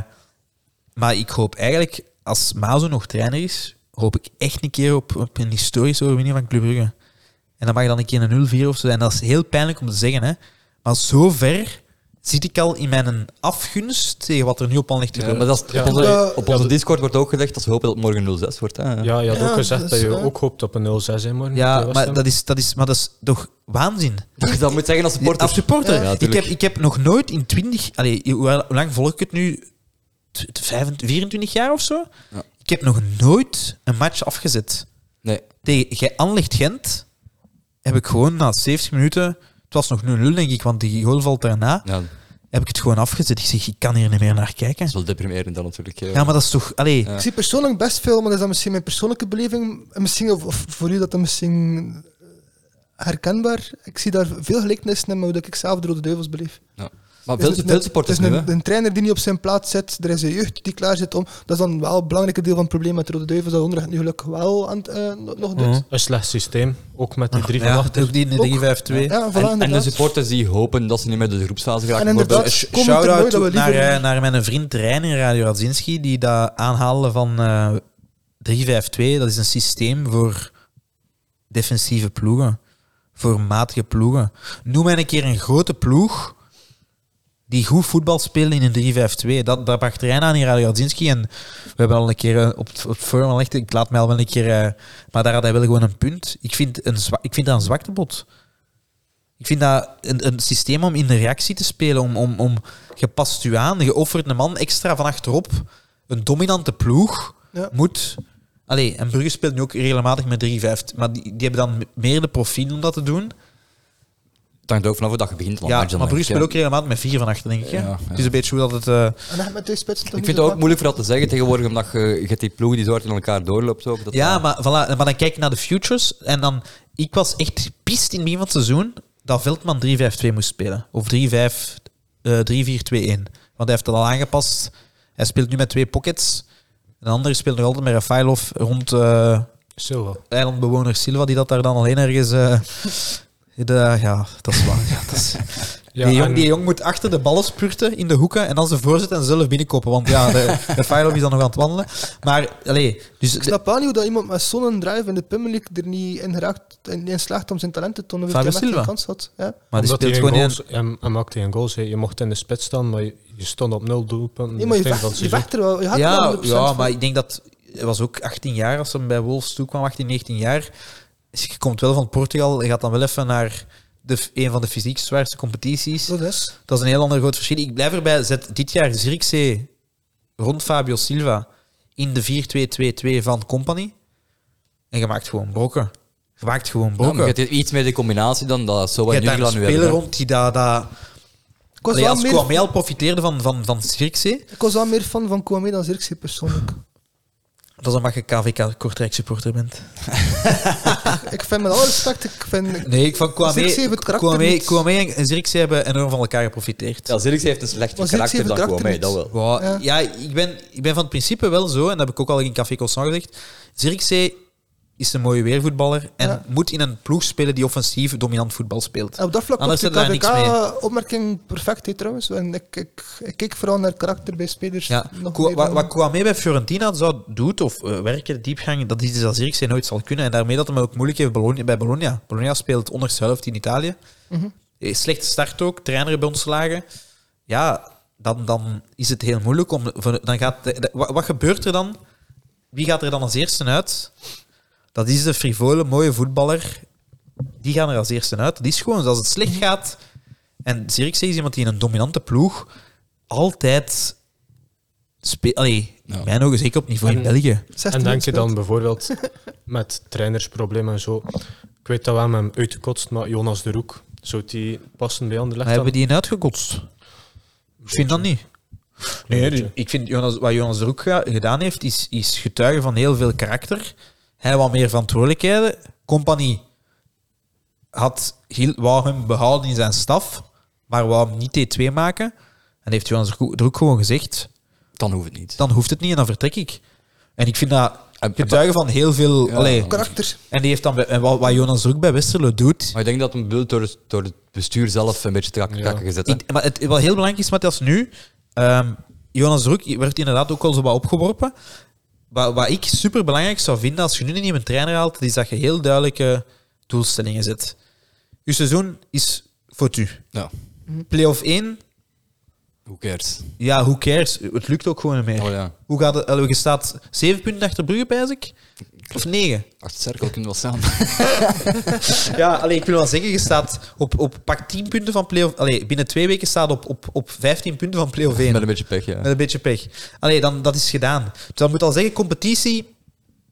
Speaker 2: maar ik hoop eigenlijk, als Mazo nog trainer is, hoop ik echt een keer op, op een historische overwinning van Club Brugge. En dat mag dan een keer een 0-4 of zo zijn. Dat is heel pijnlijk om te zeggen, hè. Maar zover zit ik al in mijn afgunst tegen wat er nu op aan ligt te
Speaker 1: ja,
Speaker 2: gebeuren.
Speaker 1: maar dat is,
Speaker 4: Ja.
Speaker 1: op onze,
Speaker 3: Ja.
Speaker 1: op onze
Speaker 4: Ja,
Speaker 1: Discord wordt ook gezegd dat we hopen dat het morgen 0-6 wordt. Hè.
Speaker 4: Ja, je had
Speaker 3: Ja,
Speaker 4: ook gezegd
Speaker 3: dus,
Speaker 4: dat je
Speaker 3: ja.
Speaker 4: ook hoopt op een 0-6 in morgen.
Speaker 2: Ja,
Speaker 4: tegen West
Speaker 2: maar
Speaker 4: Ham.
Speaker 2: dat is, dat, is, maar dat is toch waanzin?
Speaker 1: Dat je Dus dat moet zeggen als supporter.
Speaker 2: Als supporter.
Speaker 1: Ja,
Speaker 2: ik,
Speaker 1: tuurlijk.
Speaker 2: heb, ik heb nog nooit in 20... Allee, hoe hoe lang volg ik het nu? T- t- 25, 24 jaar of zo?
Speaker 1: Ja.
Speaker 2: Ik heb nog nooit een match afgezet.
Speaker 1: Nee,
Speaker 2: Tegen Ge- Anderlecht Gent heb ik gewoon na 70 minuten... Het was nog 0-0, denk ik, want die goal valt daarna.
Speaker 1: ja, dat
Speaker 2: Heb ik het gewoon afgezet. Ik zeg, ik kan hier niet meer naar kijken.
Speaker 1: is wel deprimerend dan natuurlijk. eh.
Speaker 2: Ja, maar dat is toch... Allee,
Speaker 1: Ja.
Speaker 3: Ik zie persoonlijk best veel, maar dat is dan misschien mijn persoonlijke beleving. En misschien, of, of voor u dat dat misschien herkenbaar. Ik zie daar veel gelijkenissen in met hoe dat ik zelf de Rode Duivels beleef.
Speaker 1: Maar veel,
Speaker 3: Dus een-
Speaker 1: veel supporters
Speaker 3: dus
Speaker 1: nu,
Speaker 3: een,
Speaker 1: hè.
Speaker 3: een trainer die niet op zijn plaats zit, er is een jeugd die klaar zit om. Dat is dan wel een belangrijk deel van het probleem met de Rode Duivels, dat onderweg nu gelukkig wel aan, het, eh, nog nog doet.
Speaker 2: Mhm.
Speaker 4: Een slecht systeem, ook met die drie
Speaker 2: Ah, ja,
Speaker 4: van achter.
Speaker 2: ook die
Speaker 3: Ook.
Speaker 2: 3-5-2.
Speaker 3: Ja, voilà,
Speaker 1: En, en de
Speaker 3: inderdaad.
Speaker 1: supporters die hopen dat ze niet meer door de groepsfase geraken.
Speaker 3: En inderdaad,
Speaker 1: bijvoorbeeld.
Speaker 3: Sh-
Speaker 2: Shout-out
Speaker 3: Kom het er nooit dat we
Speaker 2: naar,
Speaker 3: liever-
Speaker 2: eh, naar mijn vriend trainer Radio Radzinski, die dat aanhaalde van eh 3-5-2. Dat is een systeem voor defensieve ploegen. Voor matige ploegen. Noem mij een keer een grote ploeg die goed voetbal speelde in een 3-5-2. Dat, dat bracht Rijn aan in Radio Radzinski. En we hebben al een keer eh, op het, op het forum al echt... Ik laat mij al wel een keer... eh, maar daar had hij wel gewoon een punt. Ik vind, een zwa- ik vind dat een zwaktebod. Ik vind dat een, een systeem om in de reactie te spelen. Om, om, om, je past u aan, je offert een man extra van achterop. Een dominante ploeg
Speaker 3: Ja.
Speaker 2: moet... Allee, en Brugge speelt nu ook regelmatig met 3-5. Maar die, die hebben dan meer de profiel om dat te doen.
Speaker 1: Het hangt er ook vanaf hoe dat je begint. want
Speaker 2: ja,
Speaker 1: match dan
Speaker 2: maar Brugge
Speaker 1: denk
Speaker 2: speelt
Speaker 1: ik,
Speaker 2: ook regelmatig met 4 van achter, denk ik. hè.
Speaker 1: Ja, ja.
Speaker 2: Het is een beetje hoe dat het... eh,
Speaker 3: En dan met twee spitsen toch
Speaker 1: ja. Ik vind
Speaker 3: niet zo
Speaker 1: het ook
Speaker 3: vaak.
Speaker 1: moeilijk voor dat te zeggen tegenwoordig, omdat je, je hebt die ploeg die zo hard in elkaar doorloopt. Ook, dat
Speaker 2: ja, maar, voilà, maar dan kijk ik naar de futures. En dan, ik was echt pist in het begin van het seizoen dat Veldman 3-5-2 moest spelen. Of 3-5, eh 3-4-2-1. Want hij heeft dat al aangepast. Hij speelt nu met twee pockets. Een andere speelt nog altijd met Rafailov rond eh,
Speaker 4: Silva.
Speaker 2: eilandbewoner Silva, die dat daar dan alleen ergens... eh, de, ja, dat is waar. Ja, dat is, die, jong,
Speaker 4: en-
Speaker 2: die jong moet achter de ballen spurten in de hoeken en dan ze voorzet en zelf binnenkoppen. Want ja, de, Rafailov is dan nog aan het wandelen. Maar, allee, dus
Speaker 3: Ik snap wel niet hoe dat iemand met zo'n drive in de Premier League er niet in, geraakt, en niet in slaagt om zijn talent te tonen. Heeft
Speaker 2: Fabio
Speaker 3: hij echt geen
Speaker 2: Silva.
Speaker 3: kans had. Ja.
Speaker 2: Maar die
Speaker 4: Omdat
Speaker 2: speelt
Speaker 4: hij
Speaker 2: gewoon in
Speaker 4: een goals, hij, hij maakte een goal. Je mocht in de spits staan, maar je, je stond op nul doelpunten.
Speaker 3: Nee, maar je
Speaker 4: in het
Speaker 3: vecht,
Speaker 4: begin
Speaker 3: je
Speaker 4: van het
Speaker 3: vecht er wel. Je had er
Speaker 2: Ja,
Speaker 3: wel 100%
Speaker 2: ja
Speaker 3: van.
Speaker 2: maar ik denk dat... Hij was ook 18 jaar als hij bij Wolves toekwam, 18, 19 jaar. Dus je komt wel van Portugal, je gaat dan wel even naar de, f- een van de fysiek zwaarste competities.
Speaker 3: Dat is.
Speaker 2: Dat is een heel ander groot verschil. Ik blijf erbij, zet dit jaar Zirkzee rond Fabio Silva in de 4-2-2-2 van Company. En je maakt gewoon brokken. Je maakt gewoon
Speaker 1: Ja, Nou, maar
Speaker 2: brokken.
Speaker 1: je hebt iets meer de combinatie dan dat zo
Speaker 2: je
Speaker 1: wat
Speaker 2: hebt
Speaker 1: nu
Speaker 2: daar een
Speaker 1: gaan nu
Speaker 2: speler
Speaker 1: hebben. hè.
Speaker 2: rond die daar... Da,
Speaker 3: Ik was,
Speaker 2: Allee,
Speaker 3: wel
Speaker 2: als
Speaker 3: meer,
Speaker 2: Kwame al profiteerde van, van, van Zirkzee,
Speaker 3: ik was wel meer fan van Kwame dan Zirkzee persoonlijk.
Speaker 2: dat is omdat je KVK Kortrijk supporter bent.
Speaker 3: ik vind met alle respect, ik vind...
Speaker 2: Nee, ik van Kwame,
Speaker 3: Zirkzee heeft het karakter
Speaker 2: Kwame,
Speaker 3: niet.
Speaker 2: Kwame en- en Zirkzee hebben enorm van elkaar geprofiteerd.
Speaker 1: Ja, Zirkzee heeft een slechter
Speaker 3: Maar Zirkzee
Speaker 1: karakter
Speaker 3: heeft
Speaker 1: dan
Speaker 3: het karakter
Speaker 1: Kwame,
Speaker 3: niet.
Speaker 1: dat wel.
Speaker 2: Wow,
Speaker 3: Ja.
Speaker 2: ja, ik, ben, ik ben van het principe wel zo, en dat heb ik ook al in Café Constant gezegd. Zirkzee is een mooie weervoetballer en
Speaker 3: Ja.
Speaker 2: moet in een ploeg spelen die offensief dominant voetbal speelt.
Speaker 3: En op dat vlak
Speaker 2: Anders
Speaker 3: was de
Speaker 2: zit daar niks
Speaker 3: KVK-opmerking perfect, hè, trouwens. En ik, ik, ik kijk vooral naar karakter bij spelers.
Speaker 2: Ja.
Speaker 3: dus nog
Speaker 2: Kwa-
Speaker 3: meer
Speaker 2: wat,
Speaker 3: dan-
Speaker 2: wat Kwame bij Fiorentina zou doet, of eh, werken, diepgang, dat is iets dat Zirkzee nooit zal kunnen. En daarmee dat hem ook moeilijk heeft Bologna, bij Bologna. Bologna speelt onderste helft in Italië.
Speaker 3: Mhm.
Speaker 2: Eh, Slechte start ook, trainer hebben ontslagen. Ja, dan, dan is het heel moeilijk. Om, voor- dan gaat, de- de- wat, wat gebeurt er dan? Wie gaat er dan als eerste uit? Dat is de frivole, mooie voetballer. Die gaan er als eerste uit. Dat is gewoon, dus als het slecht
Speaker 3: Mhm.
Speaker 2: gaat... En Zirkzee is iemand die in een dominante ploeg altijd speelt. Allee, in mijn ogen zeker op niveau in
Speaker 4: En-
Speaker 2: België.
Speaker 3: 16
Speaker 4: En denk je
Speaker 3: minuten
Speaker 4: dan
Speaker 3: speelt.
Speaker 4: bijvoorbeeld met trainersproblemen en zo. Ik weet dat we hem hebben uitgekotst, maar Jonas de Roek, zou die passen bij
Speaker 2: Maar
Speaker 4: Anderlecht
Speaker 2: hebben
Speaker 4: dan?
Speaker 2: die een uitgekotst? Ik vind dat niet. Nee, dus ik vind Jonas, wat Jonas de Roek ga- gedaan heeft, is, is getuige van heel veel karakter. Hij had wat meer verantwoordelijkheden. Compagnie had, heel- wou hem behouden in zijn staf, maar wou hem niet T2 maken. En heeft Jonas de Roek- de Roek gewoon gezegd,
Speaker 1: Dan hoeft het niet.
Speaker 2: dan hoeft het niet en dan vertrek ik. En ik vind dat
Speaker 1: En-
Speaker 2: getuige van heel veel...
Speaker 1: Ja.
Speaker 2: allee,
Speaker 3: Karakter.
Speaker 2: En die heeft dan, bij- en wat, wat Jonas Roek bij Westerlo doet.
Speaker 1: Maar ik denk dat hem bedoeld door, het- door het bestuur zelf een beetje te kak-
Speaker 4: Ja.
Speaker 1: kakken gezet. hè.
Speaker 2: Ik, maar het, wat heel belangrijk is, Matthias, nu. ehm, Jonas Roek werd inderdaad ook al zo wat opgeworpen. Wat, wat ik super belangrijk zou vinden als je nu niet een trainer haalt, is dat je heel duidelijke doelstellingen zet. Je seizoen is foutu.
Speaker 1: Ja,
Speaker 2: Playoff 1,
Speaker 1: hoe cares?
Speaker 2: ja, who cares? Het lukt ook gewoon niet meer.
Speaker 1: Oh ja.
Speaker 2: Hoe gaat het? allee, Je staat 7 punten achter Brugge, pijs ik? Of 9?
Speaker 1: Achter de cirkel kunnen we wel staan.
Speaker 2: Ja, alleen ik wil wel zeggen, je staat op, op pak 10 punten van play-off. Allee, binnen twee weken staat op, op, op 15 punten van play-off 1.
Speaker 1: Met een beetje pech, ja.
Speaker 2: Met een beetje pech. Allee, dan, dat is gedaan. Dus dat moet al zeggen, competitie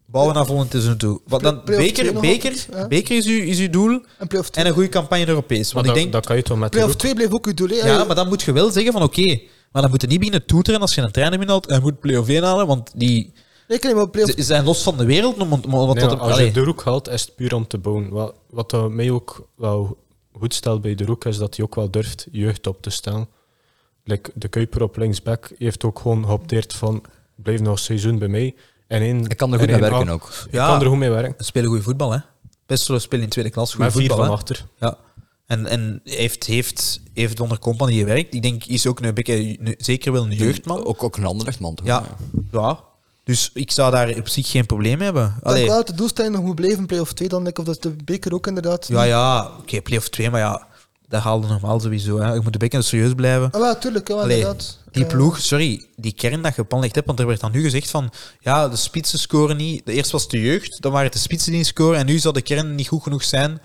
Speaker 2: bouwen naar volgend seizoen toe. Want dan,
Speaker 3: Play-off twee
Speaker 2: beker
Speaker 3: nog
Speaker 2: beker,
Speaker 3: altijd, ja.
Speaker 2: beker is, uw, is uw doel
Speaker 3: En play-off 2.
Speaker 2: en een goede campagne Europees.
Speaker 4: Maar
Speaker 2: Want ik
Speaker 4: dat,
Speaker 2: denk,
Speaker 4: dat kan je toch met de
Speaker 3: Play-off
Speaker 4: Roek?
Speaker 3: 2 bleef ook uw doel. hè.
Speaker 2: ja, maar dan moet je wel zeggen van oké, maar dan moet je niet beginnen toeteren als je een trainer binnenhaalt. Hij moet play-off 1 halen, want die
Speaker 3: Nee, ik weet niet, maar play-off
Speaker 2: ze zijn los van de wereld. Om, om, om- wat
Speaker 4: Nee,
Speaker 2: dat
Speaker 4: maar
Speaker 2: er-
Speaker 4: als
Speaker 2: allee.
Speaker 4: je de Roek haalt, is het puur om te bouwen. Wat, wat dat mij ook wel goed stelt bij de Roek, is dat hij ook wel durft jeugd op te stellen. Like, de Kuiper op linksback heeft ook gewoon geopteerd van blijf nog een seizoen bij mij. En één,
Speaker 1: Ik kan er goed
Speaker 4: en
Speaker 1: mee
Speaker 4: één
Speaker 1: werken
Speaker 4: A-
Speaker 1: ook.
Speaker 4: Ik
Speaker 2: Ja.
Speaker 4: kan er goed mee werken.
Speaker 2: spelen goed voetbal, hè. Best wel spelen in tweede klas, goed
Speaker 4: Maar vier
Speaker 2: voetbal.
Speaker 4: van
Speaker 2: hè.
Speaker 4: achter.
Speaker 2: Ja. En, en heeft, heeft, heeft onder Company gewerkt. Ik denk, is ook een beetje, een- zeker wel een jeugdman.
Speaker 1: Ook, ook een ander echt man, toch?
Speaker 2: Ja. ja. Dus ik zou daar op zich geen probleem mee hebben.
Speaker 3: Ik denk
Speaker 2: Allee,
Speaker 3: wel dat de doelstelling nog moet blijven, play-off 2 dan. denk Ik, of dat de beker ook inderdaad.
Speaker 2: ja, ja. Oké, play-off 2, maar ja, dat haalde normaal sowieso. Hè. Je moet een beetje serieus blijven.
Speaker 3: Ah, wel, tuurlijk, ja,
Speaker 2: Allee,
Speaker 3: inderdaad.
Speaker 2: die
Speaker 3: Eh,
Speaker 2: ploeg, sorry, die kern dat je panlicht hebt, want er werd dan nu gezegd van, ja, de spitsen scoren niet. Eerst was het de jeugd, dan waren het de spitsen die niet scoren, en nu zou de kern niet goed genoeg zijn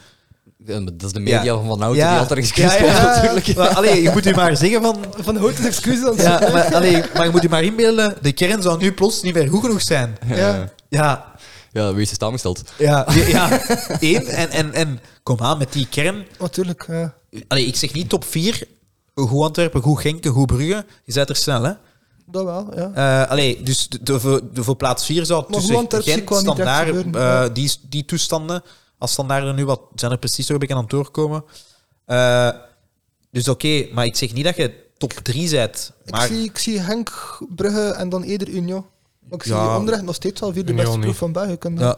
Speaker 1: Ja, maar Dat is de media van Van Houten, die had er excuus
Speaker 2: Ja,
Speaker 1: voor
Speaker 2: ja.
Speaker 1: natuurlijk.
Speaker 2: Maar, allee, je moet u maar zeggen van...
Speaker 3: Van de hoogte excuses dan.
Speaker 2: Ja, maar, allee, maar je moet u maar inbeelden, de kern zou nu plots niet meer goed genoeg zijn.
Speaker 3: Ja.
Speaker 2: Ja,
Speaker 1: Ja, wie is er samengesteld?
Speaker 2: ja, ja. ja. Eén, en, en, en kom aan met die kern.
Speaker 3: Natuurlijk, oh, ja.
Speaker 2: Allee, ik zeg niet top 4. Goed Antwerpen, goed Genk, goed Brugge. Je zet er snel, hè.
Speaker 3: Dat wel, ja.
Speaker 2: Eh, allee, dus de, de, voor- de voor plaats 4 zou
Speaker 3: Maar
Speaker 2: tussen
Speaker 3: hoe Antwerpen
Speaker 2: Gent,
Speaker 3: kon niet echt
Speaker 2: Standaard,
Speaker 3: gebeuren,
Speaker 2: eh,
Speaker 3: ja.
Speaker 2: die, die toestanden, als Standaard er nu wat, zijn er precies zo een beetje aan het doorkomen. Eh, dus oké, maar ik zeg niet dat je top 3 bent.
Speaker 3: Ik,
Speaker 2: Maar
Speaker 3: zie, ik zie Henk, Brugge en dan eerder Union. Maar ik
Speaker 2: Ja.
Speaker 3: zie Anderlecht nog steeds wel vierde
Speaker 4: Union
Speaker 3: beste ploeg
Speaker 4: niet.
Speaker 3: van België. kunnen.
Speaker 2: ja,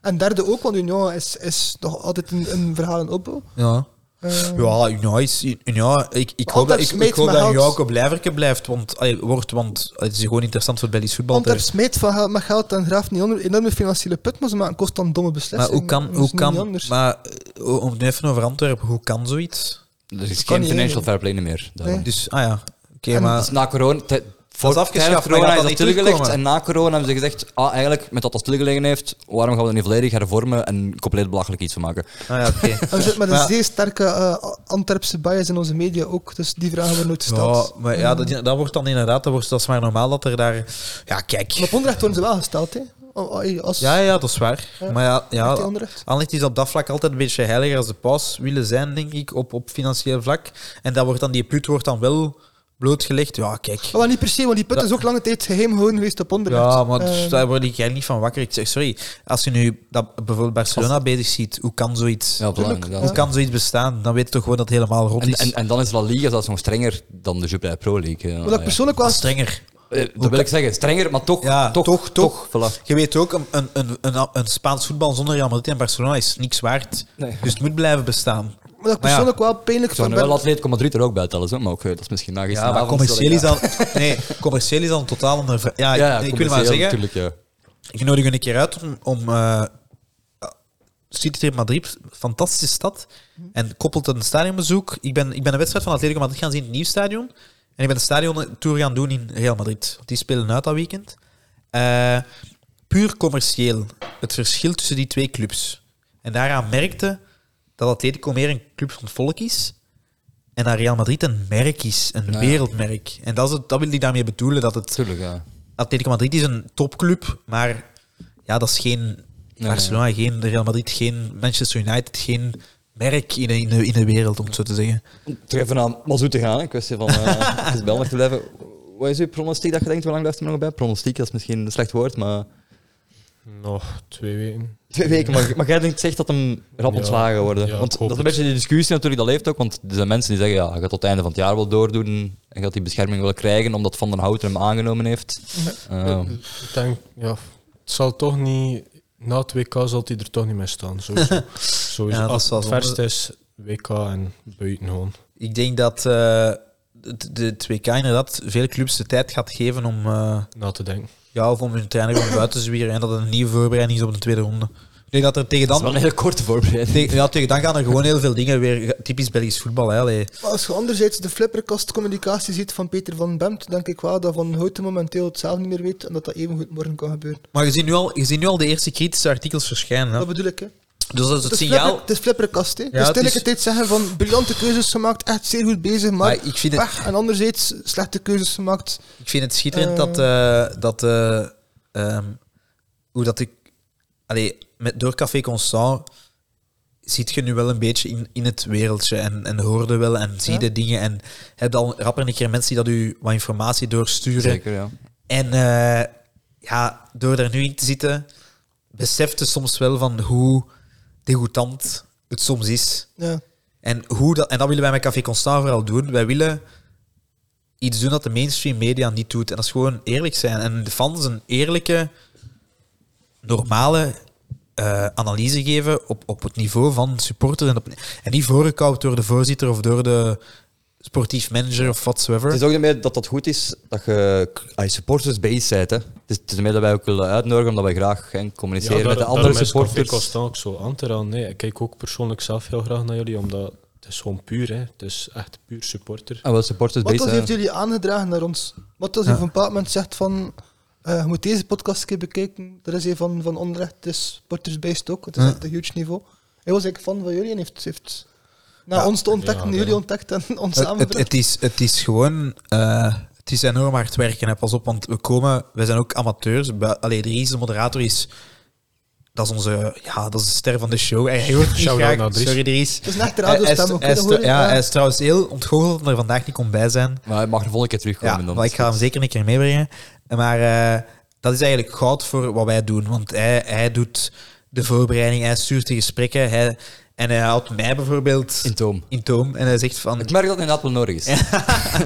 Speaker 3: En derde ook, want Union is, is nog altijd een, een verhaal in opbouw.
Speaker 2: ja.
Speaker 3: Eh,
Speaker 2: Ja, nou, Union is... Union, ik, ik hoop dat, ik,
Speaker 3: Antwerp
Speaker 2: ik
Speaker 3: smeet
Speaker 2: hoop
Speaker 3: me
Speaker 2: dat
Speaker 3: geld.
Speaker 2: Union ook op Blijverke blijft, want, allee, wordt, want het is gewoon interessant voor het Belgisch voetbal. dus-
Speaker 3: Antwerp smeet van geld met geld en graaft niet onder. Enorme financiële put, maar ze maken constant domme
Speaker 2: Maar
Speaker 3: beslissingen.
Speaker 2: hoe kan...
Speaker 3: Dat is
Speaker 2: Hoe
Speaker 3: niet
Speaker 2: kan
Speaker 3: anders.
Speaker 2: maar eh, om het nu even over Antwerpen, hoe kan zoiets?
Speaker 1: Er is
Speaker 3: kan
Speaker 1: geen
Speaker 3: niet,
Speaker 1: financial
Speaker 3: nee.
Speaker 1: fair play meer. daarom.
Speaker 3: Nee.
Speaker 2: Dus, ah ja. Oké,
Speaker 3: En
Speaker 2: maar...
Speaker 1: Dat is Dus na corona... te- voor
Speaker 2: afgeschaft,
Speaker 1: tijdens
Speaker 2: maar
Speaker 1: corona
Speaker 2: gaat
Speaker 1: is
Speaker 2: dat
Speaker 1: dat
Speaker 2: niet
Speaker 1: stilgelegd.
Speaker 2: terugkomen?
Speaker 1: En na corona hebben ze gezegd, ah, eigenlijk, met dat dat stilgelegen heeft, waarom gaan we er niet volledig hervormen en compleet belachelijk iets van maken?
Speaker 2: Ah ja, oké.
Speaker 3: En we zitten met een
Speaker 2: Maar-
Speaker 3: zeer sterke eh, Antwerpse bias in onze media ook, dus die vragen worden nooit gesteld.
Speaker 2: Ja, maar ja, dat, dat wordt dan inderdaad, dat, wordt, dat is maar normaal dat er daar... Ja,
Speaker 3: Maar
Speaker 2: kijk.
Speaker 3: op onrecht worden ze wel gesteld, hè? Oh, oh, Als
Speaker 2: Ja, ja, dat is waar.
Speaker 3: Ja.
Speaker 2: Maar ja,
Speaker 3: Echt die
Speaker 2: ja
Speaker 3: onrecht.
Speaker 2: Anderlecht is op dat vlak altijd een beetje heiliger als de paus willen zijn, denk ik, op, op financieel vlak. En dat wordt dan, die put wordt dan wel blootgelegd. Ja, kijk.
Speaker 3: Maar Oh, wel niet per se, want die put
Speaker 2: Dat-
Speaker 3: is ook lange tijd geheim gehouden geweest op onderweg.
Speaker 2: Ja, maar dus
Speaker 3: Eh,
Speaker 2: daar word ik eigenlijk niet van wakker. Ik zeg, sorry, als je nu dat, bijvoorbeeld Barcelona bezig ziet, hoe kan zoiets,
Speaker 1: Ja, belangrijk.
Speaker 2: hoe kan zoiets bestaan? Dan weet je toch gewoon dat het helemaal rot
Speaker 1: En,
Speaker 2: is.
Speaker 1: en, en dan is La Liga zelfs nog strenger dan de Jupiler Pro League. Ja,
Speaker 3: wat ik
Speaker 1: ja.
Speaker 3: persoonlijk wel...
Speaker 2: strenger.
Speaker 1: Eh, dat wil ik zeggen, strenger, maar toch,
Speaker 2: Ja,
Speaker 1: toch,
Speaker 2: toch,
Speaker 1: toch,
Speaker 2: toch.
Speaker 1: voilà.
Speaker 2: Je weet ook, een, een, een, een, een Spaans voetbal zonder Real Madrid en Barcelona is niks waard.
Speaker 1: Nee.
Speaker 2: Dus het moet blijven bestaan.
Speaker 3: Wat ik persoonlijk wel pijnlijk
Speaker 1: Ik zou
Speaker 3: van
Speaker 1: nu
Speaker 3: ben...
Speaker 1: wel Atletico Madrid er ook bij tellen, zo, maar ook, eh, dat is misschien na
Speaker 2: Ja,
Speaker 1: gisteravond.
Speaker 2: maar commercieel is
Speaker 1: dat
Speaker 2: dan... Nee, commercieel is dan een totaal ander... ver- Ja,
Speaker 1: ik- Ja, ja,
Speaker 2: ik wil maar
Speaker 1: commercieel
Speaker 2: zeggen,
Speaker 1: natuurlijk, ja.
Speaker 2: ik nodig u een keer uit om... om eh, City Madrid, fantastische stad. En koppelt een stadionbezoek. Ik ben, ik ben een wedstrijd van Atletico Madrid gaan zien in het nieuw stadion. En ik ben de stadiontour gaan doen in Real Madrid. Want Die spelen uit dat weekend. Eh, puur commercieel. Het verschil tussen die twee clubs. En daaraan merkte dat Atletico meer een club van het volk is. En dat Real Madrid een merk is. Een
Speaker 1: ja.
Speaker 2: wereldmerk. En dat, is het, dat wil ik daarmee bedoelen. Dat het
Speaker 1: Tuurlijk, ja.
Speaker 2: Atletico Madrid is een topclub, maar ja, dat is geen
Speaker 1: nee.
Speaker 2: Barcelona, geen Real Madrid, geen Manchester United, geen merk in de, in de, in de wereld, om het zo te zeggen.
Speaker 1: Terug even naar Mazou te gaan, een kwestie van eh, het is Belmer te blijven. Wat is uw pronostiek dat je denkt, hoe lang blijft hem nog bij? Pronostiek, dat is misschien een slecht woord, maar...
Speaker 4: Nog twee weken.
Speaker 1: Twee weken, maar, maar jij denkt echt dat hem rap
Speaker 4: Ja.
Speaker 1: ontslagen worden.
Speaker 4: Ja, ik
Speaker 1: want
Speaker 4: hoop
Speaker 1: dat is een
Speaker 4: het.
Speaker 1: beetje de discussie natuurlijk, dat leeft ook. Want er zijn mensen die zeggen, ja, hij gaat tot het einde van het jaar wel doordoen. En gaat die bescherming wel krijgen, omdat Van den Houten hem aangenomen heeft. Eh,
Speaker 4: Ik denk, ja, het zal toch niet... Na het WK zal hij er toch niet meer staan. Sowieso. Sowieso.
Speaker 2: Ja, dat
Speaker 4: Als
Speaker 2: zal
Speaker 4: het verst is, WK en buiten gewoon.
Speaker 2: Ik denk dat eh de, de 2K inderdaad veel clubs de tijd gaat geven om, eh,
Speaker 4: Na te denken.
Speaker 2: ja, of om hun trainer gewoon buiten te zwieren en dat het een nieuwe voorbereiding is op de tweede ronde. Ik denk dat er tegen
Speaker 1: dat is wel
Speaker 2: dan,
Speaker 1: een hele korte voorbereiding.
Speaker 2: tegen, ja, tegen dan gaan er gewoon heel veel dingen weer, typisch Belgisch voetbal, hè. allee.
Speaker 3: Maar als je anderzijds de flipperkastcommunicatie ziet van Peter van Bemt, denk ik wel dat Van Houten momenteel het zelf niet meer weet en dat dat evengoed morgen kan gebeuren.
Speaker 2: Maar je ziet, nu al, je ziet nu al de eerste kritische artikels verschijnen. Hè.
Speaker 3: Dat bedoel ik, hè.
Speaker 2: Dus dat is het
Speaker 3: Het is,
Speaker 2: signaal...
Speaker 3: flipper- het is flipperkast, hè. dus
Speaker 2: het is-
Speaker 3: tegelijkertijd zeggen van briljante keuzes gemaakt, echt zeer goed bezig, maar,
Speaker 2: Maar ik vind het-
Speaker 3: weg. En anderzijds slechte keuzes gemaakt.
Speaker 2: Ik vind het schitterend
Speaker 3: Eh.
Speaker 2: dat, eh, dat eh, ehm, hoe dat ik, allee, met, door Café Constant ziet je nu wel een beetje in, in het wereldje en, en hoorde wel en zie
Speaker 3: Ja.
Speaker 2: de dingen en heb al rapper een keer mensen die dat u wat informatie doorsturen.
Speaker 1: Zeker, ja.
Speaker 2: En eh, ja, door er nu in te zitten, besefte soms wel van hoe degoutant het soms is.
Speaker 3: Ja.
Speaker 2: En, hoe dat, en dat willen wij met Café Constant vooral doen. Wij willen iets doen dat de mainstream media niet doet. En dat is gewoon eerlijk zijn. En de fans een eerlijke, normale eh, analyse geven op, op het niveau van supporters. En, op, en niet voorgekoud door de voorzitter of door de sportief manager of whatsoever.
Speaker 1: Het is ook niet meer dat dat goed is dat je als supporters based bent. Hè. Het is, het is meer dat wij ook willen uitnodigen, omdat wij graag hè, communiceren
Speaker 4: daar-
Speaker 1: met de
Speaker 4: daarom
Speaker 1: andere
Speaker 4: is Café
Speaker 1: supporters.
Speaker 4: Constant ook zo aan te raden. Nee, ik kijk ook persoonlijk zelf heel graag naar jullie, omdat het is gewoon puur, hè. Het is echt puur supporter.
Speaker 1: En Ah, wel supporters
Speaker 3: Wat
Speaker 1: based.
Speaker 3: als
Speaker 1: hè.
Speaker 3: heeft jullie aangedragen naar ons? Wat als u
Speaker 2: Ja.
Speaker 3: op een bepaald moment zegt van... eh, je moet deze podcast een keer bekijken. Er is een van, van onrecht, dus supporters based ook. Het is
Speaker 2: Ja.
Speaker 3: echt een huge niveau. Hij was eigenlijk fan van jullie en heeft, heeft na
Speaker 2: Ja.
Speaker 3: ons te ontdekken,
Speaker 4: Ja,
Speaker 3: jullie
Speaker 4: ja.
Speaker 3: ontdekt en ons
Speaker 2: Het, het,
Speaker 3: samengebracht.
Speaker 2: het is, het is gewoon... eh, het is enorm hard werken, hè. pas op, want we komen... Wij zijn ook amateurs. Bij- Allee, Dries, de moderator, is... Dat is onze... Ja, dat is de ster van de show. Hij hoort niet
Speaker 4: Shout-out
Speaker 2: graag.
Speaker 4: naar Dries.
Speaker 2: Sorry, Dries.
Speaker 3: Het is een echte
Speaker 2: Hij- hij is-
Speaker 3: radiostem ook,
Speaker 2: hij
Speaker 3: hè,
Speaker 2: is
Speaker 3: dat
Speaker 2: tr-
Speaker 3: hoor je.
Speaker 2: ja,
Speaker 3: Ja.
Speaker 2: hij is trouwens heel ontgoocheld dat er vandaag niet kon bij zijn.
Speaker 1: Maar hij mag de volgende keer terugkomen.
Speaker 2: Ja,
Speaker 1: dan.
Speaker 2: maar ik ga hem zeker een keer meebrengen. Maar eh, dat is eigenlijk goud voor wat wij doen. Want hij, hij doet de voorbereiding, hij stuurt de gesprekken. Hij, en hij houdt mij bijvoorbeeld
Speaker 1: In toom.
Speaker 2: in toom. En hij zegt van...
Speaker 1: Ik merk dat het inderdaad wel nodig is.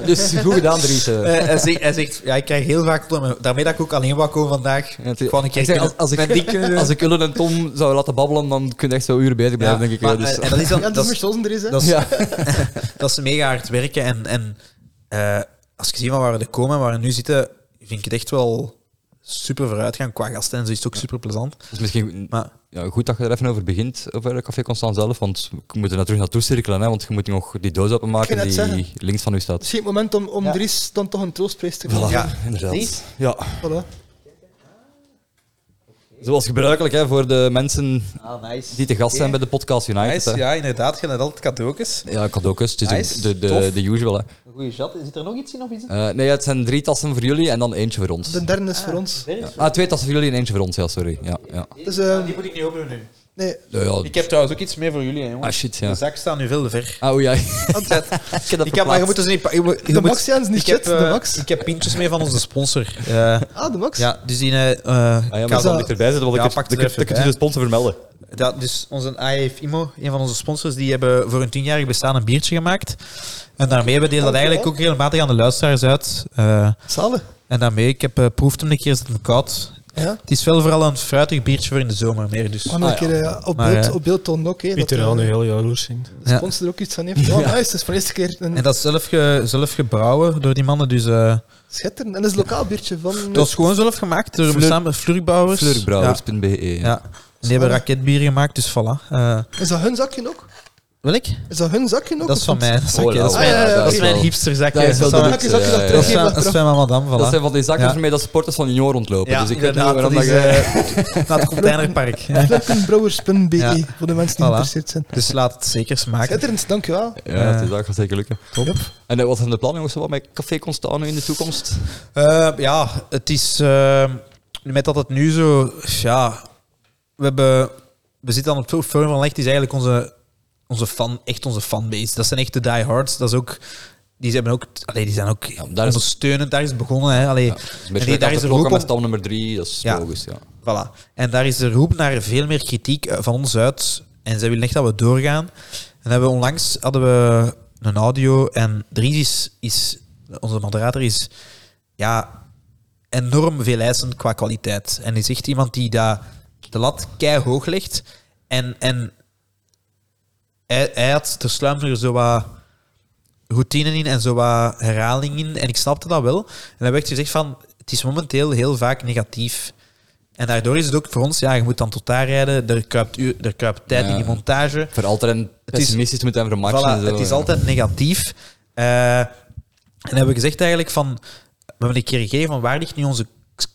Speaker 1: dus goed gedaan, Dries. eh.
Speaker 2: Eh, hij, zegt, hij zegt, ja, ik krijg heel vaak... klappen. Daarmee dat ik ook alleen wou komen vandaag.
Speaker 1: Ja, het-
Speaker 2: Ik wou een keer
Speaker 1: ik zeg, als,
Speaker 2: kunnen-
Speaker 1: als,
Speaker 2: mijn ding kunnen
Speaker 1: ik,
Speaker 2: doen.
Speaker 1: als ik Ullen en Tom zou laten babbelen, dan kun je echt zo uren bezig
Speaker 2: Ja,
Speaker 1: blijven, denk ik.
Speaker 2: maar,
Speaker 1: wel. dus,
Speaker 2: eh, en dat is dan...
Speaker 3: Ja,
Speaker 2: dat
Speaker 3: dat
Speaker 2: is-
Speaker 3: is Michel er is, hè.
Speaker 2: dat is-
Speaker 1: ja.
Speaker 2: dat ze mega hard werken. En, en eh, als ik zie van waar we komen en waar we nu zitten, vind ik het echt wel super vooruitgang qua gasten. En zo is het ook super plezant.
Speaker 1: Dus misschien
Speaker 2: Maar
Speaker 1: ja, goed dat je er even over begint, over Café Constant zelf, want we moeten er terug naartoe cirkelen, hè, want je moet nog die doos
Speaker 3: Ik
Speaker 1: openmaken
Speaker 3: ging
Speaker 1: die
Speaker 3: net zeggen.
Speaker 1: links van u staat.
Speaker 3: Misschien het moment om, om
Speaker 2: Ja.
Speaker 3: Dries dan toch een troostprijs te
Speaker 1: Voilà,
Speaker 3: geven.
Speaker 2: Ja.
Speaker 1: inderdaad.
Speaker 2: Dries?
Speaker 1: Ja.
Speaker 3: Voilà.
Speaker 1: Zoals gebruikelijk hè, voor de mensen
Speaker 2: ah, nice.
Speaker 1: die te gast zijn bij de podcast United.
Speaker 2: Nice,
Speaker 1: hè.
Speaker 2: ja, inderdaad. Je hebt altijd cadeautjes.
Speaker 1: Ja, cadeautjes. Het is
Speaker 2: Nice,
Speaker 1: de, de, de,
Speaker 2: tof.
Speaker 1: de usual. Hè.
Speaker 2: Een goede chat. Zit er nog iets in of is het?
Speaker 1: Eh, nee, het zijn drie tassen voor jullie en dan eentje voor ons.
Speaker 3: De derde is voor ons.
Speaker 1: Ah, twee tassen voor jullie en eentje voor ons, ja, sorry. Ja, ja.
Speaker 3: Dus, eh,
Speaker 2: Die moet ik niet openen nu.
Speaker 3: nee,
Speaker 1: Ja, ja.
Speaker 2: Ik heb trouwens ook iets meer voor jullie, hè, jongens.
Speaker 1: Ah, shit, ja.
Speaker 2: De zak staat nu veel te ver.
Speaker 1: Ah, oei, ja. ik heb dat
Speaker 2: Ik heb, maar je moet dus niet... pa- je moet- je
Speaker 3: de
Speaker 2: moet-
Speaker 3: Max, Jans, niet
Speaker 2: ik heb,
Speaker 3: shit. De
Speaker 2: eh,
Speaker 3: Max.
Speaker 2: Ik heb pintjes mee van onze sponsor. Eh,
Speaker 3: Ah, de Max.
Speaker 2: ja, dus die... eh, eh,
Speaker 1: Ah, ja,
Speaker 2: ik
Speaker 1: maar
Speaker 2: had-
Speaker 1: zal niet erbij zitten, want
Speaker 2: Ja,
Speaker 1: ik
Speaker 2: pak
Speaker 1: heb, ik
Speaker 2: het
Speaker 1: heb,
Speaker 2: er even
Speaker 1: ik heb dus de
Speaker 2: bij.
Speaker 1: sponsor vermelden.
Speaker 2: Dat, dus onze AEF IMO, een van onze sponsors, die hebben voor hun tienjarig bestaan een biertje gemaakt. En daarmee hebben we delen dat eigenlijk ook regelmatig aan de luisteraars uit. Eh,
Speaker 3: Zalig.
Speaker 2: en daarmee, ik heb eh, proefd hem een keer, zit hem koud.
Speaker 3: Ja.
Speaker 2: Het is wel vooral een fruitig biertje voor in de zomer meer. Dus.
Speaker 3: Ah, nog
Speaker 1: Ah,
Speaker 3: een keer eh, op,
Speaker 2: Maar,
Speaker 3: beeld,
Speaker 2: eh,
Speaker 3: op beeld tonen ook. hè,
Speaker 4: Pieter
Speaker 3: dat,
Speaker 4: gaat nu
Speaker 3: eh,
Speaker 4: heel jaloers zijn.
Speaker 3: de sponsor er ook iets van heeft. Ja, nice. Dat is voor de eerste keer een
Speaker 2: En dat is zelf, ge- zelf gebrouwen door die mannen. Dus, eh
Speaker 3: schitterend. En dat is een lokaal biertje van...
Speaker 2: het was gewoon zelf gemaakt door
Speaker 1: Fleur-
Speaker 2: samen Flurkbrouwers. Ja.
Speaker 1: Flurkbrouwers.be.
Speaker 2: ja. En die hebben raketbier gemaakt, dus voilà. Eh
Speaker 3: Is dat hun zakje ook?
Speaker 2: wil ik?
Speaker 3: Is dat hun zakje ook?
Speaker 2: Dat is van mij. Dat is,
Speaker 1: Oh,
Speaker 2: oké, dat is
Speaker 1: ja,
Speaker 2: mijn,
Speaker 3: ja, ja,
Speaker 2: dat is
Speaker 1: ja.
Speaker 2: mijn hipsterzakje.
Speaker 1: Dat is wel
Speaker 2: van-
Speaker 1: de
Speaker 3: zakje, zakje
Speaker 1: Ja, ja,
Speaker 3: dat
Speaker 1: ja.
Speaker 2: dat is
Speaker 3: teruggeven,
Speaker 2: van- dat is
Speaker 3: terug.
Speaker 2: van mijn madame, voilà.
Speaker 1: Dat zijn van die zakjes
Speaker 2: Ja.
Speaker 1: waarmee dat supporters van Union rondlopen. dus ik weet niet waarom dat je...
Speaker 2: eh, naar het containerpark. Ja.
Speaker 3: Vleukenbrouwers.be,
Speaker 2: Ja.
Speaker 3: voor de mensen die
Speaker 2: Voilà.
Speaker 3: geïnteresseerd zijn.
Speaker 2: Dus laat het zeker smaken.
Speaker 3: Schitterend, dankjewel.
Speaker 1: Ja, het is, dat gaat zeker lukken.
Speaker 2: eh, Top.
Speaker 1: En eh, wat zijn de plannen jongens wat met Café Constant nu in de toekomst?
Speaker 2: Eh, ja, het is... eh, met dat het nu zo... Ja, we, hebben, we zitten aan het Forum van Lecht. is eigenlijk onze, onze fan, echt onze fanbase. Dat zijn echt de diehards. Dat is ook... Die zijn ook, allee, die zijn ook
Speaker 1: daar is-
Speaker 2: ondersteunend. Daar is het begonnen. Hè, allee.
Speaker 1: Ja,
Speaker 2: en die, daar is er ook
Speaker 1: ook
Speaker 2: om-
Speaker 1: met stam nummer drie, dat is
Speaker 2: Ja.
Speaker 1: logisch. Ja.
Speaker 2: Voilà. En daar is de roep naar veel meer kritiek eh, van ons uit. En zij willen echt dat we doorgaan. En hebben we onlangs hadden we een audio en Dries is, is onze moderator is ja, enorm veel eisend qua kwaliteit. En is echt iemand die daar de lat kei hoog legt. En, en hij, hij had er sluimde er zo wat routine in en zo wat herhaling in. En ik snapte dat wel. En dan werd gezegd van, het is momenteel heel vaak negatief. En daardoor is het ook voor ons, ja, je moet dan tot daar rijden, er kruipt, uur, er kruipt tijd
Speaker 1: Ja.
Speaker 2: in die montage.
Speaker 1: Voor altijd een
Speaker 2: Het is-
Speaker 1: pessimistisch te moeten hebben voor matchen.
Speaker 2: Voilà,
Speaker 1: en zo,
Speaker 2: het is
Speaker 1: ja.
Speaker 2: altijd negatief. Eh, en hebben we gezegd eigenlijk van... We hebben een keer gegeven van waar ligt nu onze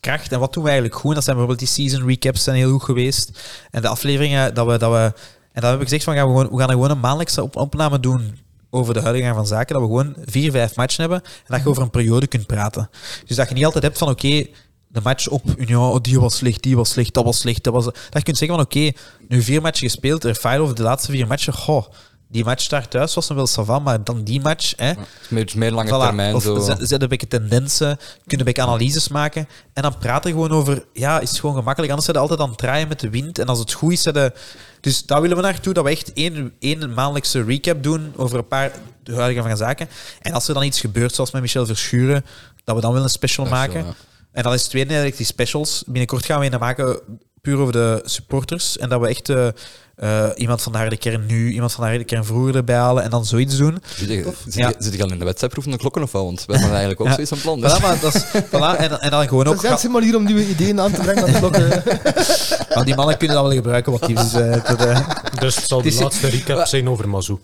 Speaker 2: kracht en wat doen we eigenlijk goed. En dat zijn bijvoorbeeld die season recaps zijn heel goed geweest. En de afleveringen dat we... Dat we en dan hebben we gezegd van gaan we, gewoon, we gaan er gewoon een maandelijkse op opname doen over de huidige gang van zaken. Dat we gewoon vier, vijf matchen hebben en dat je over een periode kunt praten. Dus dat je niet altijd hebt van oké... de match op Union, oh, die was slecht, die was slecht, dat was slecht. Dat, was, dat je kunt zeggen van oké, nu vier matchen gespeeld, er file over de laatste vier matchen. Goh, die match daar thuis was nog wel savan, maar dan die match. Hè,
Speaker 1: Het is meer, het is meer lange
Speaker 2: Voilà.
Speaker 1: termijn.
Speaker 2: Of
Speaker 1: Zo.
Speaker 2: zet- zet een beetje tendensen, kunnen een beetje analyses maken. En dan praten gewoon over, ja, is het gewoon gemakkelijk. Anders zijn we altijd aan het draaien met de wind. En als het goed is, zijn we- Dus daar willen we naartoe, dat we echt één, één maandelijkse recap doen over een paar de huidige van zaken. En als er dan iets gebeurt, zoals met Michel Verschuren, dat we dan wel een special
Speaker 1: Special,
Speaker 2: maken.
Speaker 1: ja.
Speaker 2: En dat is het tweede eigenlijk, die specials. Binnenkort gaan we een maken puur over de supporters. En dat we echt... eh, eh, iemand van de harde kern nu, iemand van de harde kern vroeger erbij halen en dan zoiets doen.
Speaker 1: Zit je- Zit je
Speaker 2: Ja.
Speaker 1: zit je al in de wedstrijdproef van de klokken of wat? Want wij hebben eigenlijk ook
Speaker 2: Ja.
Speaker 1: zoiets van plan. dus.
Speaker 2: Voilà, maar dat is, voilà, en, en dan gewoon
Speaker 3: Dat
Speaker 2: ook...
Speaker 3: zijn ze maar hier om nieuwe ideeën aan te brengen. aan de klok, eh.
Speaker 2: Maar die mannen kunnen dat wel gebruiken, wat die dus, eh, dat, eh.
Speaker 4: Dus het zal de
Speaker 2: Het is-
Speaker 4: laatste recap zijn over Mazou.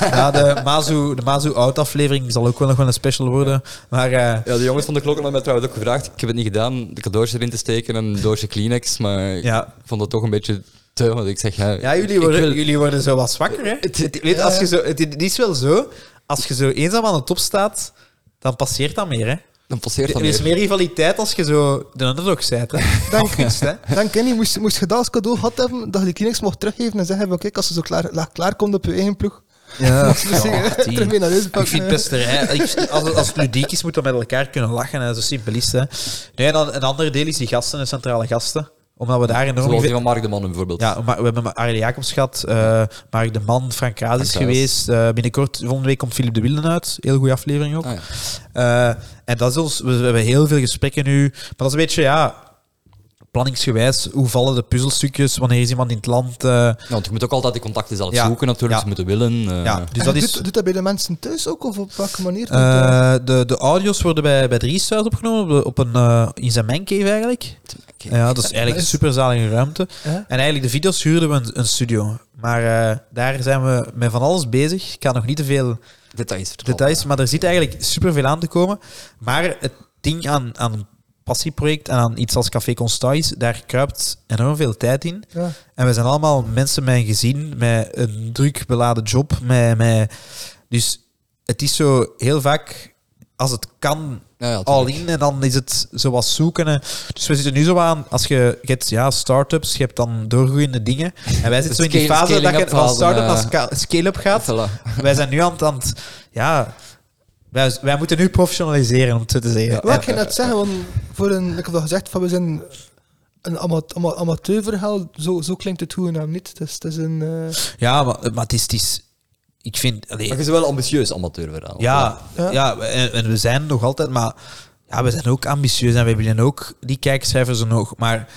Speaker 2: Ja, de Mazu, de Mazu Out aflevering zal ook wel nog wel een special worden. Maar eh,
Speaker 1: Ja, de jongens van de klokken hebben mij trouwens ook gevraagd. Ik heb het niet gedaan, de cadeautjes erin te steken en een doosje Kleenex. Maar
Speaker 2: ja,
Speaker 1: ik vond dat toch een beetje te, want ik zeg... Ja,
Speaker 2: Ja, jullie
Speaker 1: ik
Speaker 2: worden,
Speaker 1: wil-
Speaker 2: jullie worden zo wat zwakker, hè? Het, het- weet, als je zo, het, het is wel zo, als je zo eenzaam aan de top staat, dan passeert dat meer, hè?
Speaker 1: Dan passeert dat
Speaker 2: Er is
Speaker 1: weer.
Speaker 2: meer rivaliteit als je zo de underdog bent, hè?
Speaker 3: Dank
Speaker 2: Afgunst, hè?
Speaker 3: Dan Kenny, moest, moest je dat als cadeau gehad hebben, dat je die Kleenex mocht teruggeven en zeggen van kijk, als ze zo klaar, la- klaar komt op je eigen ploeg,
Speaker 2: Ja,
Speaker 3: dus je terug mee naar huis pakken.
Speaker 2: Ik vind pesterij. ik- Als, als het ludiek is, moet dat met elkaar kunnen lachen. hè. Zo simpelist. Hè. Nee, en dan, een ander deel is die gasten, de centrale gasten. Omdat we daar enorm
Speaker 1: Zoals die
Speaker 2: veel...
Speaker 1: van Mark de Mannen bijvoorbeeld.
Speaker 2: Ja, maar we hebben Arjen Jacobs gehad, eh Mark de Man, Frank Kaas is
Speaker 1: Frank Kaas.
Speaker 2: geweest. eh, binnenkort, volgende week komt Philip de Wilden uit. Heel goede aflevering ook.
Speaker 1: Ah, ja.
Speaker 2: Eh, en dat is ons, we, we hebben heel veel gesprekken nu. Maar dat is een beetje, ja, planningsgewijs. Hoe vallen de puzzelstukjes? Wanneer is iemand in het land? eh,
Speaker 1: Ja, want je moet ook altijd die contacten zelf
Speaker 2: Ja.
Speaker 1: zoeken natuurlijk,
Speaker 2: Ja.
Speaker 1: ze moeten willen. eh.
Speaker 2: ja, dus
Speaker 3: En
Speaker 2: dat
Speaker 3: doet,
Speaker 2: is...
Speaker 3: doet dat bij de mensen thuis ook, of op welke manier? doet dat?
Speaker 2: Eh, de, de audio's worden bij, bij Dries thuis opgenomen, op, de- op een, eh, in zijn mancave eigenlijk. Ja, dat is eigenlijk een superzalige ruimte.
Speaker 3: Hè?
Speaker 2: En eigenlijk de video's huurden we een, een studio. Maar eh, daar zijn we met van alles bezig. Ik kan nog niet te veel
Speaker 1: Details.
Speaker 2: details, maar er zit eigenlijk superveel aan te komen. Maar het ding aan, aan een passieproject en aan iets als Café Constant is, daar kruipt enorm veel tijd in.
Speaker 3: Ja.
Speaker 2: En we zijn allemaal mensen met een gezin, met een druk beladen job. Met, met... Dus het is zo heel vaak, als het kan,
Speaker 1: Ja, ja,
Speaker 2: al
Speaker 1: tuurlijk.
Speaker 2: in. En dan is het zo wat zoeken. hè. Dus we zitten nu zo aan, als je, je hebt ja, start-ups, je hebt dan doorgroeiende dingen. En wij zitten zo in die
Speaker 1: scale-
Speaker 2: fase dat je
Speaker 1: scaling-up
Speaker 2: van
Speaker 1: fase,
Speaker 2: start-up
Speaker 1: eh.
Speaker 2: naar sca- scale-up gaat.
Speaker 1: Voilà.
Speaker 2: Wij zijn nu aan het... Aan het ja, wij, wij moeten nu professionaliseren, om het zo te zeggen.
Speaker 3: Wat ik ging net zeggen, want voor een, ik heb al gezegd, van, we zijn een ama- ama- amateurverhaal, zo, zo klinkt het goede naam niet. Het is, het is een... eh,
Speaker 2: Ja, maar, maar het is... het is- ik vind... allee,
Speaker 1: Maar je is wel ambitieus amateurverhaal.
Speaker 2: ja,
Speaker 3: Ja.
Speaker 2: ja. en, en we zijn nog altijd... Maar ja, we zijn ook ambitieus en we willen ook die kijkcijfers nog. Maar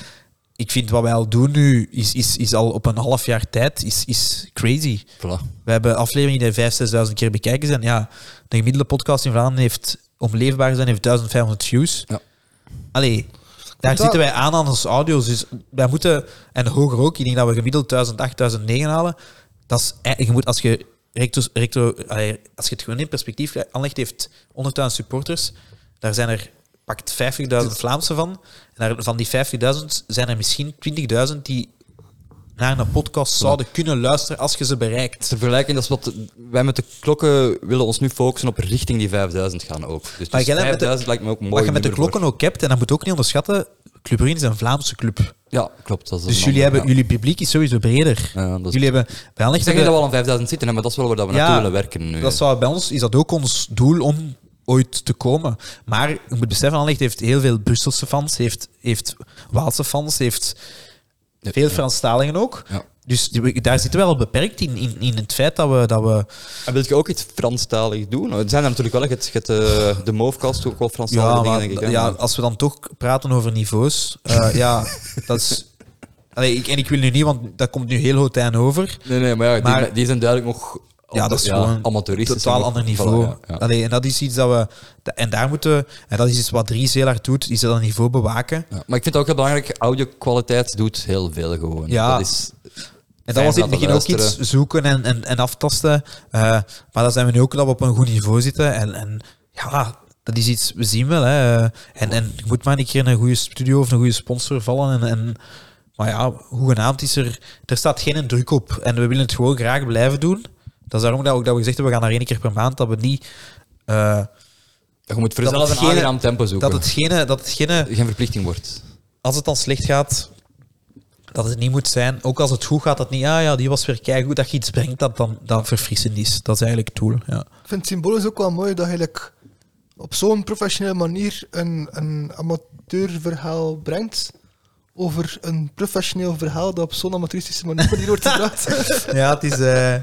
Speaker 2: ik vind wat wij al doen nu, is, is, is al op een half jaar tijd, is, is crazy.
Speaker 1: Voilà.
Speaker 2: We hebben afleveringen die 5.000, 6.000 keer bekijken zijn. Ja, de gemiddelde podcast in Vlaanderen heeft, om leefbaar te zijn, heeft 1500 views.
Speaker 1: Ja.
Speaker 2: Allee, daar
Speaker 3: Dat-
Speaker 2: zitten wij aan aan onze audio's. Dus wij moeten, en hoger ook, ik denk dat we gemiddeld 1000, 8000, 9 halen. Dat is, ei- je moet, als je, recto, recto, allee, als je het gewoon in perspectief aanlegt, heeft 100.000 supporters. Daar zijn er pakt 50.000 Vlaamse van. En daar, van die 50.000 zijn er misschien 20.000 die naar een podcast zouden kunnen luisteren als je ze bereikt.
Speaker 1: Ter vergelijking, dat is wat wij met de klokken willen ons nu focussen op richting die 5000 gaan ook. Dus,
Speaker 2: Maar
Speaker 1: dus
Speaker 2: jij hebt met de-
Speaker 1: 5000 lijkt me ook een mooi.
Speaker 2: Wat je met de
Speaker 1: nummer
Speaker 2: klokken ook hebt, en dat moet je ook niet onderschatten, Club Brugge is een Vlaamse club.
Speaker 1: voor- Ja, klopt. Dat is
Speaker 2: Dus
Speaker 1: een
Speaker 2: jullie,
Speaker 1: ander,
Speaker 2: hebben, jullie publiek is sowieso breder.
Speaker 1: Oh, Ja, dat is-
Speaker 2: jullie hebben bij
Speaker 1: Ik
Speaker 2: Anderlecht
Speaker 1: zeg niet dat
Speaker 2: hebben-
Speaker 1: we al aan 5000 zitten, hè, maar dat is wel waar dat we
Speaker 2: Ja,
Speaker 1: naartoe willen werken nu.
Speaker 2: dat zou bij ons is dat ook ons doel om ooit te komen. Maar je moet beseffen, Anderlecht heeft heel veel Brusselse fans, heeft, heeft Waalse fans, heeft veel Franstaligen ook.
Speaker 1: Ja.
Speaker 2: Dus die- daar zitten we wel beperkt in, in, in het feit dat we... Dat we
Speaker 1: En wil je ook iets Franstalig doen? Er zijn er natuurlijk wel, het, het, eh, de Movecast ook wel Franstalige
Speaker 2: ja,
Speaker 1: dingen,
Speaker 2: maar,
Speaker 1: denk ik. hè,
Speaker 2: ja,
Speaker 1: maar-
Speaker 2: als we dan toch praten over niveaus, eh, ja, dat is... Allee, ik, en ik wil nu niet, want dat komt nu heel hotijn over.
Speaker 1: Nee, nee, maar, ja, die-
Speaker 2: Maar-
Speaker 1: die, zijn duidelijk nog
Speaker 2: Ja, dat is gewoon
Speaker 1: amateuristisch.
Speaker 2: totaal
Speaker 1: nog-
Speaker 2: ander niveau.
Speaker 1: Voilà, ja, ja.
Speaker 2: Allee, en dat is iets dat we. da- En daar moeten. we- En dat is iets wat Dries heel hard doet, is dat een niveau bewaken.
Speaker 1: Ja, Maar ik vind het ook heel belangrijk, audio-kwaliteit doet heel veel gewoon.
Speaker 2: Ja.
Speaker 1: Dat is,
Speaker 2: En dat
Speaker 1: Fijn
Speaker 2: was in het
Speaker 1: laten
Speaker 2: begin ook iets
Speaker 1: luisteren.
Speaker 2: zoeken en, en, en aftasten. Eh, maar dan zijn we nu ook dat we op een goed niveau zitten. En, en ja, dat is iets, we zien wel. Hè. Eh, En, en je moet maar een keer in een goede studio of een goede sponsor vallen. En, en, maar ja, hoegenaamd is er. Er staat geen druk op. En we willen het gewoon graag blijven doen. Dat is daarom dat we, ook dat we gezegd hebben, we gaan naar één keer per maand. Dat we niet. eh,
Speaker 1: je moet voor
Speaker 2: Dat
Speaker 1: jezelf een
Speaker 2: hetgene-
Speaker 1: aangenaam tempo zoeken.
Speaker 2: dat hetgene, dat hetgene
Speaker 1: geen verplichting wordt.
Speaker 2: als het dan slecht gaat, dat het niet moet zijn. Ook als het goed gaat, dat niet, ah ja, die was weer keigoed, dat je iets brengt dat dan dat verfrissend is. Dat is eigenlijk het doel, ja.
Speaker 3: Ik vind het symbolisch ook wel mooi dat je eigenlijk op zo'n professionele manier een, een amateurverhaal brengt over een professioneel verhaal dat op zo'n amateuristische manier hier wordt gebracht.
Speaker 2: Ja, het is, eh,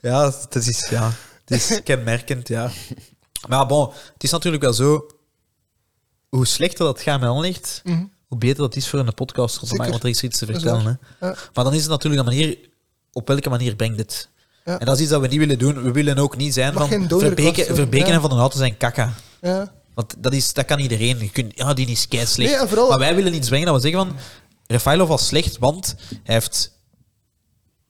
Speaker 2: ja, het is, ja, het is kenmerkend, ja. Maar bon, het is natuurlijk wel zo, hoe slechter dat gaat met aanlicht,
Speaker 3: Mhm.
Speaker 2: hoe beter dat is voor een podcast om
Speaker 3: Zeker.
Speaker 2: want er is iets te
Speaker 3: is
Speaker 2: vertellen. Hè.
Speaker 3: Ja.
Speaker 2: Maar dan is het natuurlijk een manier, op welke manier brengt het?
Speaker 3: Ja.
Speaker 2: En dat is iets dat we niet willen doen. We willen ook niet zijn
Speaker 3: Mag geen
Speaker 2: van
Speaker 3: dodelijke
Speaker 2: verbeken,
Speaker 3: klasse,
Speaker 2: verbeken
Speaker 3: ja.
Speaker 2: en van den auto zijn kakka.
Speaker 3: Ja.
Speaker 2: Want dat, is, dat kan iedereen. Je kunt, ja, die is kei slecht.
Speaker 3: Nee, en vooral-
Speaker 2: Maar wij willen iets brengen dat we zeggen van... Rafailov was slecht, want hij heeft...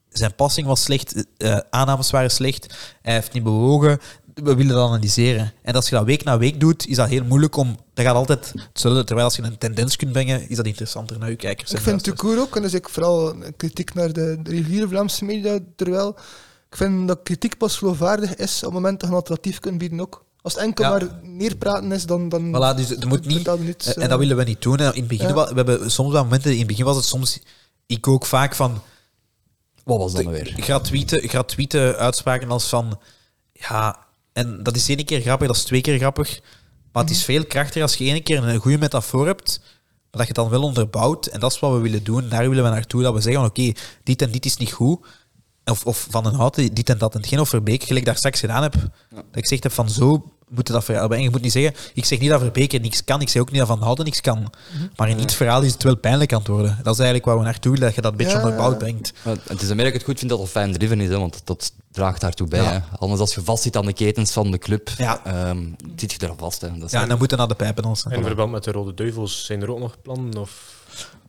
Speaker 2: eh, Zijn passing was slecht, eh, aannames waren slecht, hij heeft niet bewogen. we willen dat analyseren. En als je dat week na week doet, is dat heel moeilijk om... Dat gaat altijd hetzelfde. Terwijl als je een tendens kunt brengen, is dat interessanter naar je kijkers.
Speaker 3: Ik
Speaker 2: en
Speaker 3: vind het
Speaker 2: luisteraars.
Speaker 3: cool ook, en dus ik vooral kritiek naar de, de reguliere Vlaamse media, terwijl ik vind dat kritiek pas geloofwaardig is op het moment dat je een alternatief kunt bieden ook. Als het enkel
Speaker 2: Ja.
Speaker 3: maar neerpraten is, dan... dan
Speaker 2: Voilà, dus het moet niet...
Speaker 3: vertelt niets,
Speaker 2: En
Speaker 3: eh.
Speaker 2: dat willen we niet doen. En In het begin,
Speaker 3: Ja.
Speaker 2: wa- we hebben soms wel momenten... In het begin was het soms... Ik ook vaak van...
Speaker 1: Wat was dat nou weer?
Speaker 2: gratuite, gratuite uitspraken als van... Ja, en dat is één keer grappig, dat is twee keer grappig. Maar het is veel krachtiger als je één keer een goede metafoor hebt, maar dat je het dan wel onderbouwt. En dat is wat we willen doen. Daar willen we naartoe. Dat we zeggen, van, oké, dit en dit is niet goed. Of, of van een houten, dit en dat en hetgeen. Of Verbeek, gelijk daar straks gedaan heb. Dat ik gezegd heb van, zo moet je dat verhaal brengen. Je moet niet zeggen, ik zeg niet dat Verbeek niks kan. Ik zeg ook niet dat Van Houten niks kan. Maar in iets verhaal is het wel pijnlijk aan het worden. Dat is eigenlijk waar we naartoe willen, dat je dat een beetje
Speaker 3: Ja.
Speaker 2: onderbouwd brengt.
Speaker 1: Maar Het is een merk dat ik het goed vind dat het fan driven is, hè, want dat draagt daartoe bij.
Speaker 2: Ja.
Speaker 1: hè. Anders als je vastzit aan de ketens van de club,
Speaker 2: Ja.
Speaker 1: ehm, zit je daar vast. Hè. Dat is
Speaker 2: Ja, en dan moeten we naar de pijpen ons.
Speaker 4: In verband met de Rode Duivels, zijn er ook nog plannen? Of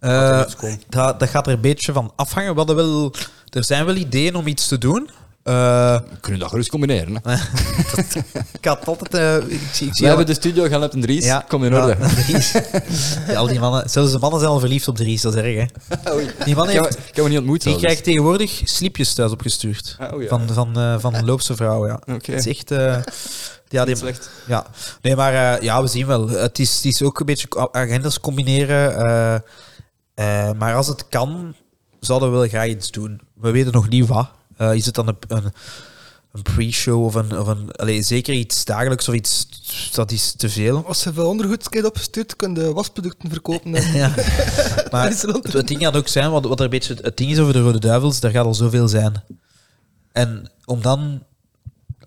Speaker 2: Eh,
Speaker 4: gaat er iets komen?
Speaker 2: dat, dat gaat er een beetje van afhangen. We hadden wel, er zijn wel ideeën om iets te doen. Eh,
Speaker 1: We kunnen dat gerust combineren. Hè.
Speaker 2: ik had altijd... eh, ik, zie- ik
Speaker 1: We
Speaker 2: zie
Speaker 1: hebben de studio gaan op een Dries. Kom in
Speaker 2: ja,
Speaker 1: orde.
Speaker 2: Dries. Ja, al die mannen, zelfs de mannen zijn al verliefd op Dries, dat is erg, hè. Die man
Speaker 1: Ik heb,
Speaker 2: heeft,
Speaker 1: ik heb hem niet ontmoet.
Speaker 2: die
Speaker 1: trouwens.
Speaker 2: krijgt tegenwoordig sliepjes thuis opgestuurd.
Speaker 1: Ah, oei, ja.
Speaker 2: Van, van, eh, van Loopse vrouwen, ja.
Speaker 1: Oké.
Speaker 2: Het is echt... eh, ja, die,
Speaker 1: Slecht.
Speaker 2: Ja, nee, maar eh, ja, we zien wel. Het is, het is ook een beetje co- agendas combineren. eh, eh, maar als het kan, zouden we wel graag iets doen. We weten nog niet wat. Eh, is het dan een, een, een pre-show of een... Of een allee, zeker iets dagelijks of iets... Dat is te veel.
Speaker 3: Als je veel ondergoed krijgt opgestuurd, kun je wasproducten verkopen. En
Speaker 2: Ja. Maar
Speaker 3: is rond.
Speaker 2: het, het ding gaat ook zijn, wat, wat er een beetje het ding is over de Rode Duivels, daar gaat al zoveel zijn. En om dan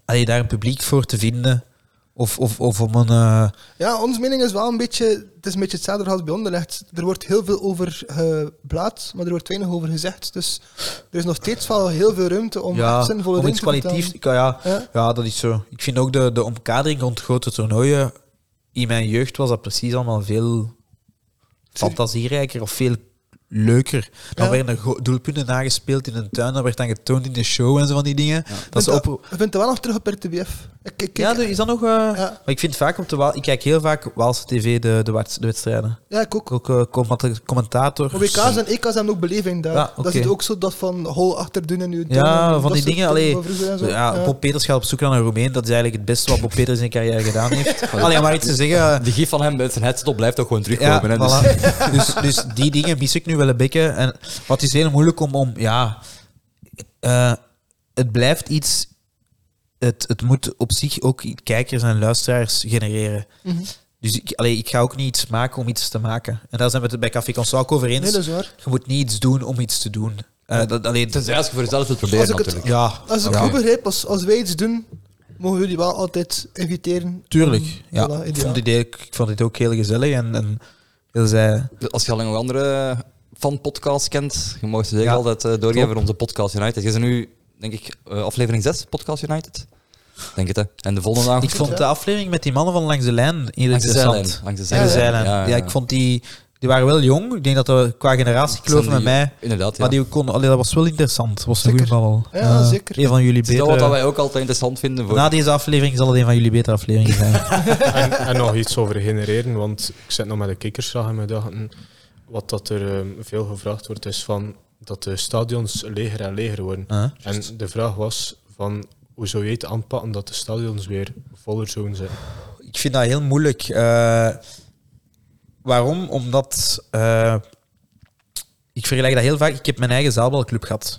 Speaker 2: allee, daar een publiek voor te vinden, of, of, of om een... eh,
Speaker 3: Ja, onze mening is wel een beetje. Het is een beetje hetzelfde als bij onderlegd. Er wordt heel veel over geblaat, maar er wordt weinig over gezegd. Dus er is nog steeds wel heel veel ruimte om echt zinvolle
Speaker 2: om
Speaker 3: dingen
Speaker 2: iets
Speaker 3: te
Speaker 2: kwalitatiefs.
Speaker 3: vertellen.
Speaker 2: Ja, ja,
Speaker 3: Ja.
Speaker 2: ja, dat is zo. Ik vind ook de, de omkadering rond grote toernooien. In mijn jeugd was dat precies allemaal veel fantasierijker of veel leuker. Dan
Speaker 3: Ja.
Speaker 2: werden er gro- doelpunten nagespeeld in een tuin, dat werd dan getoond in de show en zo van die dingen. Dat is
Speaker 3: Ik vind
Speaker 2: op...
Speaker 3: dat- Ik vind het wel nog terug op RTBF. Ik, ik,
Speaker 2: Ja,
Speaker 3: ja,
Speaker 2: de- is dat nog... eh, Maar ik vind vaak op de Waal... Ik kijk heel vaak Waalse TV de, de, waard- de wedstrijden.
Speaker 3: ja, ik ook.
Speaker 2: Ook eh, commenta- commentators.
Speaker 3: Maar WK's en EK's hebben ook beleving daar.
Speaker 2: Ja,
Speaker 3: Dat
Speaker 2: oké.
Speaker 3: is ook zo dat van hol achter doen en nu doen.
Speaker 2: Ja,
Speaker 3: en
Speaker 2: van die
Speaker 3: dat soort
Speaker 2: dingen.
Speaker 3: dingen
Speaker 2: Allee,
Speaker 3: van vroeger en zo.
Speaker 2: ja,
Speaker 3: Ja.
Speaker 2: Bob Peters gaat op zoek naar een Roemeen. Dat is eigenlijk het beste wat Bob Peters in zijn carrière gedaan heeft. Allee, om maar iets te zeggen. eh,
Speaker 1: De gif van hem met zijn headset op blijft ook gewoon
Speaker 2: Ja,
Speaker 1: terugkomen. hè, dus-
Speaker 2: voilà. dus, dus die dingen mis ik nu wel een beetje. En wat is heel moeilijk om... om ja, eh, het blijft iets... Het, het moet op zich ook kijkers en luisteraars genereren. Dus ik, allee, ik ga ook niet iets maken om iets te maken. En daar zijn we het bij Café Constant ook over eens.
Speaker 3: Nee, dus- dat is waar.
Speaker 2: Je moet niet iets doen om iets te doen. Eh, dat, allee,
Speaker 1: Tenzij Dus als je voor jezelf wilt proberen
Speaker 3: Als ik het-
Speaker 1: natuurlijk.
Speaker 2: ja,
Speaker 3: Als ik
Speaker 2: ja.
Speaker 3: goed begrijp, als, als wij iets doen, mogen jullie wel altijd inviteren.
Speaker 2: Tuurlijk, ja.
Speaker 3: Mm, Voilà,
Speaker 2: ik,
Speaker 3: ideaal.
Speaker 2: vond het, ik ik vond het ook heel gezellig en, en heel zij...
Speaker 1: Als je al een andere van podcast kent, je mag ze zeker
Speaker 2: Ja,
Speaker 1: altijd eh, doorgeven
Speaker 2: top.
Speaker 1: voor onze Podcast United. Je bent nu, denk ik, eh, aflevering 6, Podcast United. Denk het, hè. En de volgende dag...
Speaker 2: Ik vond de aflevering met die mannen van Langs de Lijn heel
Speaker 1: Langs de
Speaker 2: interessant.
Speaker 1: zijlijn. Langs de
Speaker 2: Langs de
Speaker 1: zijlijn.
Speaker 2: zijlijn. Ja, ik vond die... Die waren wel jong. Ik denk dat we qua generatie
Speaker 1: Zijn
Speaker 2: kloven met
Speaker 1: die-
Speaker 2: mij.
Speaker 1: Inderdaad, ja.
Speaker 2: Maar die kon, allee, dat was wel interessant. Dat was een goede
Speaker 3: Zeker.
Speaker 2: babbel.
Speaker 3: Ja,
Speaker 2: Eh,
Speaker 3: zeker.
Speaker 2: Een van jullie
Speaker 1: Het is dat wat
Speaker 2: beter.
Speaker 1: wij ook altijd interessant vinden. Voor...
Speaker 2: Na deze aflevering zal het een van jullie betere afleveringen zijn.
Speaker 4: en, en nog iets over genereren, want ik zit nog met de kijkersvraag in mijn dachten. Wat dat er ehm, veel gevraagd wordt, is van dat de stadions leger en leger worden.
Speaker 2: Huh?
Speaker 4: En de vraag was van hoe zou je het aanpakken dat de stadions weer voller zouden zijn?
Speaker 2: Ik vind dat heel moeilijk. Eh, waarom? Omdat eh, ik vergelijk dat heel vaak. Ik heb mijn eigen zaalbalclub gehad.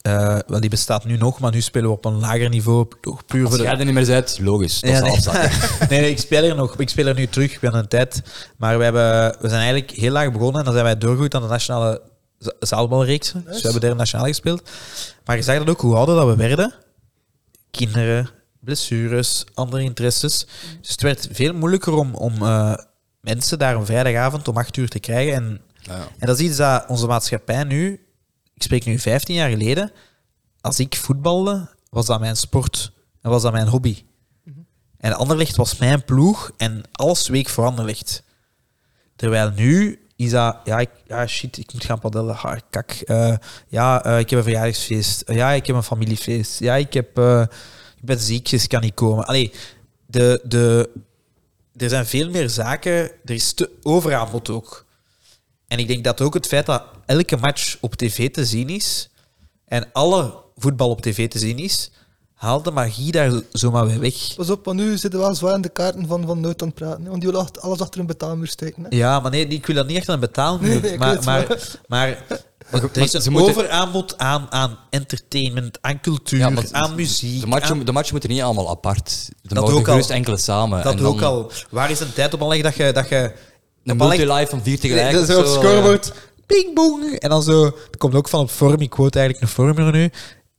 Speaker 2: Eh, wel, die bestaat nu nog, maar nu spelen we op een lager niveau. Toch puur
Speaker 1: Als
Speaker 2: voor de...
Speaker 1: jij er niet meer bent, logisch. Dus Dat
Speaker 2: Ja,
Speaker 1: is
Speaker 2: nee.
Speaker 1: afzakken.
Speaker 2: nee, nee, ik speel er nog. Ik speel er nu terug. Ik ben een tijd. Maar we, hebben, we zijn eigenlijk heel laag begonnen. En dan zijn wij doorgegroeid aan de nationale za- zaalbalreeksen. Dus we hebben daar nationaal gespeeld. Maar je zag dat ook hoe ouder dat we werden. Kinderen, blessures, andere interesses. Dus het werd veel moeilijker om, om eh, mensen daar een vrijdagavond om acht uur te krijgen. En,
Speaker 1: Ja.
Speaker 2: en dat is iets dat onze maatschappij nu... Ik spreek nu 15 jaar geleden. Als ik voetbalde, was dat mijn sport. En was dat mijn hobby. En Anderlecht was mijn ploeg en alles week voor Anderlecht. Terwijl nu is dat, ja, ik, ja shit, ik moet gaan padellen, ha, kak. Eh, ja, eh, ik heb een verjaardagsfeest. Eh, ja, ik heb een familiefeest. Ja, ik heb, eh, ik ben ziek, dus ik kan niet komen. Allee, de, de, er zijn veel meer zaken. Er is te overaanbod ook. En ik denk dat ook het feit dat elke match op tv te zien is en alle voetbal op tv te zien is, haalt de magie daar zo- zomaar weer weg.
Speaker 3: Pas op, want nu zitten we wel zwaar aan de kaarten van Van Noot aan het praten. hè, Want die wil acht- alles achter een betaalmuur steken. Hè.
Speaker 2: Ja, maar nee, ik wil dat niet echt aan betalen.
Speaker 3: Nee, nee, ik
Speaker 2: maar,
Speaker 3: weet
Speaker 2: maar,
Speaker 3: het
Speaker 2: maar, er is
Speaker 1: maar
Speaker 2: een
Speaker 1: ze moeten-
Speaker 2: overaanbod aan, aan entertainment, aan cultuur,
Speaker 1: Ja, maar-
Speaker 2: aan muziek.
Speaker 1: De matchen,
Speaker 2: aan-
Speaker 1: de matchen moeten niet allemaal apart. Er
Speaker 2: Dat
Speaker 1: mogen
Speaker 2: ook al.
Speaker 1: gerust enkele samen.
Speaker 2: dat
Speaker 1: en dan
Speaker 2: ook al. Waar is een tijd op aanleg dat je... Dat je
Speaker 1: Een
Speaker 2: op aanleg-
Speaker 1: multi-live van vier tegelijk.
Speaker 2: dat
Speaker 1: of
Speaker 2: zo op
Speaker 1: zo,
Speaker 2: scorebord. Ping, boing. En dan zo... Dat komt ook van op vorm. Ik quote eigenlijk een vormer nu. 1-0...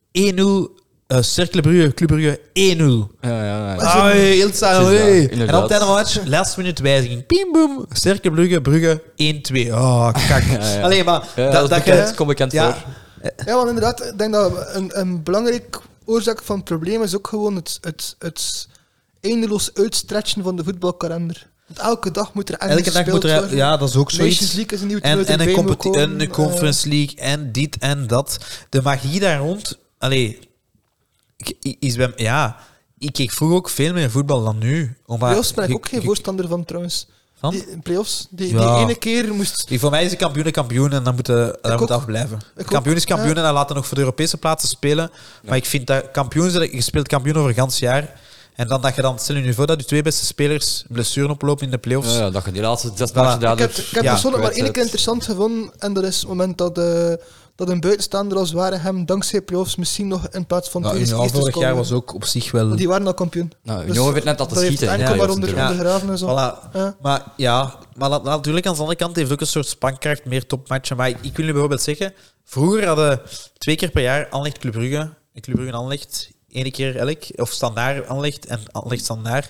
Speaker 2: eh Cercle Brugge, Club Brugge, 1-0.
Speaker 1: Ja, ja, ja. ja.
Speaker 2: Ai, heel saai,
Speaker 1: Het is dat,
Speaker 2: hey. En
Speaker 1: inderdaad.
Speaker 2: op het einde van de match, last minute wijziging. Pim, boem. Sterke Brugge, Brugge, 1-2. Oh, kak.
Speaker 1: ja.
Speaker 2: Alleen maar...
Speaker 1: Ja, dat is bekend, kom bekend voor.
Speaker 3: Ja, want inderdaad, ik denk dat een, een belangrijk oorzaak van het probleem is ook gewoon het, het, het eindeloos uitstretchen van de voetbalkalender. Want elke dag moet er ergens
Speaker 2: Elke dag moet er...
Speaker 3: worden.
Speaker 2: Ja, dat is ook
Speaker 3: Nations
Speaker 2: zoiets.
Speaker 3: League is een nieuw
Speaker 2: En,
Speaker 3: toernooi
Speaker 2: en een,
Speaker 3: erbij moet
Speaker 2: competi- een
Speaker 3: komen, eh,
Speaker 2: Conference League en dit en dat. De magie daar rond... Allee... ik- i- Is bij, ja... Ik keek vroeger ook veel meer voetbal dan nu. Omdat
Speaker 3: Playoffs ben ik
Speaker 2: je-
Speaker 3: ook geen
Speaker 2: je-
Speaker 3: voorstander van trouwens.
Speaker 2: Van?
Speaker 3: Die, playoffs, die,
Speaker 2: Ja.
Speaker 3: die ene keer moest.
Speaker 2: Die- Voor mij is de kampioen een kampioen en dan moet de- daar moet
Speaker 3: ook.
Speaker 2: afblijven.
Speaker 3: Ik
Speaker 2: kampioen
Speaker 3: ook.
Speaker 2: is kampioen en dan laten nog voor de Europese plaatsen spelen. Maar ik vind dat kampioen, zijn- je speelt kampioen over een gans jaar. En dan dat je dan, stel je nu voor dat je twee beste spelers blessuren oplopen in de playoffs.
Speaker 1: Ja, ja, dat je die laatste zes
Speaker 2: Voilà.
Speaker 1: matchen
Speaker 3: Ik heb,
Speaker 1: dadelijk...
Speaker 3: ik heb
Speaker 2: Ja,
Speaker 3: persoonlijk maar één
Speaker 1: kwijt
Speaker 3: keer
Speaker 1: zet.
Speaker 3: interessant gevonden. En dat is het moment dat, eh, dat een buitenstaander als Waregem dankzij playoffs misschien nog in plaats van
Speaker 2: Nou,
Speaker 3: tweede
Speaker 2: Union
Speaker 3: eerste
Speaker 2: vorig
Speaker 3: kon
Speaker 2: jaar
Speaker 3: worden.
Speaker 2: was ook op zich wel.
Speaker 3: Want die waren al kampioen. Dus
Speaker 1: Nou, Union werd net laten
Speaker 3: dat heeft
Speaker 1: schieten,
Speaker 3: enkel
Speaker 2: ja,
Speaker 3: maar
Speaker 2: ja,
Speaker 3: onder,
Speaker 2: ja.
Speaker 3: ondergraven en zo.
Speaker 2: Voilà.
Speaker 3: Ja.
Speaker 2: Maar ja, maar la- natuurlijk aan de andere kant heeft ook een soort spankracht, meer topmatchen. Maar ik, ik wil nu bijvoorbeeld zeggen, vroeger hadden twee keer per jaar Anlecht Club Brugge en Club Brugge Anlecht, één keer elk, of Standaard Anlecht en Anlecht Standaard.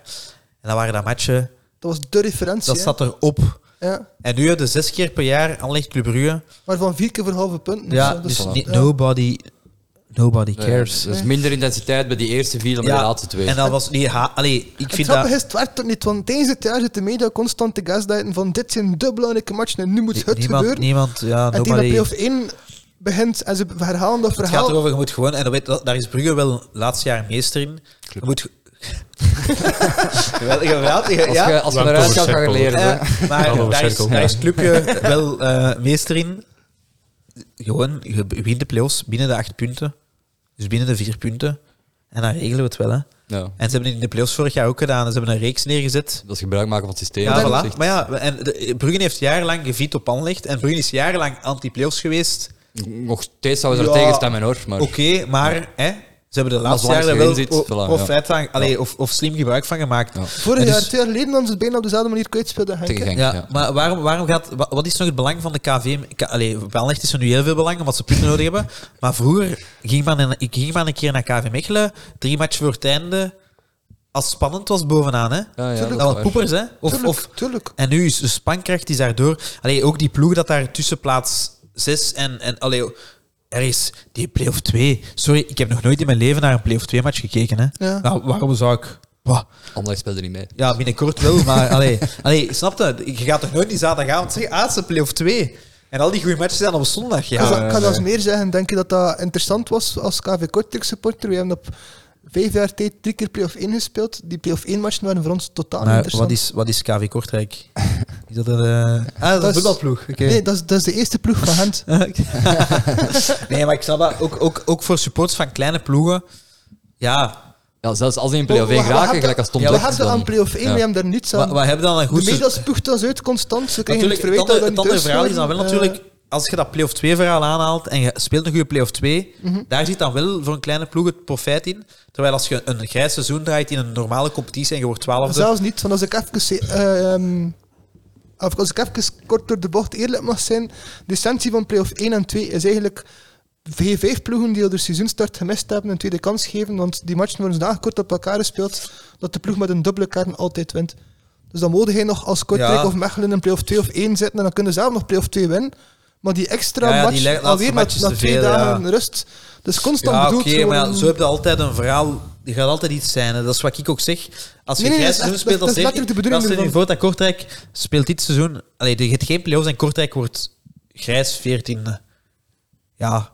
Speaker 2: En dan waren dat matchen,
Speaker 3: Dat was de referentie.
Speaker 2: dat
Speaker 3: hè.
Speaker 2: zat erop.
Speaker 3: Ja.
Speaker 2: En nu de zes keer per jaar Anlecht Club Brugge.
Speaker 3: Maar van vier keer voor halve punten.
Speaker 2: Ja,
Speaker 3: zo,
Speaker 2: dus
Speaker 1: voilà.
Speaker 2: niet-
Speaker 3: ja.
Speaker 2: nobody, nobody
Speaker 1: Nee,
Speaker 2: cares.
Speaker 1: Dus minder intensiteit bij die eerste vier dan bij de laatste twee.
Speaker 2: en dan was die... Ha Allee, ik
Speaker 3: Het
Speaker 2: vind dat...
Speaker 3: grappige is, het werkt toch niet, want tijdens het jaar zit de media constant te gaslighten van dit zijn de belangrijke matchen en nu moet het
Speaker 2: Niemand,
Speaker 3: gebeuren.
Speaker 2: niemand, ja,
Speaker 3: en tegen dat
Speaker 2: nobody...
Speaker 3: play-off 1 begint en ze herhalen dat
Speaker 2: Het gaat
Speaker 3: verhaal.
Speaker 2: erover, je moet gewoon, en dat weet, dat- daar is Brugge wel laatste jaar meester in. Je moet. ge- Geweldig, geweldig,
Speaker 1: Als
Speaker 2: ja.
Speaker 1: je als je
Speaker 4: Lang
Speaker 1: eruit gaat,
Speaker 4: over
Speaker 1: ga je
Speaker 4: cirkel.
Speaker 1: leren. hè.
Speaker 2: Eh, maar
Speaker 4: Hallo,
Speaker 2: daar is,
Speaker 4: cirkel.
Speaker 2: daar is Clubje wel eh, meester in. Gewoon, je wint de play-offs binnen de acht punten. Dus binnen de vier punten. En dan regelen we het wel. Hè.
Speaker 1: Ja.
Speaker 2: En ze hebben het in de play-offs vorig jaar ook gedaan. Ze hebben een reeks neergezet.
Speaker 1: Dat is gebruik maken van het systeem.
Speaker 2: Ja,
Speaker 1: dat
Speaker 2: voilà.
Speaker 1: zegt-
Speaker 2: Maar ja, en de- Brugge heeft jarenlang geviet op Anlecht. En Brugge is jarenlang anti-play-offs geweest.
Speaker 1: Nog steeds zouden ze
Speaker 2: Ja.
Speaker 1: er tegen stemmen hoor. Maar
Speaker 2: Oké, maar hè, ze hebben de laatste
Speaker 1: zolang
Speaker 2: jaren
Speaker 1: ze
Speaker 2: wel
Speaker 1: erin zit,
Speaker 2: o-
Speaker 1: voilà,
Speaker 2: of,
Speaker 1: ja.
Speaker 2: feit van- allee, of, of slim gebruik van gemaakt.
Speaker 1: Ja.
Speaker 3: Vorig
Speaker 2: En dus-
Speaker 3: jaar, twee jaar geleden, hadden ze het bijna op dezelfde manier kwijtspelen. Henk,
Speaker 1: tegen
Speaker 3: hè.
Speaker 1: Genk.
Speaker 2: Ja,
Speaker 1: ja.
Speaker 2: maar waarom, waarom gaat, wa- wat is nog het belang van de KV? K- Allee, bij Anderlecht is er nu heel veel belang, omdat ze punten nodig hebben. Maar vroeger ging men, een- ik ging maar een keer naar KV Mechelen, drie matchen voor het einde. Als het spannend was bovenaan, hè?
Speaker 1: Ja, ja,
Speaker 3: Tuurlijk.
Speaker 2: Dat
Speaker 1: is
Speaker 2: waren
Speaker 1: waar.
Speaker 2: poepers, hè? Of,
Speaker 3: Tuurlijk,
Speaker 2: of,
Speaker 3: tuurlijk.
Speaker 2: en nu is de spankracht is daardoor. Allee, ook die ploeg dat daar tussen plaats 6 en. en allee, er is die play-off 2. Sorry, ik heb nog nooit in mijn leven naar een play-off 2 match gekeken. Hè.
Speaker 3: Ja.
Speaker 2: Nou, waarom zou ik. Wah.
Speaker 1: Anderlecht speelde niet mee.
Speaker 2: Ja, binnenkort wel, maar. Allee, allee, snap je? Je gaat toch nooit die zaterdagavond zeggen: ah, het is een play-off 2. En al die goede matches zijn op zondag.
Speaker 3: Ik ga
Speaker 2: Ja. eh,
Speaker 3: ze- ik ga zelfs meer zeggen. Denk je dat dat interessant was als KV Kortrijk supporter? We hebben op vijf jaar tijd drie keer play-off 1 gespeeld. Die play-off 1 matchen waren voor ons totaal niet
Speaker 2: Maar
Speaker 3: interessant.
Speaker 2: wat is, wat is KV Kortrijk? Is dat een. eh, Ah, dat is een
Speaker 3: is-
Speaker 2: voetbalploeg. Oké.
Speaker 3: Nee, dat is, dat is de eerste ploeg van Gent.
Speaker 2: nee, maar ik snap dat. Ook, ook, ook voor supporters van kleine ploegen. Ja,
Speaker 1: Ja, zelfs als ze in play-off 1
Speaker 3: Wat- wat- wat
Speaker 1: raken,
Speaker 3: heb
Speaker 1: gelijk
Speaker 3: je-
Speaker 1: als Tom
Speaker 3: ja, We
Speaker 1: zegt,
Speaker 3: hadden
Speaker 1: dan-
Speaker 3: aan play-off 1,
Speaker 1: Ja.
Speaker 3: we hebben daar niets
Speaker 2: Wat
Speaker 3: aan.
Speaker 2: wat hebben dan een
Speaker 3: De
Speaker 2: goed
Speaker 3: media spuugt ons uit constant. Ze krijgen het
Speaker 2: Natuurlijk,
Speaker 3: verwijt
Speaker 2: het
Speaker 3: dat
Speaker 2: andere, het andere
Speaker 3: we niet
Speaker 2: verhaal is dan wel
Speaker 3: doorslaan.
Speaker 2: natuurlijk, als je dat play-off 2 verhaal aanhaalt en je speelt een goede play-off 2,
Speaker 3: Mhm.
Speaker 2: daar zit dan wel voor een kleine ploeg het profijt in. Terwijl als je een grijs seizoen draait in een normale competitie en je wordt
Speaker 3: Eh,
Speaker 2: 12
Speaker 3: Zelfs niet, want als ik even... ze- eh, ehm, of als ik even kort door de bocht eerlijk mag zijn, de essentie van play-off 1 en 2 is eigenlijk vijf ploegen die al de seizoenstart gemist hebben een tweede kans geven, want die matchen worden zo kort op elkaar gespeeld dat de ploeg met een dubbele kern altijd wint. Dus dan mogen jij nog als Kortrijk
Speaker 2: Ja.
Speaker 3: of Mechelen in play-off 2 of 1 zitten en dan kunnen ze zelf nog play-off 2 winnen. Maar die extra
Speaker 2: Ja, ja, die
Speaker 3: match,
Speaker 2: le- laatste
Speaker 3: alweer na,
Speaker 2: match is
Speaker 3: na
Speaker 2: te
Speaker 3: twee
Speaker 2: veel,
Speaker 3: dagen
Speaker 2: ja.
Speaker 3: rust. Dus constant
Speaker 2: Ja, oké,
Speaker 3: bedoeld gewoon-
Speaker 2: maar ja, zo heb je altijd een verhaal. Er gaat altijd iets zijn. hè. Dat is wat ik ook zeg. Als je
Speaker 3: Nee, nee,
Speaker 2: grijs
Speaker 3: dat
Speaker 2: seizoen
Speaker 3: is
Speaker 2: speelt,
Speaker 3: echt- dat
Speaker 2: dan
Speaker 3: is
Speaker 2: zeg
Speaker 3: letterlijk de
Speaker 2: ik... Dan
Speaker 3: bedoeling
Speaker 2: stel je
Speaker 3: ervan.
Speaker 2: voor dat Kortrijk speelt dit seizoen... Allee, je hebt geen play-offs en Kortrijk wordt grijs 14e. Ja,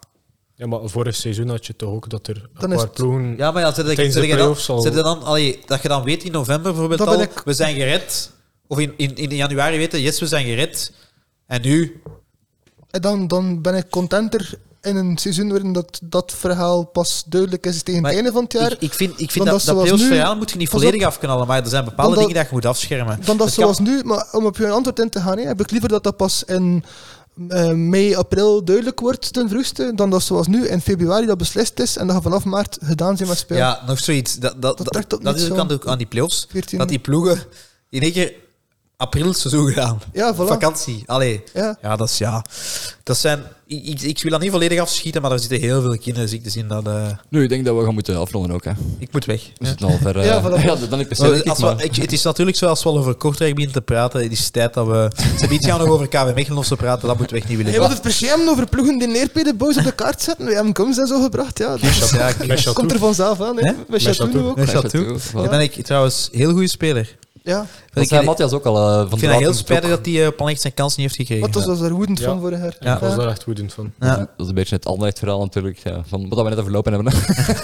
Speaker 4: Ja, maar vorig seizoen had je toch ook dat er
Speaker 3: Dan
Speaker 4: een
Speaker 3: is
Speaker 4: paar
Speaker 3: het-
Speaker 4: ploegen...
Speaker 2: Ja, maar ja, zit je,
Speaker 4: Tijdens
Speaker 2: zit je
Speaker 4: de
Speaker 2: dan,
Speaker 4: play-offs al-
Speaker 2: zit je dan allee, dat je dan weet in november bijvoorbeeld
Speaker 3: Dat
Speaker 2: al,
Speaker 3: ben ik-
Speaker 2: we zijn gered. Of in, in, in januari weten, yes, we zijn gered. En nu,
Speaker 3: En dan, dan ben ik contenter in een seizoen waarin dat, dat verhaal pas duidelijk is tegen
Speaker 2: Maar
Speaker 3: het einde van het jaar.
Speaker 2: ik, ik vind, ik
Speaker 3: dan
Speaker 2: vind dat,
Speaker 3: dat
Speaker 2: dat
Speaker 3: zoals
Speaker 2: playoffs
Speaker 3: nu-
Speaker 2: verhaal moet je niet
Speaker 3: Pas
Speaker 2: volledig afknallen, maar er zijn bepaalde
Speaker 3: Dan dat-
Speaker 2: dingen dat je moet afschermen.
Speaker 3: dan dat
Speaker 2: Het kan-
Speaker 3: zoals nu, maar om op je antwoord in te gaan, hè, heb ik liever dat dat pas in eh, mei, april duidelijk wordt ten vroegste, dan dat zoals nu in februari dat beslist is en dat je vanaf maart gedaan zijn met spelen.
Speaker 2: Ja, nog zoiets. Dat, dat,
Speaker 3: Dat
Speaker 2: dat,
Speaker 3: trekt ook
Speaker 2: dat
Speaker 3: niet
Speaker 2: is ook
Speaker 3: zo.
Speaker 2: aan, de- aan die playoffs.
Speaker 3: 14.
Speaker 2: Dat die ploegen in één keer april seizoen gedaan.
Speaker 3: Ja, voilà.
Speaker 2: Vakantie. Allee.
Speaker 3: Ja.
Speaker 2: Ja, dat is ja. Dat zijn, ik, ik, ik wil dat niet volledig afschieten, maar er zitten heel veel kinderziektes in. Dat, eh,
Speaker 1: Nu, ik denk dat we gaan moeten afronden ook. Hè.
Speaker 2: ik moet weg.
Speaker 1: We zitten al ver. eh,
Speaker 3: Ja, voilà.
Speaker 1: ja, dan ik
Speaker 2: Maar
Speaker 1: persoonlijk.
Speaker 2: Oh, als
Speaker 1: niet,
Speaker 2: we,
Speaker 1: maar-
Speaker 2: ik- het is natuurlijk zo, als we al over Kortrijk beginnen te praten, het is tijd dat we... Ze hebben iets gaan nog over KV Mechelen of zo praten, dat moeten we echt niet willen.
Speaker 3: Hij wil het persiaam over ploegen die neerpeden boos op de kaart zetten. We hebben Kums en zo gebracht. Ja, dat
Speaker 2: Ja, ik-
Speaker 4: Met Chateau.
Speaker 3: komt er vanzelf aan. Hè?
Speaker 2: Hè?
Speaker 3: Bij Chateau
Speaker 4: Chateau.
Speaker 3: ook.
Speaker 2: Ja,
Speaker 1: Mathias
Speaker 2: Chateau.
Speaker 1: Chateau, voilà.
Speaker 2: Dan ben ik trouwens heel goede speler.
Speaker 3: Ja.
Speaker 1: Dat
Speaker 2: ik,
Speaker 1: zei
Speaker 2: ik
Speaker 1: Matthias ook al. eh, van
Speaker 2: vind het heel
Speaker 1: Drauten
Speaker 2: spijtig
Speaker 1: ook.
Speaker 2: dat hij eh, Panlicht zijn kans niet heeft gekregen.
Speaker 3: Wat was, was daar woedend
Speaker 4: Ja.
Speaker 3: van vorig jaar?
Speaker 2: Ja.
Speaker 4: Ik was daar echt woedend van.
Speaker 2: Ja.
Speaker 1: Dat is een beetje het andere verhaal natuurlijk. Ja, van wat we net overlopen hebben.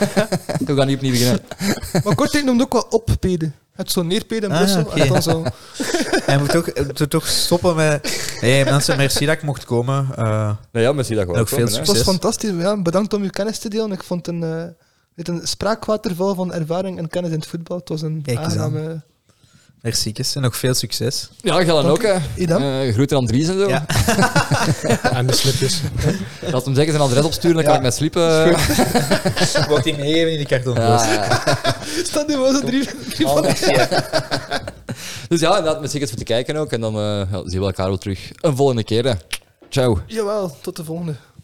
Speaker 1: we gaan niet opnieuw beginnen.
Speaker 3: Maar Kortrijk noemde ook wel oppeden. Het zo neerpeden in
Speaker 2: Ah,
Speaker 3: Brussel.
Speaker 2: oké.
Speaker 3: En dan zo.
Speaker 2: Hij moet ook, hij moet toch stoppen met... hey, mensen, merci dat ik mocht komen. Eh,
Speaker 1: Nou ja, misschien dat gewoon.
Speaker 2: Ook veel
Speaker 1: komen, hè.
Speaker 3: Het was
Speaker 2: Succes.
Speaker 3: fantastisch. Ja, bedankt om uw kennis te delen. Ik vond een, eh, dit een spraakwaterval van ervaring en kennis in het voetbal. Het was een
Speaker 2: Kijk eens aan.
Speaker 3: aangename...
Speaker 2: merci, Kes, en nog veel succes.
Speaker 1: Ja, ga dan ook. hè.
Speaker 3: Idem.
Speaker 1: Eh, groeten aan Dries en zo.
Speaker 2: Ja.
Speaker 4: En de slipjes.
Speaker 1: Laat hem zeker zijn adres opsturen, dan kan ik met sliepen.
Speaker 2: Wordt hij meegeven in die kartondoos.
Speaker 1: Ja, ja.
Speaker 3: Staat nu wel zo drie, drie van...
Speaker 1: Dus ja, inderdaad, met zeker voor te kijken ook. En dan eh, ja, zien we elkaar wel terug een volgende keer. hè. Ciao.
Speaker 3: Jawel, tot de volgende.